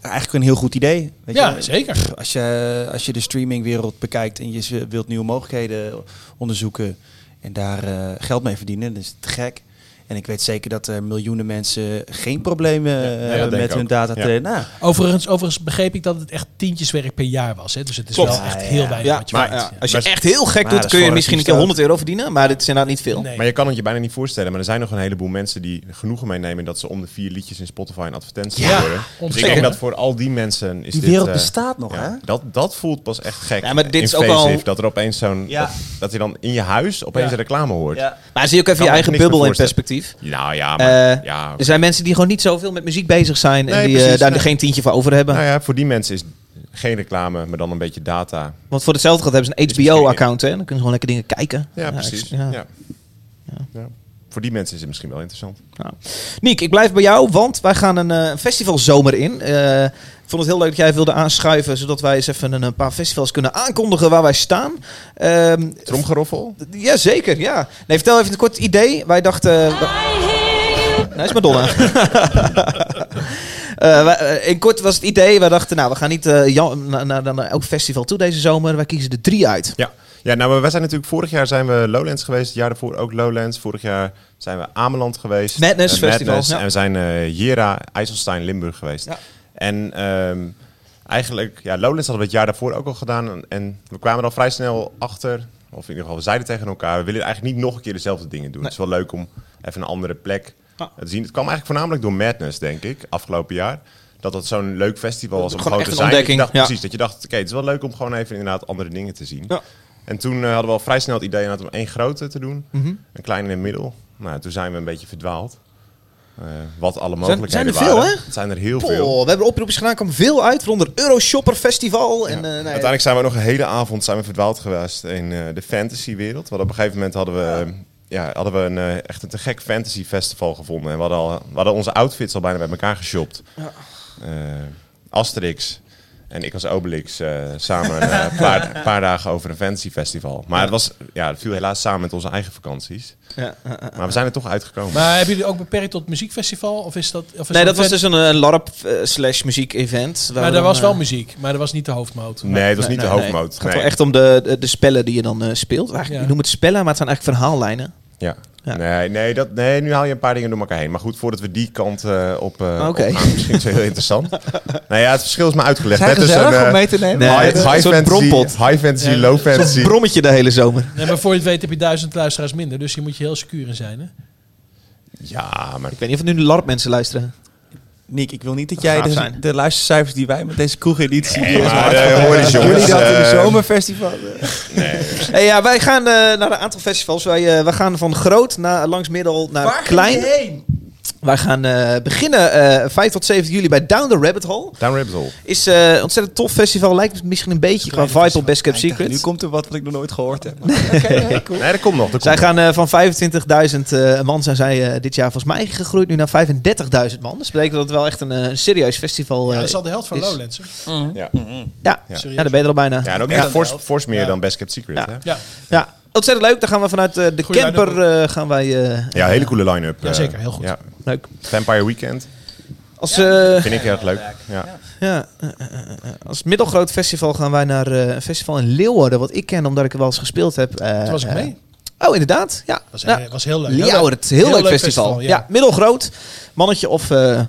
Speaker 3: eigenlijk een heel goed idee. Weet
Speaker 2: Ja,
Speaker 3: je?
Speaker 2: zeker.
Speaker 3: Pff, Als je, als je de streamingwereld bekijkt en je z- wilt nieuwe mogelijkheden onderzoeken en daar eh, geld mee verdienen, dan is het te gek. En ik weet zeker dat er miljoenen mensen geen problemen eh,
Speaker 4: dat
Speaker 3: hebben
Speaker 4: denk
Speaker 3: met
Speaker 4: ik
Speaker 3: hun
Speaker 4: ook.
Speaker 3: data. Te,
Speaker 4: Ja. Dus
Speaker 3: nou,
Speaker 2: Overigens, overigens begreep ik dat het echt tientjeswerk per jaar was. Hè? Dus het is
Speaker 1: Klopt.
Speaker 2: wel echt heel weinig.
Speaker 1: Ja,
Speaker 2: wat je
Speaker 1: maar,
Speaker 2: verdient.
Speaker 1: ja, als je
Speaker 4: Maar-
Speaker 1: echt heel gek
Speaker 4: maar
Speaker 1: doet,
Speaker 4: dat is
Speaker 1: kun je
Speaker 4: gewoon
Speaker 1: misschien een keer
Speaker 4: een
Speaker 1: 100 euro verdienen. Maar dit is inderdaad niet veel.
Speaker 2: Nee.
Speaker 4: Maar je kan het je bijna niet voorstellen, maar er zijn nog een heleboel mensen die genoegen meenemen dat ze om de vier liedjes in Spotify een advertentie
Speaker 1: Ja,
Speaker 4: worden. Dus ik
Speaker 1: ontzettend.
Speaker 4: denk dat voor al die mensen is
Speaker 3: Die
Speaker 4: dit,
Speaker 3: wereld
Speaker 4: eh,
Speaker 3: bestaat nog,
Speaker 4: ja,
Speaker 3: hè?
Speaker 4: Dat, dat voelt pas echt gek.
Speaker 1: Ja, maar dit is ook
Speaker 4: Invasive,
Speaker 1: al-
Speaker 4: Dat er opeens zo'n...
Speaker 1: Ja.
Speaker 4: Dat, dat je dan in je huis opeens
Speaker 1: Ja.
Speaker 4: reclame hoort.
Speaker 3: Ja.
Speaker 1: Maar zie je ook even
Speaker 4: Kan
Speaker 1: je
Speaker 4: me
Speaker 1: eigen
Speaker 4: niks meer
Speaker 1: bubbel in
Speaker 4: voorstellen.
Speaker 1: perspectief.
Speaker 4: Nou ja, maar...
Speaker 1: Eh,
Speaker 4: ja,
Speaker 1: Er zijn mensen die gewoon niet zoveel met muziek bezig zijn. en
Speaker 4: Nee,
Speaker 1: die eh,
Speaker 4: precies,
Speaker 1: daar
Speaker 4: nee.
Speaker 1: geen tientje voor over hebben.
Speaker 4: Nou ja, voor die mensen is geen reclame, maar dan een beetje data.
Speaker 1: Want voor hetzelfde geld hebben ze een HBO-account. Dan kunnen ze gewoon lekker dingen kijken.
Speaker 4: Ja, precies.
Speaker 1: ik-
Speaker 4: Ja. Ja. Voor die mensen is het misschien wel interessant.
Speaker 1: Nou. Niek, ik blijf bij jou, want wij gaan een eh, festivalzomer in. Eh, ik vond het heel leuk dat jij wilde aanschuiven, zodat wij eens even een, een paar festivals kunnen aankondigen waar wij staan. Ehm
Speaker 4: Tromgeroffel?
Speaker 1: Jazeker, ja. Nee, vertel even een kort idee. Wij dachten... eh, wa- Nee, is Madonna. Eh, wij- eh, in kort was het idee, wij dachten, nou, we gaan niet eh, jan- na- na- naar elk festival toe deze zomer. Wij kiezen er drie uit.
Speaker 4: Ja. Ja, nou, maar wij zijn natuurlijk vorig jaar zijn we Lowlands geweest. Het jaar daarvoor ook Lowlands. Vorig jaar zijn we Ameland geweest.
Speaker 1: Madness
Speaker 4: Eh,
Speaker 1: Festival, ja.
Speaker 4: En we zijn eh, Jera, IJsselstein, Limburg geweest.
Speaker 1: Ja.
Speaker 4: En ehm, eigenlijk, ja, Lowlands hadden we het jaar daarvoor ook al gedaan. En, en we kwamen er al vrij snel achter. Of in ieder geval, we zeiden tegen elkaar, we willen eigenlijk niet nog een keer dezelfde dingen doen. Het is wel leuk om even een andere plek te zien. Het kwam eigenlijk voornamelijk door Madness, denk ik, afgelopen jaar. Dat dat zo'n leuk festival was om
Speaker 1: Gewoon
Speaker 4: gewoon
Speaker 1: echt
Speaker 4: te
Speaker 1: een
Speaker 4: zijn.
Speaker 1: ontdekking,
Speaker 4: Ik dacht
Speaker 1: ja.
Speaker 4: precies dat je dacht, oké, het is wel leuk om gewoon even inderdaad andere dingen te zien.
Speaker 1: Ja.
Speaker 4: En toen eh, hadden we al vrij snel het idee inderdaad om één grote te doen.
Speaker 1: Mhm.
Speaker 4: Een kleine in het middel. Nou, toen zijn we een beetje verdwaald. Eh, wat alle
Speaker 1: Zijn-
Speaker 4: mogelijkheden
Speaker 1: zijn er
Speaker 4: waren.
Speaker 1: veel, hè?
Speaker 4: Het zijn er heel
Speaker 1: Poh,
Speaker 4: veel.
Speaker 1: Oh, we hebben oproepjes gedaan, kwam veel uit, waaronder Euroshopper Festival. En, eh, nee,
Speaker 4: Uiteindelijk zijn we nog een hele avond zijn we verdwaald geweest in eh, de fantasywereld. Want op een gegeven moment hadden we, eh, ja, hadden we een, eh, echt een te gek fantasy festival gevonden. En we hadden, al, we hadden onze outfits al bijna bij elkaar geshopt.
Speaker 1: Ja.
Speaker 4: Eh, Asterix en ik als Obelix eh, samen eh, een paar, een paar dagen over een fantasy festival. Maar het, was, ja, het viel helaas samen met onze eigen vakanties.
Speaker 1: Ja, eh, eh,
Speaker 4: maar we zijn er toch uitgekomen.
Speaker 2: Maar hebben jullie ook beperkt tot muziekfestival? Of is dat, of is
Speaker 1: nee, dat was
Speaker 2: verder-
Speaker 1: dus een, eh, LARP eh, slash muziek event.
Speaker 2: Maar er was wel muziek, maar dat was niet de hoofdmoot.
Speaker 4: Nee, dat is niet de hoofdmoot.
Speaker 1: eh, Het gaat
Speaker 4: Nee.
Speaker 1: wel echt om de, de, de spellen die je dan eh, speelt. Eigenlijk,
Speaker 2: Ja.
Speaker 1: Je noemt het spellen, maar het zijn eigenlijk verhaallijnen.
Speaker 4: Ja. Nee, nee, dat, nee, nu haal je een paar dingen door elkaar heen. Maar goed, voordat we die kant eh, op, eh
Speaker 1: Oké.
Speaker 4: op gaan, misschien is het heel interessant. nou ja, het verschil is me uitgelegd.
Speaker 1: Zijn
Speaker 4: Net
Speaker 1: gezellig
Speaker 4: tussen, eh,
Speaker 1: om mee te nemen? Nee,
Speaker 4: high,
Speaker 1: het is
Speaker 4: high
Speaker 1: een soort
Speaker 4: fantasy,
Speaker 1: brompot.
Speaker 4: high fantasy,
Speaker 2: Ja,
Speaker 4: low
Speaker 2: een soort
Speaker 4: fantasy.
Speaker 1: Brommetje de hele zomer.
Speaker 2: Nee, maar voor je het weet heb je duizend luisteraars minder. Dus je moet je heel secuur in zijn. Hè?
Speaker 4: Ja, maar
Speaker 1: Ik weet niet of het nu LARP mensen luisteren.
Speaker 3: Nick, ik wil niet dat jij
Speaker 1: gaaf
Speaker 3: de,
Speaker 1: zijn.
Speaker 3: de luistercijfers die wij met deze kroegeditie...
Speaker 4: Nee,
Speaker 3: die ons
Speaker 4: maar,
Speaker 3: hard
Speaker 4: eh, hoor eens,
Speaker 3: Doen jullie
Speaker 4: jongens,
Speaker 3: dat in de
Speaker 4: eh,
Speaker 3: zomerfestival?
Speaker 1: Hey, ja, wij gaan eh, naar een aantal festivals. Wij, eh, wij gaan van groot naar langs middel naar klein. Wij gaan eh, beginnen eh 5 tot 7 juli bij Down the Rabbit Hole.
Speaker 4: Down Rabbit Hole.
Speaker 1: Is eh, een ontzettend tof festival. Lijkt misschien een beetje qua vibe op Best Kept Secret.
Speaker 3: Nu komt er wat wat ik nog nooit gehoord heb.
Speaker 4: Nee, dat komt nog. Dat
Speaker 1: Zij
Speaker 4: komt
Speaker 1: gaan eh, van 25.000 eh, man zijn zij eh, dit jaar volgens mij gegroeid nu naar 35.000 man. Dus betekent dat het wel echt een, eh, een serieus festival
Speaker 2: Ja,
Speaker 1: eh,
Speaker 2: dat is al de helft van
Speaker 1: is.
Speaker 2: Lowlands. hè?
Speaker 4: nog. Ja.
Speaker 1: Ja, ja.
Speaker 4: Ja.
Speaker 1: daar ben je er al bijna.
Speaker 4: ja, en ook
Speaker 1: Ja.
Speaker 4: echt fors, fors meer
Speaker 2: Ja.
Speaker 4: dan Best Kept Secret.
Speaker 1: Ja.
Speaker 4: Hè?
Speaker 2: Ja,
Speaker 1: Ja, ontzettend leuk. Daar gaan we vanuit eh, de
Speaker 2: Goeie
Speaker 1: camper eh, gaan wij... eh,
Speaker 4: Ja, hele coole line-up.
Speaker 2: Ja,
Speaker 4: eh,
Speaker 2: zeker, heel goed.
Speaker 4: Ja.
Speaker 1: Leuk.
Speaker 4: Vampire Weekend
Speaker 1: Als, eh,
Speaker 4: vind ik heel erg leuk. Ja.
Speaker 1: ja, eh, eh, eh, als middelgroot festival gaan wij naar eh, een festival in Leeuwarden. Wat ik ken, omdat ik er wel eens gespeeld heb. eh,
Speaker 2: Toen was ik
Speaker 1: eh,
Speaker 2: mee.
Speaker 1: Oh, inderdaad. Ja.
Speaker 2: was,
Speaker 1: Nou,
Speaker 2: was heel leuk.
Speaker 1: Leeuwarden, heel, leuk, festival. ja. middelgroot. Mannetje of... eh,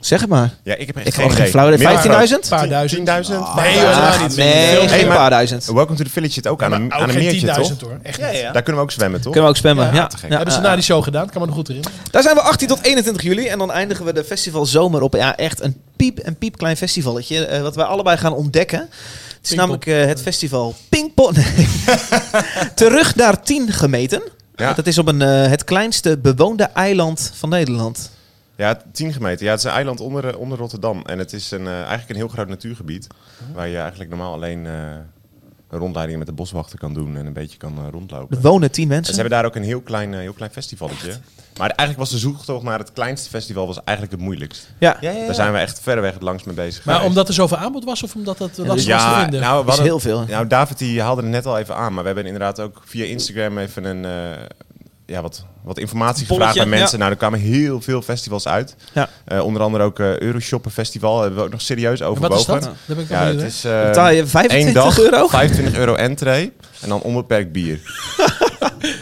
Speaker 1: zeg het maar.
Speaker 4: ja, ik heb echt
Speaker 1: Ik
Speaker 4: geen
Speaker 1: heb geen
Speaker 4: idee.
Speaker 1: flauw idee.
Speaker 4: Middelgroot.
Speaker 1: 15.000?
Speaker 2: Een paar
Speaker 4: 10.000?
Speaker 2: duizend. Nee, joh, helemaal niet. Veel
Speaker 1: Ah, nee,
Speaker 2: meer.
Speaker 1: geen
Speaker 4: maar-
Speaker 1: paar duizend.
Speaker 4: Welcome to the Village zit ook aan een,
Speaker 2: Ook
Speaker 4: aan een
Speaker 2: geen
Speaker 4: meertje,
Speaker 2: 10.000
Speaker 4: toch?
Speaker 2: hoor. Echt
Speaker 3: Ja,
Speaker 2: niet.
Speaker 3: ja.
Speaker 4: Daar kunnen we ook zwemmen, toch?
Speaker 1: Kunnen we ook spammen. Ja,
Speaker 2: Ja,
Speaker 4: te gek.
Speaker 1: Ja,
Speaker 2: Hebben ze
Speaker 1: ja,
Speaker 2: na
Speaker 1: ja.
Speaker 2: die show gedaan? Kan me nog goed in.
Speaker 1: Daar zijn we 18 tot 21 juli. En dan eindigen we de festival zomer op. Ja, echt een piep en piepklein festivalletje. eh, wat wij allebei gaan ontdekken. Het is
Speaker 2: Pinkpop.
Speaker 1: namelijk eh, het festival Pinkpon. Nee. Terug naar 10 gemeten.
Speaker 4: Ja.
Speaker 1: Dat is op een, eh, het kleinste bewoonde eiland van Nederland.
Speaker 4: Ja, 10 gemeten. Ja, het is een eiland onder, eh, onder Rotterdam. En het is een, eh, eigenlijk een heel groot natuurgebied. Waar je eigenlijk normaal alleen eh, rondleidingen met de boswachter kan doen. En een beetje kan eh, rondlopen.
Speaker 1: Er wonen 10
Speaker 4: En
Speaker 1: mensen.
Speaker 4: ze hebben daar ook een heel klein, eh, heel klein festivaletje. Maar eigenlijk was de zoektocht naar het kleinste festival was eigenlijk het moeilijkst.
Speaker 1: Ja.
Speaker 3: Ja, ja, ja.
Speaker 4: Daar zijn we echt verreweg het langst mee bezig
Speaker 2: Maar
Speaker 4: geweest.
Speaker 2: omdat er zoveel aanbod was of omdat dat lastig was te
Speaker 4: ja,
Speaker 2: vinden?
Speaker 4: nou, we
Speaker 1: Dat is
Speaker 4: hadden-
Speaker 1: heel veel.
Speaker 4: nou, David die haalde het net al even aan, maar we hebben inderdaad ook via Instagram even een, eh, ja, wat, wat informatie
Speaker 1: Polletje,
Speaker 4: gevraagd aan mensen.
Speaker 1: ja.
Speaker 4: Nou, er kwamen heel veel festivals uit.
Speaker 1: Ja.
Speaker 4: Eh, onder andere ook eh Euroshopper Festival hebben we ook nog serieus
Speaker 2: En wat is
Speaker 4: overwogen.
Speaker 2: dat? Daar ben ik wel
Speaker 4: Ja,
Speaker 2: benieuwd
Speaker 4: het
Speaker 2: naar.
Speaker 4: is eh,
Speaker 1: Betaal je 25
Speaker 4: één dag,
Speaker 1: euro?
Speaker 4: 25 euro entree en dan onbeperkt bier.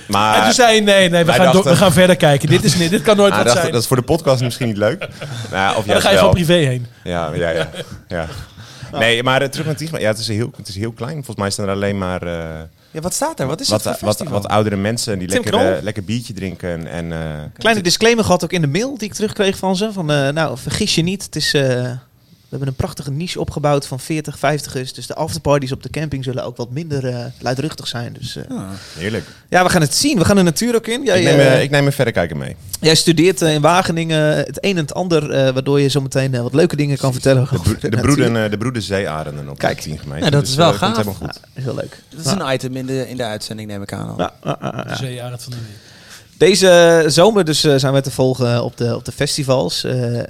Speaker 4: maar
Speaker 2: En toen zei je, nee, nee,
Speaker 4: Wij
Speaker 2: we gaan, door- we
Speaker 4: dachten-
Speaker 2: gaan verder kijken. Dit, is, niet- dit kan nooit
Speaker 4: ah,
Speaker 2: wat
Speaker 4: dacht-
Speaker 2: zijn.
Speaker 4: dat is voor de podcast misschien niet leuk. Nou, of
Speaker 2: dan
Speaker 4: juist
Speaker 2: ga je
Speaker 4: wel.
Speaker 2: gewoon privé heen.
Speaker 4: Ja, ja, ja. ja. Nee, maar eh, terug naar Tiegma. Ja, het is, heel, het is heel klein. Volgens mij staan er alleen maar... eh,
Speaker 3: Ja, wat staat er? Wat is
Speaker 4: wat, eh,
Speaker 3: het voor
Speaker 4: wat,
Speaker 3: festival?
Speaker 4: wat oudere mensen die
Speaker 1: Tim
Speaker 4: lekker, eh,
Speaker 1: Knol?
Speaker 4: lekker biertje drinken. En, eh,
Speaker 1: Kleine disclaimer gehad ook in de mail die ik terugkreeg van ze. Van, eh, nou, vergis je niet. Het is, eh, we hebben een prachtige niche opgebouwd van 40, 50 is. Dus de afterparties op de camping zullen ook wat minder eh, luidruchtig zijn. Dus, eh,
Speaker 4: heerlijk.
Speaker 1: Ja, we gaan het zien. We gaan de natuur ook in. Jij,
Speaker 4: Ah. Ik neem,
Speaker 1: eh,
Speaker 4: eh, ik neem een verrekijker mee.
Speaker 1: jij studeert eh, in Wageningen het een en het ander, eh, waardoor je zometeen meteen wat leuke dingen kan vertellen.
Speaker 4: De,
Speaker 1: over
Speaker 4: broeden de,
Speaker 1: natuur.
Speaker 4: broeden, eh, de broeden zeearenden op
Speaker 1: Kijk.
Speaker 4: de 10 gemeten.
Speaker 3: Ja, dat is wel
Speaker 4: eh, komt
Speaker 3: gaaf.
Speaker 4: helemaal goed.
Speaker 1: Is wel Ah, leuk. Nou,
Speaker 3: Dat is
Speaker 4: Nou.
Speaker 3: een item in de, in de uitzending, neem ik aan al.
Speaker 1: Ja, ja, ja, ja.
Speaker 2: Zeearend van de Meer.
Speaker 1: Deze zomer dus eh, zijn wij te volgen op de, op de festivals. Eh, eh,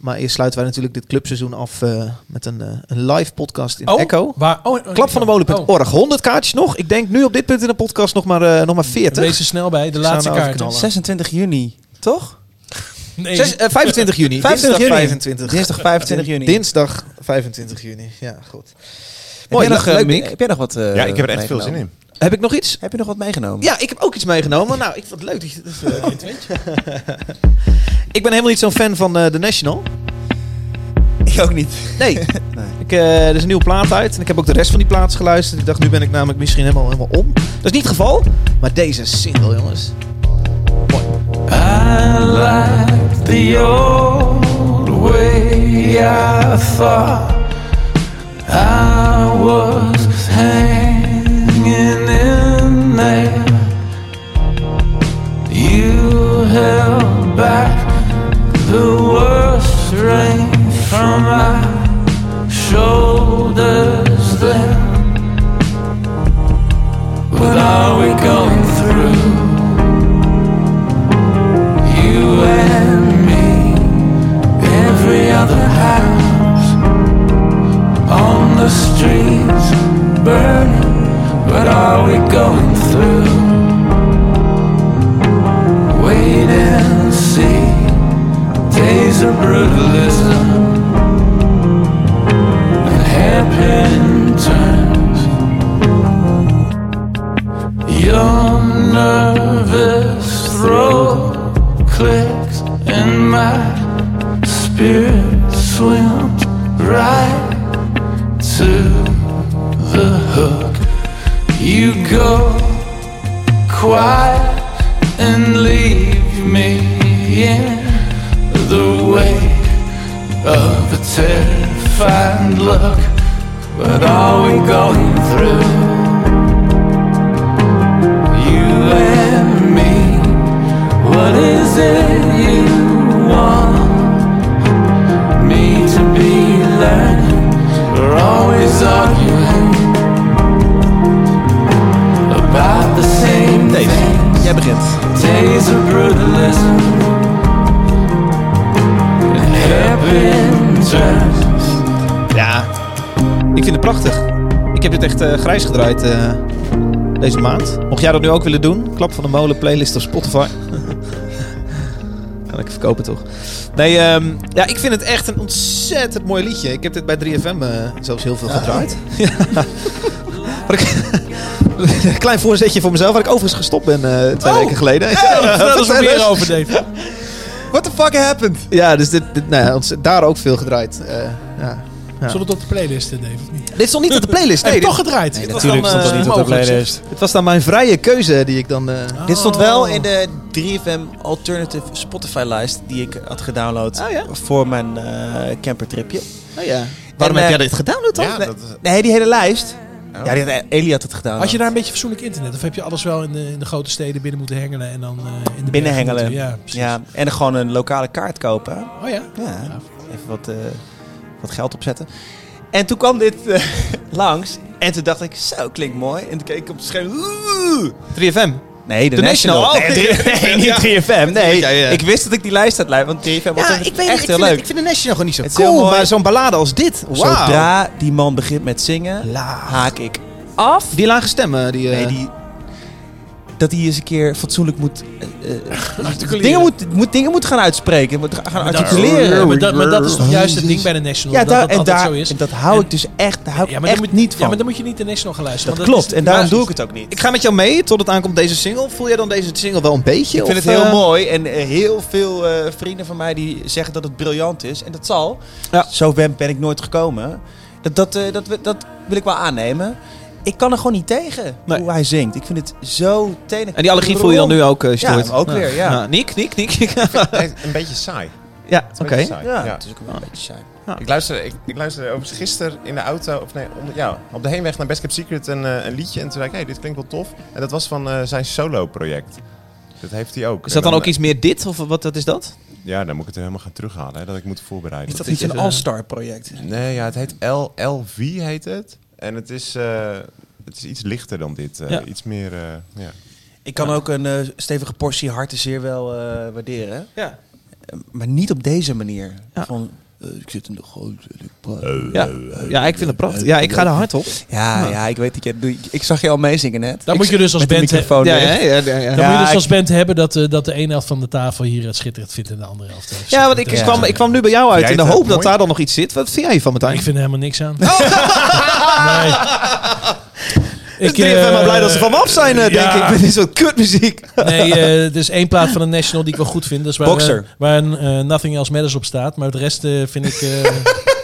Speaker 1: maar eerst sluiten wij natuurlijk dit clubseizoen af eh, met een, eh, een live podcast in Echo.
Speaker 2: Waar, oh,
Speaker 1: Klap van de molen.org. 100 kaartjes nog. Ik denk nu op dit punt in de podcast nog maar, eh, nog maar 40.
Speaker 2: Wees er snel bij, de
Speaker 1: zou
Speaker 2: laatste
Speaker 1: nou
Speaker 2: kaart.
Speaker 1: overknallen.
Speaker 3: 26 juni, toch?
Speaker 2: Nee,
Speaker 1: Zes- eh, 25 juni.
Speaker 3: 25 juni.
Speaker 1: Dinsdag 25.
Speaker 3: Dinsdag 25 juni.
Speaker 1: Dinsdag 25 juni. Ja, goed.
Speaker 3: Heb
Speaker 1: Mooi,
Speaker 3: jij nog,
Speaker 1: leuk,
Speaker 3: eh,
Speaker 1: Mick.
Speaker 3: Heb jij nog wat eh,
Speaker 4: ja, ik heb er echt veel zin
Speaker 3: meegenomen?
Speaker 4: in.
Speaker 1: Heb ik nog iets?
Speaker 3: Heb je nog wat meegenomen?
Speaker 1: Ja, ik heb ook iets meegenomen. Nou, ik vond het leuk dat je dat, eh, ik ben helemaal niet zo'n fan van eh The National.
Speaker 3: Ik ook niet.
Speaker 1: Nee. Ik, eh, er is een nieuwe plaat uit. En ik heb ook de rest van die plaats geluisterd. Ik dacht, nu ben ik namelijk misschien helemaal, helemaal om. Dat is niet het geval. Maar deze single, jongens.
Speaker 6: I like the old way I thought I was hanging in there. You
Speaker 13: back the worst rain from my shoulders then. What are we going through? You and me, every other house, on the streets, burn. What are we going through? Wait and see. Days of brutalism and hairpin turns. Your nervous throat clicks and my spirit swims right to the hook. You go quiet and leave me in the wake of a terrified look. What are we going through? You and me, what is it you want me to be learning? We're always arguing about the same thing.
Speaker 3: Jij begint.
Speaker 13: Days of brutalism and hairpin turns.
Speaker 1: Ja, ik vind het prachtig. Ik heb dit echt eh, grijs gedraaid eh, deze maand. Mocht jij dat nu ook willen doen, klap van de molen playlist op Spotify. Kan ik verkopen toch? Nee, ehm, ja, ik vind het echt een ontzettend mooi liedje. Ik heb dit bij 3FM eh, zelfs heel veel gedraaid. Ja. Waar ik- Een klein voorzetje voor mezelf, waar ik overigens gestopt ben eh, twee weken geleden.
Speaker 2: vertel eens
Speaker 1: Vertel
Speaker 2: meer over, Dave.
Speaker 3: What the fuck happened?
Speaker 1: Ja, dus dit, dit, nou ja, ontz- daar ook veel gedraaid. Eh, ja. Ja.
Speaker 2: Zullen we het op de playlist, eh, Dave? of niet?
Speaker 1: Dit stond niet op de playlist.
Speaker 2: Heb je
Speaker 1: Nee,
Speaker 2: toch
Speaker 1: dit-
Speaker 2: gedraaid?
Speaker 1: Nee,
Speaker 2: Dit was
Speaker 1: natuurlijk
Speaker 2: dan,
Speaker 1: stond
Speaker 2: eh,
Speaker 1: het niet op de
Speaker 2: mogelijk, zeg.
Speaker 3: playlist.
Speaker 1: Het was dan mijn vrije keuze die ik dan... eh,
Speaker 3: Dit
Speaker 4: Oh.
Speaker 3: stond wel in de 3FM Alternative Spotify-lijst die ik had gedownload
Speaker 1: Oh ja?
Speaker 3: voor mijn eh, campertripje.
Speaker 1: nou ja. Waarom
Speaker 3: En,
Speaker 1: heb
Speaker 3: eh,
Speaker 1: jij dit gedownload dan?
Speaker 4: Ja,
Speaker 3: Nee,
Speaker 4: dat is- Oh.
Speaker 3: nee, die hele lijst. Ja, die had, Eli had het gedaan.
Speaker 2: Had je daar een beetje fatsoenlijk internet? Of heb je alles wel in de, in de grote steden binnen moeten hengelen en dan eh, in de bergen
Speaker 3: binnenhengelen.
Speaker 2: moeten- Ja, precies.
Speaker 3: ja, en gewoon een lokale kaart kopen.
Speaker 2: Oh ja.
Speaker 3: Ja, even wat, eh, wat geld opzetten. En toen kwam dit eh, langs. En toen dacht ik, zo klinkt mooi. En toen keek ik op het scherm. oeh.
Speaker 1: 3FM.
Speaker 3: Nee, de,
Speaker 1: The
Speaker 3: National.
Speaker 1: National. Oh,
Speaker 3: Nee, drie- nee, niet 3FM. Nee,
Speaker 1: Ja, ja.
Speaker 3: ik wist dat ik die lijst had lijst. Want 3FM was
Speaker 1: Ja,
Speaker 3: echt
Speaker 1: ik, weet, ik,
Speaker 3: heel
Speaker 1: vind het-
Speaker 3: leuk.
Speaker 1: ik vind de National gewoon niet zo
Speaker 3: Het is heel
Speaker 1: cool,
Speaker 3: mooi.
Speaker 1: maar zo'n ballade als dit, wauw.
Speaker 3: Zodra die man begint met zingen, haak ik
Speaker 1: Af? Die lage stemmen, die... eh,
Speaker 3: Nee, die, dat hij eens een keer fatsoenlijk moet, eh, eh,
Speaker 2: Articuleren.
Speaker 3: dingen moet, moet... Dingen moet gaan uitspreken, moet gaan articuleren.
Speaker 2: Maar dat, maar dat is toch juist het ding bij de National?
Speaker 3: Ja,
Speaker 2: dat,
Speaker 3: daar,
Speaker 2: dat
Speaker 3: en,
Speaker 2: altijd
Speaker 3: daar,
Speaker 2: zo is.
Speaker 3: en dat hou ik dus echt, daar hou ik
Speaker 2: Ja, maar
Speaker 3: echt
Speaker 2: dan moet,
Speaker 3: niet van.
Speaker 2: Ja, maar dan moet je niet de National gaan luisteren.
Speaker 3: dat
Speaker 2: want
Speaker 3: klopt,
Speaker 2: is-
Speaker 3: en daarom
Speaker 2: ja,
Speaker 3: doe ik het ook niet.
Speaker 1: Ik ga met jou mee tot het aankomt deze single. Voel jij dan deze single wel een beetje?
Speaker 3: Ik vind
Speaker 1: of,
Speaker 3: het heel
Speaker 1: eh,
Speaker 3: mooi en eh, heel veel eh, vrienden van mij die zeggen dat het briljant is. En dat zal.
Speaker 1: Ja.
Speaker 3: Zo ben, ben ik nooit gekomen. Dat, dat, eh, dat, we- dat wil ik wel aannemen. Ik kan er gewoon niet tegen
Speaker 1: Nee.
Speaker 3: hoe hij zingt. Ik vind het zo tenen.
Speaker 1: En die allergie voel je dan nu ook, eh
Speaker 3: Ja,
Speaker 1: Stuart? Nou,
Speaker 3: ook weer, ja.
Speaker 1: Niek, Niek, Niek.
Speaker 4: Een beetje saai.
Speaker 1: ja, oké.
Speaker 4: Een beetje saai,
Speaker 3: Ja,
Speaker 4: ja.
Speaker 3: het is ook wel een beetje saai.
Speaker 4: Ik luisterde, ik, ik luisterde overigens gisteren in de auto, of nee, onder- ja, op de heenweg naar Best Kept Secret een, eh, een liedje. En toen dacht ik, hey, dit klinkt wel tof. En dat was van eh, zijn solo-project. Dat heeft hij ook.
Speaker 1: Is dat
Speaker 4: En
Speaker 1: dan ook iets meer dit, of wat dat is dat?
Speaker 4: Ja, dan moet ik het helemaal gaan terughalen, hè, dat ik moet voorbereiden.
Speaker 3: Is dat niet een all-star project?
Speaker 4: Nee, ja, het heet LLV heet het. En het is, eh, het is iets lichter dan dit. eh,
Speaker 1: Ja.
Speaker 4: Iets meer, eh, ja.
Speaker 3: Ik kan ook een eh, stevige portie harten zeer wel eh, waarderen.
Speaker 1: Ja.
Speaker 3: Eh, Maar niet op deze manier.
Speaker 1: Ja.
Speaker 3: Van, eh, ik zit in de grote... Eh.
Speaker 1: Ja, ja ik vind het prachtig. Ja, ik ga er hard op.
Speaker 3: Ja, ja, ik weet dat je... Ik zag je al meezingen net.
Speaker 2: Dan
Speaker 3: Ik
Speaker 2: moet je
Speaker 3: zag-
Speaker 2: dus als
Speaker 3: met de
Speaker 2: band, hè,
Speaker 3: microfoon
Speaker 1: Ja,
Speaker 3: weer.
Speaker 1: ja, ja, Oh, ja, ja.
Speaker 2: Dan moet je
Speaker 3: Ja,
Speaker 2: dus
Speaker 3: ik-
Speaker 2: als band hebben dat, eh, dat de ene helft van de tafel hier het schitterend vindt en de andere helft. eh,
Speaker 1: Ja, want ik,
Speaker 2: schitterend.
Speaker 1: kwam, ik kwam nu bij jou uit
Speaker 4: Jij
Speaker 1: in de
Speaker 4: het, eh,
Speaker 1: hoop dat
Speaker 4: mooi?
Speaker 1: daar dan nog iets zit. Wat vind jij van Martijn?
Speaker 2: Ah, Ik vind er helemaal niks aan. nee.
Speaker 1: Ik ben
Speaker 2: eh,
Speaker 1: maar blij dat ze van me af zijn, eh, denk
Speaker 2: ja.
Speaker 1: ik. Met dit soort kutmuziek.
Speaker 2: Nee, eh, er is één plaat van de National die ik wel goed vind. Dat is waar,
Speaker 3: Boxer.
Speaker 2: eh, waar een, eh, Nothing Else Matters op staat. Maar de rest eh, vind ik...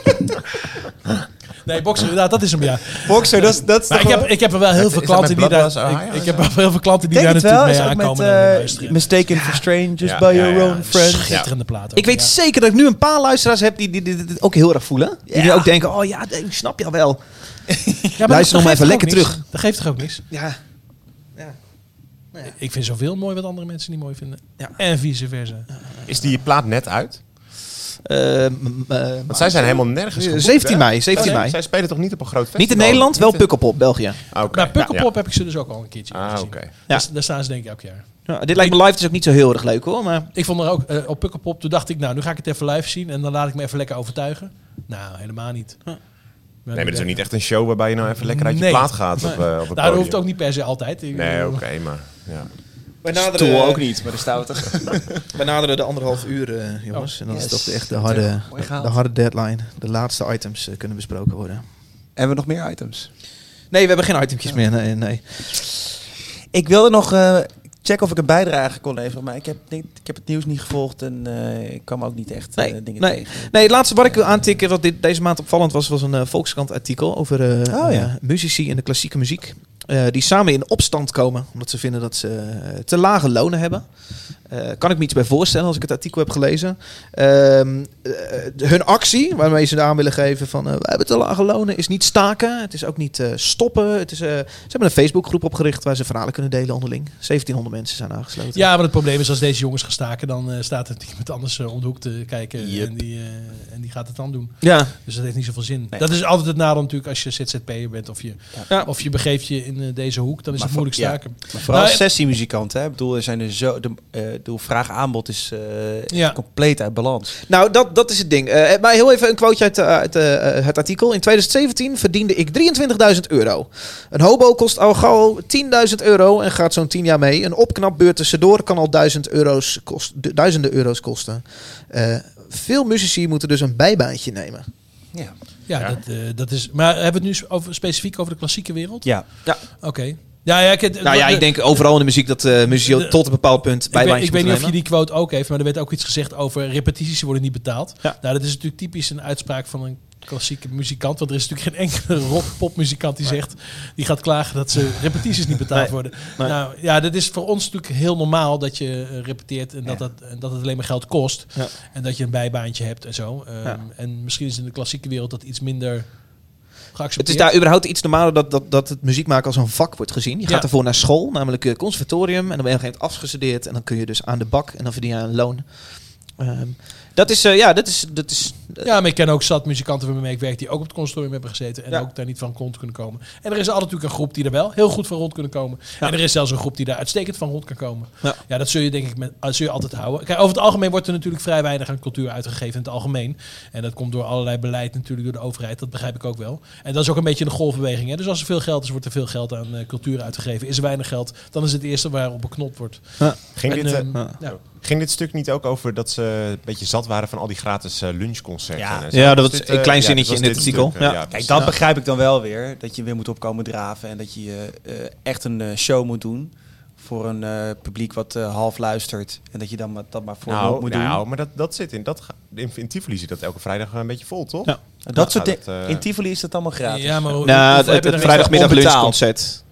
Speaker 2: eh, nee, Boxer, inderdaad, dat is hem, ja.
Speaker 3: Boxer, dat is... Dat is
Speaker 2: Maar ik
Speaker 3: toch
Speaker 2: heb,
Speaker 3: wel-
Speaker 2: ik heb er wel heel
Speaker 4: Is
Speaker 2: veel
Speaker 4: dat
Speaker 2: klanten
Speaker 4: met
Speaker 2: die daar...
Speaker 4: Bloodlust Ohio
Speaker 2: Ik,
Speaker 4: of
Speaker 2: ik
Speaker 4: zo?
Speaker 2: heb wel heel veel klanten die
Speaker 3: Ik
Speaker 2: daar
Speaker 3: denk het
Speaker 2: natuurlijk
Speaker 3: wel.
Speaker 2: mee
Speaker 3: Is ook met
Speaker 2: aankomen. en dan
Speaker 3: eh,
Speaker 2: luisteren.
Speaker 3: Mistaken for Strangers
Speaker 1: Dus
Speaker 4: Ja,
Speaker 3: by
Speaker 1: eh,
Speaker 4: ja,
Speaker 3: Your
Speaker 4: ja.
Speaker 3: Own Friends.
Speaker 2: Schitterende plaat. ook,
Speaker 1: Ik weet
Speaker 2: ja.
Speaker 1: zeker dat ik nu een paar luisteraars heb die dit die, dit ook heel erg voelen. Die nu
Speaker 3: Ja.
Speaker 1: ook denken, oh ja, ik snap je wel.
Speaker 2: Ja, maar dat- dat
Speaker 1: Luister nog maar
Speaker 2: geeft
Speaker 1: even
Speaker 2: toch ook
Speaker 1: lekker
Speaker 2: niks? Dat geeft toch ook niks?
Speaker 1: Ja.
Speaker 2: Ik vind zoveel mooi wat andere mensen niet mooi vinden.
Speaker 1: Ja.
Speaker 2: En vice versa.
Speaker 4: Is die plaat net uit?
Speaker 1: Eh,
Speaker 4: Want zij zijn helemaal nergens geboekt,
Speaker 1: 17
Speaker 4: hè?
Speaker 1: mei, 17
Speaker 4: Oh, nee,
Speaker 1: mei.
Speaker 4: Zij spelen toch niet op een groot festival?
Speaker 1: Niet in Nederland, wel Pukkelpop, België.
Speaker 4: Ah, oké.
Speaker 2: Maar Pukkelpop
Speaker 4: Ja.
Speaker 2: heb ik ze dus ook al een keertje
Speaker 4: Ah,
Speaker 2: gezien.
Speaker 4: oké.
Speaker 2: Daar- Daar staan ze denk ik elk jaar.
Speaker 1: Ja, dit lijkt me live dus ook niet zo heel erg leuk hoor. Maar
Speaker 2: Ik vond er ook eh, op Pukkelpop, toen dacht ik, nou, nu ga ik het even live zien en dan laat ik me even lekker overtuigen. Nou, helemaal niet.
Speaker 4: Nee, maar het is ook niet echt een show waarbij je nou even lekker uit je
Speaker 2: Nee.
Speaker 4: plaat gaat. Op, eh, op het
Speaker 2: Nou, dat
Speaker 4: podium.
Speaker 2: hoeft ook niet per se altijd. Ik
Speaker 4: Nee,
Speaker 2: bedoel-
Speaker 4: oké, maar... Ja.
Speaker 1: Wij
Speaker 3: Stoel ook niet, maar de stouter.
Speaker 1: Wij naderen de anderhalf uur, eh, jongens. en dan
Speaker 3: yes.
Speaker 1: is toch de- echt de harde,
Speaker 3: Mooi
Speaker 1: de,
Speaker 3: gehaald.
Speaker 1: de harde deadline. De laatste items eh, kunnen besproken worden.
Speaker 3: Hebben we nog meer items?
Speaker 1: Nee, we hebben geen itempjes meer. Nee, nee.
Speaker 3: Ik wilde nog eh, checken of ik een bijdrage kon leveren, maar ik heb, niet- ik heb het nieuws niet gevolgd en eh, ik kwam ook niet echt eh, dingen
Speaker 1: nee.
Speaker 3: tegen.
Speaker 1: Nee, het laatste wat ik wil aantikken, wat dit, deze maand opvallend was, was een eh, Volkskrant-artikel over eh,
Speaker 3: Oh, ja.
Speaker 1: eh, muzici in de klassieke muziek. eh, die samen in opstand komen, omdat ze vinden dat ze eh, te lage lonen hebben. Eh, kan ik me iets bij voorstellen als ik het artikel heb gelezen. Ehm, eh, hun actie, waarmee ze aan willen geven van... eh, we hebben te lage lonen, is niet staken. Het is ook niet eh, stoppen. Het is, eh, ze hebben een Facebookgroep opgericht waar ze verhalen kunnen delen onderling. 1700 mensen zijn aangesloten.
Speaker 2: Ja, maar het probleem is als deze jongens gaan staken, dan eh, staat er iemand anders eh, om de hoek te kijken en, die, eh, en die gaat het dan doen.
Speaker 1: Ja.
Speaker 2: Dus dat heeft niet zoveel zin.
Speaker 3: Nee.
Speaker 2: Dat is altijd het nadeel natuurlijk als je ZZP'er bent of je,
Speaker 1: Ja.
Speaker 2: of je begeeft je in eh, deze hoek, dan is het
Speaker 3: voor-
Speaker 2: moeilijk
Speaker 3: ja.
Speaker 2: staken.
Speaker 3: Maar vooral
Speaker 2: Nou,
Speaker 3: sessiemuzikanten, hè? Ik bedoel, er zijn er zo, de, eh, de vraag-aanbod is eh,
Speaker 2: Ja.
Speaker 3: compleet uit balans.
Speaker 1: Nou, dat, dat is het ding. Eh, maar heel even een quoteje uit, eh, uit eh, het artikel. In 2017 verdiende ik 23.000 euro. Een hobo kost al gauw 10.000 euro en gaat zo'n 10 jaar mee. Een opknapbeurt tussendoor kan al 1000 euro's kost, du- duizenden euro's kosten. Eh, veel muzici moeten dus een bijbaantje nemen.
Speaker 3: Ja.
Speaker 2: Ja, Dat, eh, dat is. Maar hebben we het nu over, specifiek over de klassieke wereld?
Speaker 3: Ja.
Speaker 1: Ja.
Speaker 2: Oké. Ja, ja, ik, het-
Speaker 1: Nou ja,
Speaker 2: de-
Speaker 1: ik denk overal in de muziek dat eh muzici
Speaker 2: de-
Speaker 1: tot een bepaald punt
Speaker 2: Ik weet,
Speaker 1: bijbaantjes
Speaker 2: ik weet niet of
Speaker 1: moeten
Speaker 2: je die quote ook heeft, maar er werd ook iets gezegd over repetities worden niet betaald.
Speaker 1: Ja.
Speaker 2: Nou, dat is natuurlijk typisch een uitspraak van een klassieke muzikant. Want er is natuurlijk geen enkele rock-popmuzikant die zegt, die gaat klagen dat ze repetities niet betaald
Speaker 1: Nee.
Speaker 2: worden.
Speaker 1: Nee.
Speaker 2: Nou ja, dat is voor ons natuurlijk heel normaal dat je eh, repeteert en dat, dat, en dat het alleen maar geld kost.
Speaker 1: Ja.
Speaker 2: En dat je een bijbaantje hebt en zo. Ehm,
Speaker 1: Ja.
Speaker 2: En misschien is in de klassieke wereld dat iets minder
Speaker 1: Het
Speaker 2: geaccepteerd.
Speaker 1: is daar überhaupt iets normaler dat, dat, dat het muziek maken als een vak wordt gezien. Je gaat
Speaker 2: Ja.
Speaker 1: ervoor naar school, namelijk eh, conservatorium. En dan ben je op een gegeven moment afgestudeerd. En dan kun je dus aan de bak en dan verdien je een loon. Ehm, dat is, eh, ja, dat is, dat is
Speaker 2: Ja, maar ik ken ook zat muzikanten waarmee ik werk die ook op het consortium hebben gezeten en
Speaker 1: Ja.
Speaker 2: ook daar niet van rond kunnen komen. En er is altijd natuurlijk een groep die er wel heel goed van rond kunnen komen. En er is zelfs een groep die daar uitstekend van rond kan komen.
Speaker 1: Ja.
Speaker 2: Ja, dat zul je denk ik met, dat zul je altijd houden. Kijk, over het algemeen wordt er natuurlijk vrij weinig aan cultuur uitgegeven in het algemeen. En dat komt door allerlei beleid natuurlijk door de overheid, dat begrijp ik ook wel. En dat is ook een beetje de golfbeweging. Hè? Dus als er veel geld is, wordt er veel geld aan eh, cultuur uitgegeven. Is er weinig geld, dan is het eerste waarop beknopt wordt.
Speaker 4: Ging,
Speaker 2: En,
Speaker 4: dit, eh,
Speaker 2: ehm, nou,
Speaker 4: ging dit stuk niet ook over dat ze een beetje zat waren van al die gratis eh, lunchconcerten?
Speaker 3: Ja.
Speaker 4: en zo?
Speaker 1: Ja, dat
Speaker 4: Was
Speaker 1: was
Speaker 4: dit,
Speaker 1: een
Speaker 4: eh,
Speaker 1: klein
Speaker 4: ja,
Speaker 1: zinnetje
Speaker 4: was
Speaker 1: in dit
Speaker 4: dit
Speaker 1: artikel.
Speaker 4: stuk, eh,
Speaker 1: Ja.
Speaker 3: Kijk,
Speaker 4: precies.
Speaker 3: dat
Speaker 4: Ja.
Speaker 3: begrijp ik dan wel weer. Dat je weer moet opkomen draven en dat je eh, eh, echt een eh, show moet doen voor een eh, publiek wat eh, half luistert. En dat je dan maar- dat maar voor
Speaker 4: nou,
Speaker 3: moet
Speaker 4: nou,
Speaker 3: doen.
Speaker 4: maar dat, dat zit in. Dat, ga- in, in Tivoli zit dat elke vrijdag een beetje vol, toch?
Speaker 1: Ja.
Speaker 3: Dat,
Speaker 4: dat
Speaker 3: soort
Speaker 4: gaat
Speaker 3: dingen.
Speaker 4: het, eh,
Speaker 3: In Tivoli is dat allemaal gratis.
Speaker 2: ja, maar hoe- hoeveel
Speaker 1: Nou,
Speaker 2: heb
Speaker 1: het,
Speaker 2: je
Speaker 1: het,
Speaker 2: er
Speaker 1: het
Speaker 2: extra
Speaker 1: vrijdagmiddag
Speaker 2: onbetaald?
Speaker 1: lunchconcert.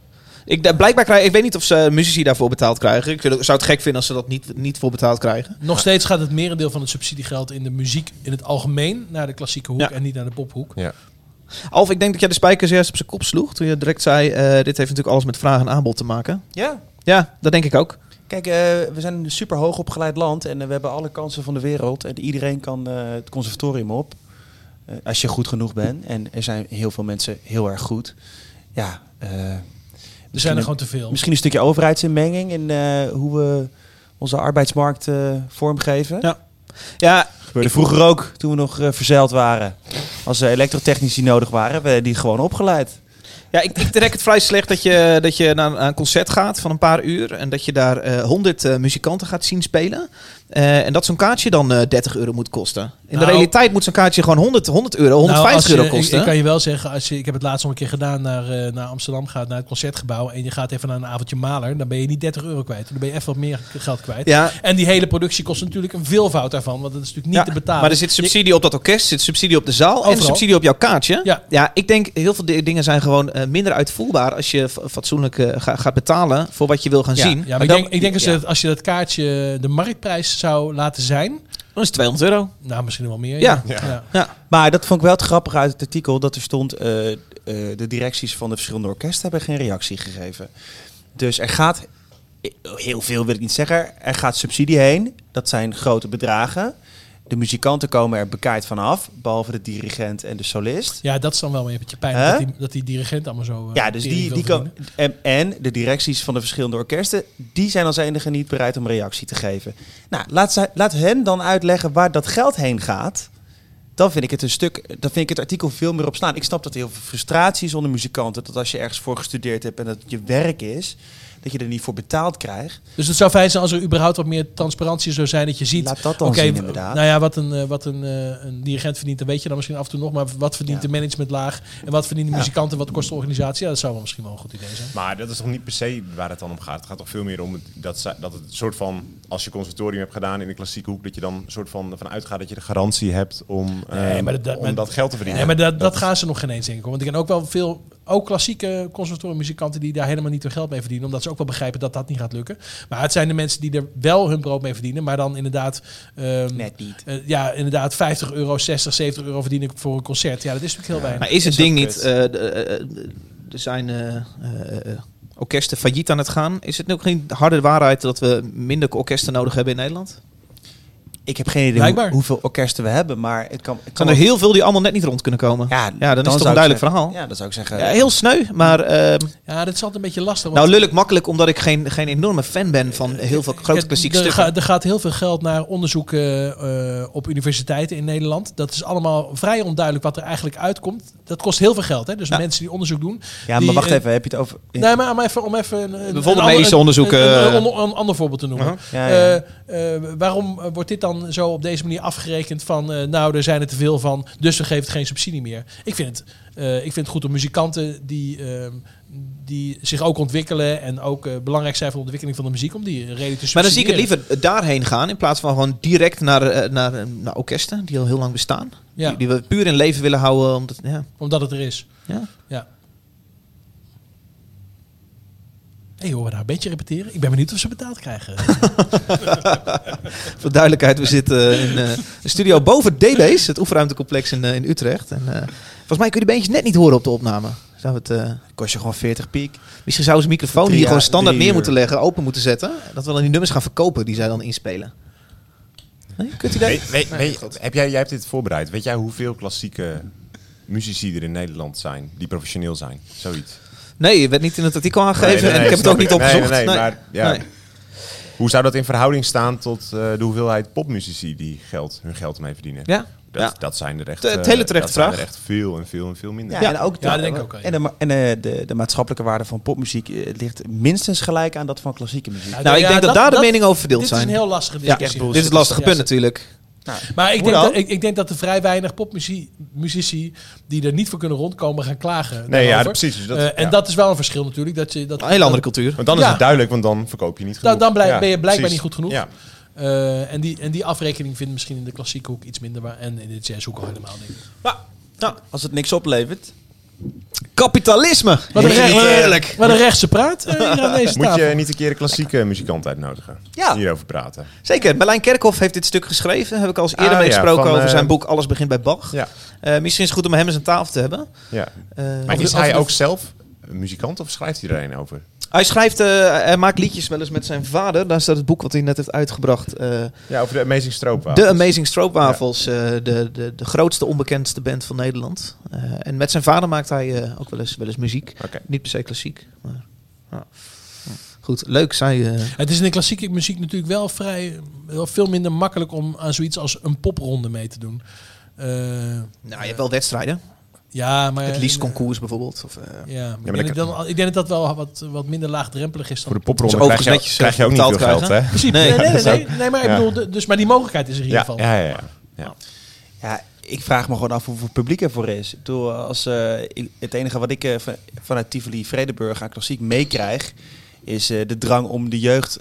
Speaker 1: Ik, da- blijkbaar krijg, ik weet niet of ze muzici daarvoor betaald krijgen. Ik zou het gek vinden als ze dat niet, niet voor betaald krijgen.
Speaker 2: Nog steeds gaat het merendeel van het subsidiegeld in de muziek in het algemeen naar de klassieke hoek
Speaker 1: Ja.
Speaker 2: en niet naar de pophoek.
Speaker 4: Ja.
Speaker 1: Alf, ik denk dat jij de spijker juist op zijn kop sloeg. Toen je direct zei, eh, dit heeft natuurlijk alles met vraag en aanbod te maken.
Speaker 3: Ja.
Speaker 1: Ja, dat denk ik ook.
Speaker 3: Kijk, eh, we zijn een super hoog opgeleid land en eh, we hebben alle kansen van de wereld. En iedereen kan eh, het conservatorium op. eh, als je goed genoeg bent. En er zijn heel veel mensen heel erg goed. Ja, eh,
Speaker 2: Er
Speaker 3: misschien
Speaker 2: zijn
Speaker 3: een-
Speaker 2: er gewoon te veel.
Speaker 3: Oh. Misschien een stukje overheidsinmenging in eh, hoe we onze arbeidsmarkt eh, vormgeven.
Speaker 1: Ja. Ja,
Speaker 3: Gebeurde vroeger ook, toen we nog eh, verzeild waren. Als er elektrotechnici nodig waren, werden die gewoon opgeleid.
Speaker 1: Ja, ik, ik trek het vrij slecht dat je, dat je naar een- naar een concert gaat van een paar uur. En dat je daar eh, honderd muzikanten gaat zien spelen. Eh, en dat zo'n kaartje dan eh 30 euro moet kosten. In
Speaker 2: Nou.
Speaker 1: de realiteit moet zo'n kaartje gewoon 100, 100 euro,
Speaker 2: Nou,
Speaker 1: 150
Speaker 2: als je-
Speaker 1: euro kosten.
Speaker 2: Ik, ik kan je wel zeggen, als je, ik heb het laatst nog een keer gedaan naar, eh, naar Amsterdam gaat, naar het concertgebouw. En je gaat even naar een avondje maler. Dan ben je niet 30 euro kwijt. Dan ben je even wat meer geld kwijt.
Speaker 1: Ja.
Speaker 2: En die hele productie kost natuurlijk een veelvoud daarvan. Want dat is natuurlijk niet te betalen.
Speaker 1: Maar er zit subsidie op dat orkest, er zit subsidie op de zaal en
Speaker 2: Overal.
Speaker 1: subsidie op jouw kaartje.
Speaker 2: Ja.
Speaker 1: ik denk heel veel di- dingen zijn gewoon eh, minder uitvoerbaar als je fa- fatsoenlijk eh, ga- gaat betalen voor wat je wil gaan
Speaker 2: ja,
Speaker 1: zien.
Speaker 2: ja, maar
Speaker 1: dan,
Speaker 2: ik denk, ik denk als, je
Speaker 1: ja,
Speaker 2: dat, als je dat kaartje de marktprijs zou laten zijn.
Speaker 1: dan is het 200 euro.
Speaker 2: Nou, misschien wel meer.
Speaker 1: Ja.
Speaker 4: Ja.
Speaker 3: Maar dat vond ik wel het grappige uit het artikel dat er stond: eh, eh, de directies van de verschillende orkesten hebben geen reactie eh, gegeven. Dus er gaat heel veel, wil ik niet zeggen. Er gaat subsidie heen. Dat Dat zijn grote bedragen. De muzikanten komen er bekaaid van af, behalve de dirigent en de solist.
Speaker 2: Ja, dat is dan wel een beetje pijn.
Speaker 3: Hè?
Speaker 2: Dat die, dat die dirigent allemaal zo. eh,
Speaker 3: Ja, dus
Speaker 2: tering
Speaker 3: die,
Speaker 2: wil
Speaker 3: die
Speaker 2: verdienen.
Speaker 3: kan, en, en de directies van de verschillende orkesten, die zijn als enige niet bereid om reactie te geven. Nou, laat, zij, laat hen dan uitleggen waar dat geld heen gaat. Dan vind ik het een stuk, dan vind ik het artikel veel meer op slaan. Ik snap dat er heel veel frustratie is onder muzikanten. Dat als je ergens voor gestudeerd hebt en dat het je werk is, dat je er niet voor betaald krijgt.
Speaker 2: Dus het zou fijn zijn als er überhaupt wat meer transparantie zou zijn. Dat je ziet.
Speaker 3: Laat dat dan
Speaker 2: oké,
Speaker 3: zien,
Speaker 2: w-
Speaker 3: inderdaad.
Speaker 2: Nou ja, wat een, eh, wat een, eh, een dirigent verdient, dat weet je dan misschien af en toe nog. Maar wat verdient de managementlaag? En wat verdienen de
Speaker 4: Ja.
Speaker 2: muzikanten? Wat kost de organisatie? Ja, dat zou wel misschien wel een goed idee zijn.
Speaker 4: Maar dat is toch niet per se waar het dan om gaat. Het gaat toch veel meer om het- dat, ze- dat het een soort van, als je conservatorium hebt gedaan in de klassieke hoek, dat je dan een soort van ervan uitgaat dat je de garantie hebt om, eh, om
Speaker 2: maar-
Speaker 4: dat geld te verdienen.
Speaker 2: Nee, maar dat, dat,
Speaker 4: Dat-
Speaker 2: gaan ze nog geen eens denken. hoor. Want ik ken ook wel veel, ook klassieke conservatoriummuzikanten die daar helemaal niet hun geld mee verdienen. Omdat ze ook wel begrijpen dat dat niet gaat lukken. Maar het zijn de mensen die er wel hun brood mee verdienen. Maar dan inderdaad... Net
Speaker 3: niet.
Speaker 2: ja, inderdaad 50 euro, 60, 70 euro verdienen voor een concert. Ja, dat is natuurlijk heel weinig.
Speaker 1: Maar is het ding niet... eh, de- eh, eh, er zijn eh, eh, eh, orkesten failliet aan het gaan. Is het ook geen harde waarheid dat we minder orkesten nodig hebben in Nederland?
Speaker 3: Ik heb geen idee hoe,
Speaker 1: Blijkbaar.
Speaker 3: hoeveel orkesten we hebben, maar het kan. Het kan
Speaker 1: Zijn er
Speaker 3: ook-
Speaker 1: heel veel die allemaal net niet rond kunnen komen? Ja, dan, is het toch
Speaker 3: zou
Speaker 1: een
Speaker 3: ik
Speaker 1: duidelijk
Speaker 3: zeggen-
Speaker 1: verhaal.
Speaker 3: Ja, dan zou ik zeggen.
Speaker 1: Ja, heel sneu, maar... ehm,
Speaker 2: Ja, dat is altijd een beetje lastig.
Speaker 1: nou, lullig makkelijk, omdat ik geen, geen enorme fan ben van heel veel grote klassieke
Speaker 2: er,
Speaker 1: stukken.
Speaker 2: ga- er gaat heel veel geld naar onderzoek eh, eh, op universiteiten in Nederland. Dat is allemaal vrij onduidelijk wat er eigenlijk uitkomt. Dat kost heel veel geld. Hè? Dus mensen die onderzoek doen.
Speaker 3: Ja,
Speaker 2: die,
Speaker 3: maar wacht
Speaker 2: eh,
Speaker 3: even, heb je het over.
Speaker 2: Nee, maar om even, om even een, een-
Speaker 1: Bijvoorbeeld
Speaker 2: een
Speaker 1: medische
Speaker 2: ander- een-
Speaker 1: onderzoeken.
Speaker 2: Een,
Speaker 1: eh,
Speaker 2: een, een- een ander voorbeeld te noemen.
Speaker 3: Ja, ja.
Speaker 2: Eh, eh, waarom eh, wordt dit dan zo op deze manier afgerekend van... eh, nou, er zijn er te veel van, dus we geven het geen subsidie meer. Ik vind het, eh, ik vind het goed om muzikanten die, ehm, die zich ook ontwikkelen... en ook eh, belangrijk zijn voor de ontwikkeling van de muziek... om die reden te subsidiëren.
Speaker 1: Maar dan zie ik het liever daarheen gaan in plaats van gewoon direct naar, eh, naar, eh, naar orkesten die al heel lang bestaan.
Speaker 2: Ja.
Speaker 1: Die, die we puur in leven willen houden. Omdat, ja.
Speaker 2: Omdat het er is.
Speaker 1: Ja.
Speaker 2: ja. hey, horen we daar een beetje repeteren? Ik ben benieuwd of ze betaald krijgen.
Speaker 1: Voor duidelijkheid, we zitten in eh, een studio boven DB's, het oefenruimtecomplex in, eh, in Utrecht. En, eh, volgens mij kun je de beentjes net niet horen op de opname. Zou het, eh,
Speaker 3: Kost je gewoon 40 piek.
Speaker 1: misschien zouden ze microfoon
Speaker 3: Drie
Speaker 1: hier gewoon
Speaker 3: jaar-
Speaker 1: standaard
Speaker 3: drie
Speaker 1: neer
Speaker 3: uur.
Speaker 1: moeten leggen, open moeten zetten. Dat we dan die nummers gaan verkopen die zij dan inspelen. Nee, kunt u dat?
Speaker 4: Weet- weet- weet- heb jij, jij hebt dit voorbereid. Weet jij hoeveel klassieke muzici er in Nederland zijn die professioneel zijn? Zoiets.
Speaker 1: Nee, je werd niet in het artikel aangegeven
Speaker 4: Nee, nee,
Speaker 1: en
Speaker 4: nee,
Speaker 1: ik heb het
Speaker 4: snap
Speaker 1: ook niet
Speaker 4: Nee,
Speaker 1: opgezocht.
Speaker 4: Nee, nee,
Speaker 1: Nee.
Speaker 4: maar ja.
Speaker 1: Nee.
Speaker 4: Hoe zou dat in verhouding staan tot eh, de hoeveelheid popmuzici die geld, hun geld mee verdienen?
Speaker 1: Ja,
Speaker 4: Dat,
Speaker 1: ja.
Speaker 4: dat zijn er echt,
Speaker 1: Het- het
Speaker 4: eh,
Speaker 1: hele terechte
Speaker 4: dat zijn
Speaker 1: vraag.
Speaker 4: er echt veel en veel en veel minder.
Speaker 3: Ja, en ook, de, en, de, ma- en eh, de, de maatschappelijke waarde van popmuziek eh, ligt minstens gelijk aan dat van klassieke muziek.
Speaker 2: Nou, ik Ja, denk dat dat- daar de dat- meningen over verdeeld dit is zijn. een heel lastige
Speaker 1: Ja,
Speaker 2: discussie.
Speaker 1: dit is het lastige punt natuurlijk.
Speaker 3: Nou,
Speaker 2: Maar ik
Speaker 1: Hoe
Speaker 2: denk,
Speaker 1: dan?
Speaker 2: dat, ik, ik denk dat er vrij weinig popmuzici die er niet voor kunnen rondkomen gaan klagen.
Speaker 4: Nee, ja,
Speaker 2: daarover.
Speaker 4: precies. Dus dat-
Speaker 2: Eh, en
Speaker 4: ja.
Speaker 2: dat is wel een verschil natuurlijk. Dat je, dat, dat-
Speaker 4: Want dan is
Speaker 2: Ja.
Speaker 4: het duidelijk, want dan verkoop je niet genoeg.
Speaker 2: Dan, dan blij-
Speaker 4: Ja,
Speaker 2: ben je blijkbaar
Speaker 4: precies.
Speaker 2: niet goed genoeg.
Speaker 4: Ja.
Speaker 2: Eh, en, die, en die afrekening vindt misschien in de klassieke hoek iets minder. waar- en in de jazzhoek al helemaal niet.
Speaker 3: Nou, Als het niks oplevert.
Speaker 1: Kapitalisme!
Speaker 2: Wat een, recht,
Speaker 1: Heerlijk.
Speaker 2: wat een rechtse praat eh, hier aan deze
Speaker 4: Moet
Speaker 2: tafel.
Speaker 4: je niet een keer een klassieke muzikant uitnodigen?
Speaker 1: Ja.
Speaker 4: Hierover praten.
Speaker 1: Zeker, Merlijn Kerkhoff heeft dit stuk geschreven. Daar heb ik al eens eerder
Speaker 4: Ah,
Speaker 1: mee
Speaker 4: ja,
Speaker 1: gesproken
Speaker 4: van,
Speaker 1: over
Speaker 4: eh,
Speaker 1: zijn boek Alles begint bij Bach. Eh, misschien is het goed om hem eens aan tafel te hebben.
Speaker 4: Ja.
Speaker 1: Eh,
Speaker 4: maar
Speaker 1: over-
Speaker 4: is
Speaker 1: over
Speaker 4: hij
Speaker 1: de-
Speaker 4: ook zelf een muzikant of schrijft hij er een over?
Speaker 1: Hij schrijft, eh, hij maakt liedjes wel eens met zijn vader. Daar staat het boek wat hij net heeft uitgebracht. eh,
Speaker 4: Ja, over de Amazing Stroopwafels.
Speaker 1: De Amazing Stroopwafels, eh, de, de, de grootste onbekendste band van Nederland. Eh, en met zijn vader maakt hij eh, ook wel eens, wel eens muziek. Niet per se klassiek. Maar, ja. Goed, leuk. Zij, eh,
Speaker 2: Het is in de klassieke muziek natuurlijk wel vrij wel veel minder makkelijk om aan zoiets als een popronde mee te doen. Eh,
Speaker 1: nou, je hebt wel wedstrijden.
Speaker 2: Ja, maar
Speaker 1: het liefst concours bijvoorbeeld. Of, eh,
Speaker 2: Ja, maar ik, denk dat dan, ik denk dat dat wel wat, wat minder laagdrempelig is dan...
Speaker 4: Voor de popronde Dus overigens krijg je- netjes, krijg je ook niet betaald veel geld, krijgen. hè?
Speaker 2: Precies.
Speaker 4: Nee.
Speaker 2: Nee, nee, nee,
Speaker 4: Dat is
Speaker 2: nee,
Speaker 4: ook-
Speaker 2: nee, maar ik
Speaker 4: Ja.
Speaker 2: bedoel, de- dus, maar die mogelijkheid is er in ieder geval.
Speaker 4: ja, ja. ja.
Speaker 3: Ja, ik vraag me gewoon af hoeveel publiek ervoor is. Ik bedoel, als, eh, ik- het enige wat ik eh, van- vanuit Tivoli Vredenburg aan klassiek meekrijg, is eh, de drang om de jeugd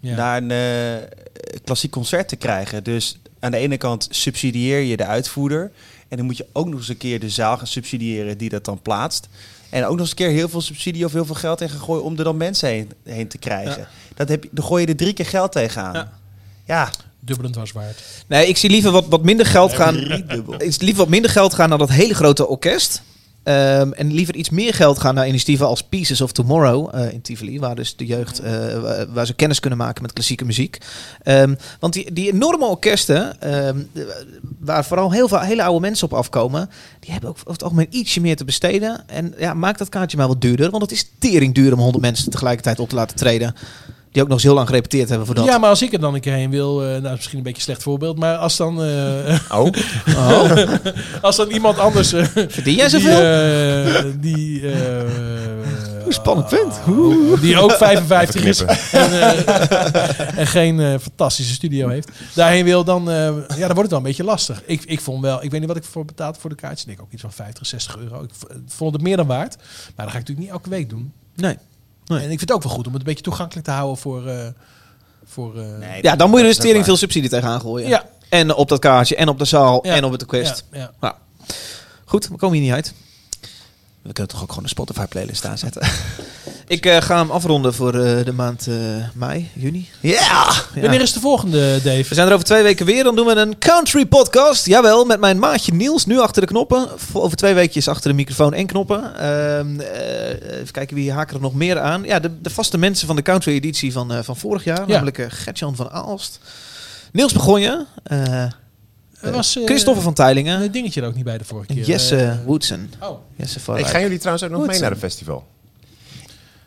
Speaker 2: Ja.
Speaker 3: naar een eh, klassiek concert te krijgen. Dus aan de ene kant subsidieer je de uitvoerder. En dan moet je ook nog eens een keer de zaal gaan subsidiëren die dat dan plaatst. En ook nog eens een keer heel veel subsidie of heel veel geld tegen gooien om er dan mensen heen, heen te krijgen.
Speaker 1: Ja.
Speaker 3: Dat heb, je- dan gooi je er drie keer geld tegenaan. Ja. ja.
Speaker 2: Dubbelend was waard.
Speaker 1: Nee, ik zie liever wat, wat minder geld gaan.
Speaker 3: driedubbel.
Speaker 1: Ik zie liever wat minder geld gaan naar dat hele grote orkest. Ehm, en liever iets meer geld gaan naar initiatieven als Pieces of Tomorrow eh, in Tivoli, waar dus de jeugd eh, wa- waar ze kennis kunnen maken met klassieke muziek. Ehm, want die, die enorme orkesten, ehm, de- waar vooral heel veel hele oude mensen op afkomen, die hebben ook over het algemeen ietsje meer te besteden. En ja, maak dat kaartje maar wat duurder, want het is tering duur om 100 mensen tegelijkertijd op te laten treden, die ook nog eens heel lang gerepeteerd hebben voor dat.
Speaker 2: Ja, maar als ik er dan een keer heen wil, eh, nou, dat is misschien een beetje een slecht voorbeeld, maar als dan. eh,
Speaker 4: Oh.
Speaker 1: Oh.
Speaker 2: als dan iemand anders. eh,
Speaker 1: Verdien jij
Speaker 2: die,
Speaker 1: zoveel?
Speaker 2: eh, die. eh,
Speaker 1: Spannend punt.
Speaker 2: die ook 55 is
Speaker 4: Even
Speaker 2: en, eh, en geen eh, fantastische studio heeft, daarheen wil, dan, eh, ja, dan wordt het wel een beetje lastig. Ik, ik vond wel, ik weet niet wat ik voor betaald voor de kaartjes. Ik denk ook iets van 50, 60 euro. Ik v- eh, vond het meer dan waard. Maar dat ga ik natuurlijk niet elke week doen.
Speaker 1: Nee.
Speaker 2: En ik vind het ook wel goed om het een beetje toegankelijk te houden voor... eh, voor eh,
Speaker 1: Ja, dan moet
Speaker 2: dat is
Speaker 1: je er dus
Speaker 2: ook
Speaker 1: tering
Speaker 2: waar.
Speaker 1: veel subsidie tegenaan gooien.
Speaker 2: Ja.
Speaker 1: En op dat kaartje, en op de zaal,
Speaker 2: Ja.
Speaker 1: en op het orkest.
Speaker 2: Ja, ja.
Speaker 1: Nou, goed, we komen hier niet uit. We kunnen toch ook gewoon een Spotify playlist aanzetten. Ik eh, ga hem afronden voor eh, de maand eh, mei, juni. Ja!
Speaker 2: Wanneer is de volgende, Dave?
Speaker 1: We zijn er over twee weken weer. Dan doen we een country podcast. Jawel, met mijn maatje Niels. Nu achter de knoppen. Voor- Over twee weekjes achter de microfoon en knoppen. Ehm, eh, even kijken, wie haken er nog meer aan? Ja, de, de vaste mensen van de country editie van, eh, van vorig jaar.
Speaker 2: Ja.
Speaker 1: Namelijk eh, Gertjan van Aalst. Niels Begonje. eh
Speaker 2: Er was, eh,
Speaker 1: Christopher van Teylingen.
Speaker 2: Een dingetje er ook niet bij de vorige
Speaker 1: en
Speaker 2: keer.
Speaker 1: Jesse
Speaker 2: Eh,
Speaker 1: Woodson.
Speaker 2: oh.
Speaker 1: Jesse
Speaker 4: Ik
Speaker 1: Voorwijk.
Speaker 4: ga jullie trouwens ook nog
Speaker 1: Goed
Speaker 4: mee
Speaker 1: zo.
Speaker 4: naar een festival.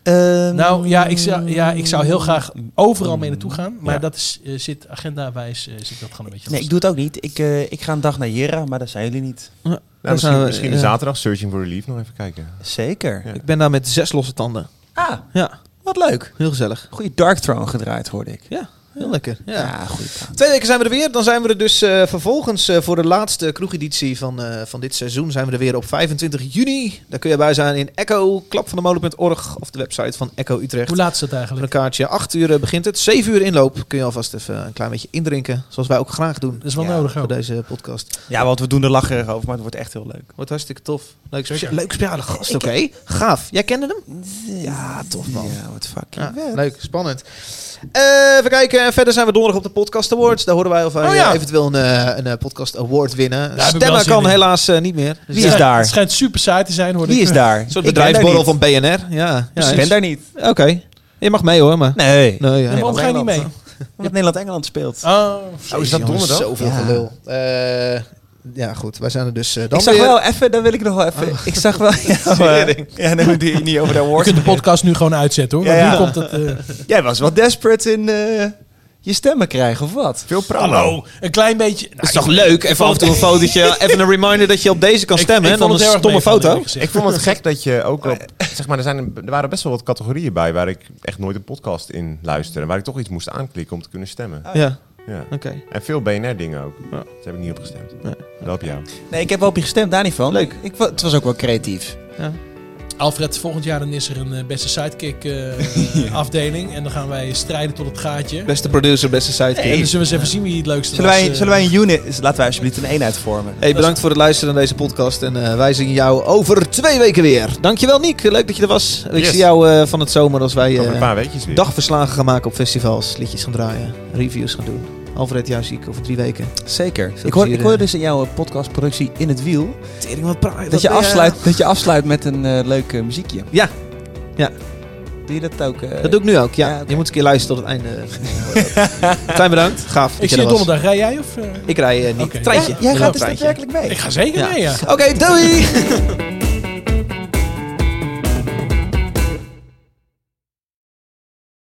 Speaker 3: Ehm,
Speaker 2: nou ja ik, zou, ja, ik zou heel graag overal mee naartoe gaan. Maar
Speaker 4: Ja.
Speaker 2: dat is, eh, zit agendawijs eh, zit dat gewoon een beetje
Speaker 3: Nee, ik doe het ook niet. Ik, eh, ik ga een dag naar Jera, maar daar zijn jullie niet.
Speaker 1: Nou,
Speaker 4: Nou,
Speaker 1: dan zijn
Speaker 4: misschien
Speaker 1: we-
Speaker 4: misschien
Speaker 1: ja.
Speaker 4: zaterdag Searching for Relief nog even kijken.
Speaker 3: Zeker.
Speaker 4: Ja.
Speaker 1: Ik ben daar met zes losse tanden.
Speaker 3: Ah,
Speaker 1: Ja,
Speaker 3: wat leuk.
Speaker 1: heel gezellig.
Speaker 3: Goede Dark Throne gedraaid, hoorde ik.
Speaker 1: Ja, heel lekker. Ja.
Speaker 3: goed.
Speaker 1: Twee weken zijn we er weer. Dan zijn we er dus eh, vervolgens eh, voor de laatste kroegeditie van, eh, van dit seizoen. Zijn we er weer op 25 juni. Daar kun je bij zijn in Echo, klapvandemolen.org of de website van Echo Utrecht.
Speaker 2: Hoe laat is dat
Speaker 1: Met
Speaker 2: eigenlijk?
Speaker 1: een kaartje. 8 uur eh, begint het. 7 uur inloop. Kun je alvast even een klein beetje indrinken. Zoals wij ook graag doen.
Speaker 2: Dat is wel
Speaker 3: Ja,
Speaker 2: nodig
Speaker 1: Voor
Speaker 2: ook.
Speaker 1: deze podcast.
Speaker 3: Ja, want we doen er lacherig over, maar het wordt echt heel leuk.
Speaker 1: Wordt hartstikke tof. Leuk, specia-
Speaker 2: Zeker.
Speaker 1: leuk speciale gast. Oké, gaaf. Jij kende hem? Ja, tof man.
Speaker 3: Ja, wat fucking
Speaker 1: Ja,
Speaker 3: vet.
Speaker 1: leuk, spannend. Eh, even kijken, verder zijn we donderdag op de Podcast Awards. Daar horen wij of wij
Speaker 2: Oh ja.
Speaker 1: eh, eventueel een, eh, een eh, Podcast Award winnen.
Speaker 2: Daar heb ik wel
Speaker 1: Stemmen
Speaker 2: zin
Speaker 1: kan
Speaker 2: in.
Speaker 1: helaas eh, niet meer. Dus
Speaker 3: Wie is
Speaker 1: ja,
Speaker 3: daar?
Speaker 2: Het schijnt super saai te zijn, hoor.
Speaker 3: Wie
Speaker 2: ik.
Speaker 3: is daar?
Speaker 1: Een soort
Speaker 3: Ik ben daar
Speaker 1: bedrijfsborrel
Speaker 3: niet.
Speaker 1: van BNR. Ja, ja.
Speaker 3: Ik ben daar niet.
Speaker 1: Oké, je mag mee hoor, maar...
Speaker 3: Nee.
Speaker 1: Nee, Nou, ja.
Speaker 2: En waarom ga je niet mee?
Speaker 3: Omdat Nederland-Engeland speelt.
Speaker 2: Oh,
Speaker 1: Oh, is dat donderdag? Zoveel
Speaker 3: Ja.
Speaker 1: gelul. Eh, ja, goed, wij zijn er dus eh, dan
Speaker 3: ik zag
Speaker 1: weer. Ah.
Speaker 3: wel even, daar wil ik nog wel even. Ik zag wel. Ja,
Speaker 1: Tering.
Speaker 3: ja nee, moet je niet over de
Speaker 2: je
Speaker 3: awards.
Speaker 2: kunt de podcast nu gewoon uitzetten, hoor.
Speaker 3: Ja,
Speaker 2: want
Speaker 3: ja.
Speaker 2: Nu komt het... eh,
Speaker 3: Jij was wel desperate in eh, je stemmen krijgen, of wat?
Speaker 4: Veel promo.
Speaker 2: Hallo, een klein beetje... Nou,
Speaker 1: Het is toch leuk, even af en toe een fotootje, even een reminder dat je op deze kan
Speaker 2: ik-
Speaker 1: stemmen.
Speaker 2: ik
Speaker 1: en
Speaker 2: vond
Speaker 1: dan een
Speaker 2: het heel erg
Speaker 1: stomme
Speaker 2: meevallen,
Speaker 1: foto.
Speaker 2: eerlijk gezegd.
Speaker 4: Ik vond het gek dat je ook op... Zeg maar, er, zijn, er waren best wel wat categorieën bij waar ik echt nooit een podcast in luisterde. Waar ik toch iets moest aanklikken om te kunnen stemmen.
Speaker 1: Ja,
Speaker 4: Ja.
Speaker 1: oké.
Speaker 4: En veel BNR-dingen ook. Daar heb ik niet op gestemd.
Speaker 1: Nee.
Speaker 4: Wel op jou.
Speaker 3: Nee, ik heb wel op je gestemd, daar niet van. Leuk. Ik, wa- het was ook wel creatief.
Speaker 2: Alfred, volgend jaar dan is er een eh, beste sidekick eh, afdeling. En dan gaan wij strijden tot het gaatje.
Speaker 1: Beste producer, beste sidekick.
Speaker 2: En dan zullen we eens even zien wie het leukste
Speaker 3: Zullen
Speaker 2: was.
Speaker 3: wij,
Speaker 2: eh.
Speaker 3: zullen wij een unit. Laten wij alsjeblieft een eenheid vormen.
Speaker 1: Hey, bedankt voor het luisteren naar deze podcast. En eh, wij zien jou over twee weken weer. Dankjewel, Niek. Leuk dat je er was. Ik
Speaker 4: Yes.
Speaker 1: zie jou eh, van het zomer als wij
Speaker 4: Over een
Speaker 1: eh,
Speaker 4: paar weekjes weer.
Speaker 1: dagverslagen gaan maken op festivals. Liedjes gaan draaien. Reviews gaan doen. Alfred, jou zie ik over drie weken.
Speaker 3: Zeker.
Speaker 1: Veel
Speaker 3: Ik hoor,
Speaker 1: plezier,
Speaker 3: ik hoor
Speaker 1: eh.
Speaker 3: dus in jouw podcastproductie In het Wiel.
Speaker 1: Tering, wat praat
Speaker 3: Dat je, afsluit, dat je afsluit met een eh, leuk eh, muziekje.
Speaker 1: Ja. Ja.
Speaker 3: Doe je dat ook? eh?
Speaker 1: Dat doe ik nu ook, ja.
Speaker 3: Ja, oké.
Speaker 1: Je moet eens een keer luisteren tot het einde. Klein bedankt. Gaaf. dat
Speaker 2: Ik
Speaker 1: je
Speaker 2: zie
Speaker 1: er
Speaker 2: je
Speaker 1: was.
Speaker 2: donderdag. Rij jij of... eh?
Speaker 1: Ik rij eh, Niek.
Speaker 2: Oké.
Speaker 1: Treintje.
Speaker 3: Jij
Speaker 1: Ik
Speaker 3: gaat
Speaker 1: rij
Speaker 3: dus
Speaker 1: treintje.
Speaker 3: daadwerkelijk mee.
Speaker 2: Ik ga zeker
Speaker 1: Ja.
Speaker 2: mee, ja.
Speaker 1: Oké, doei!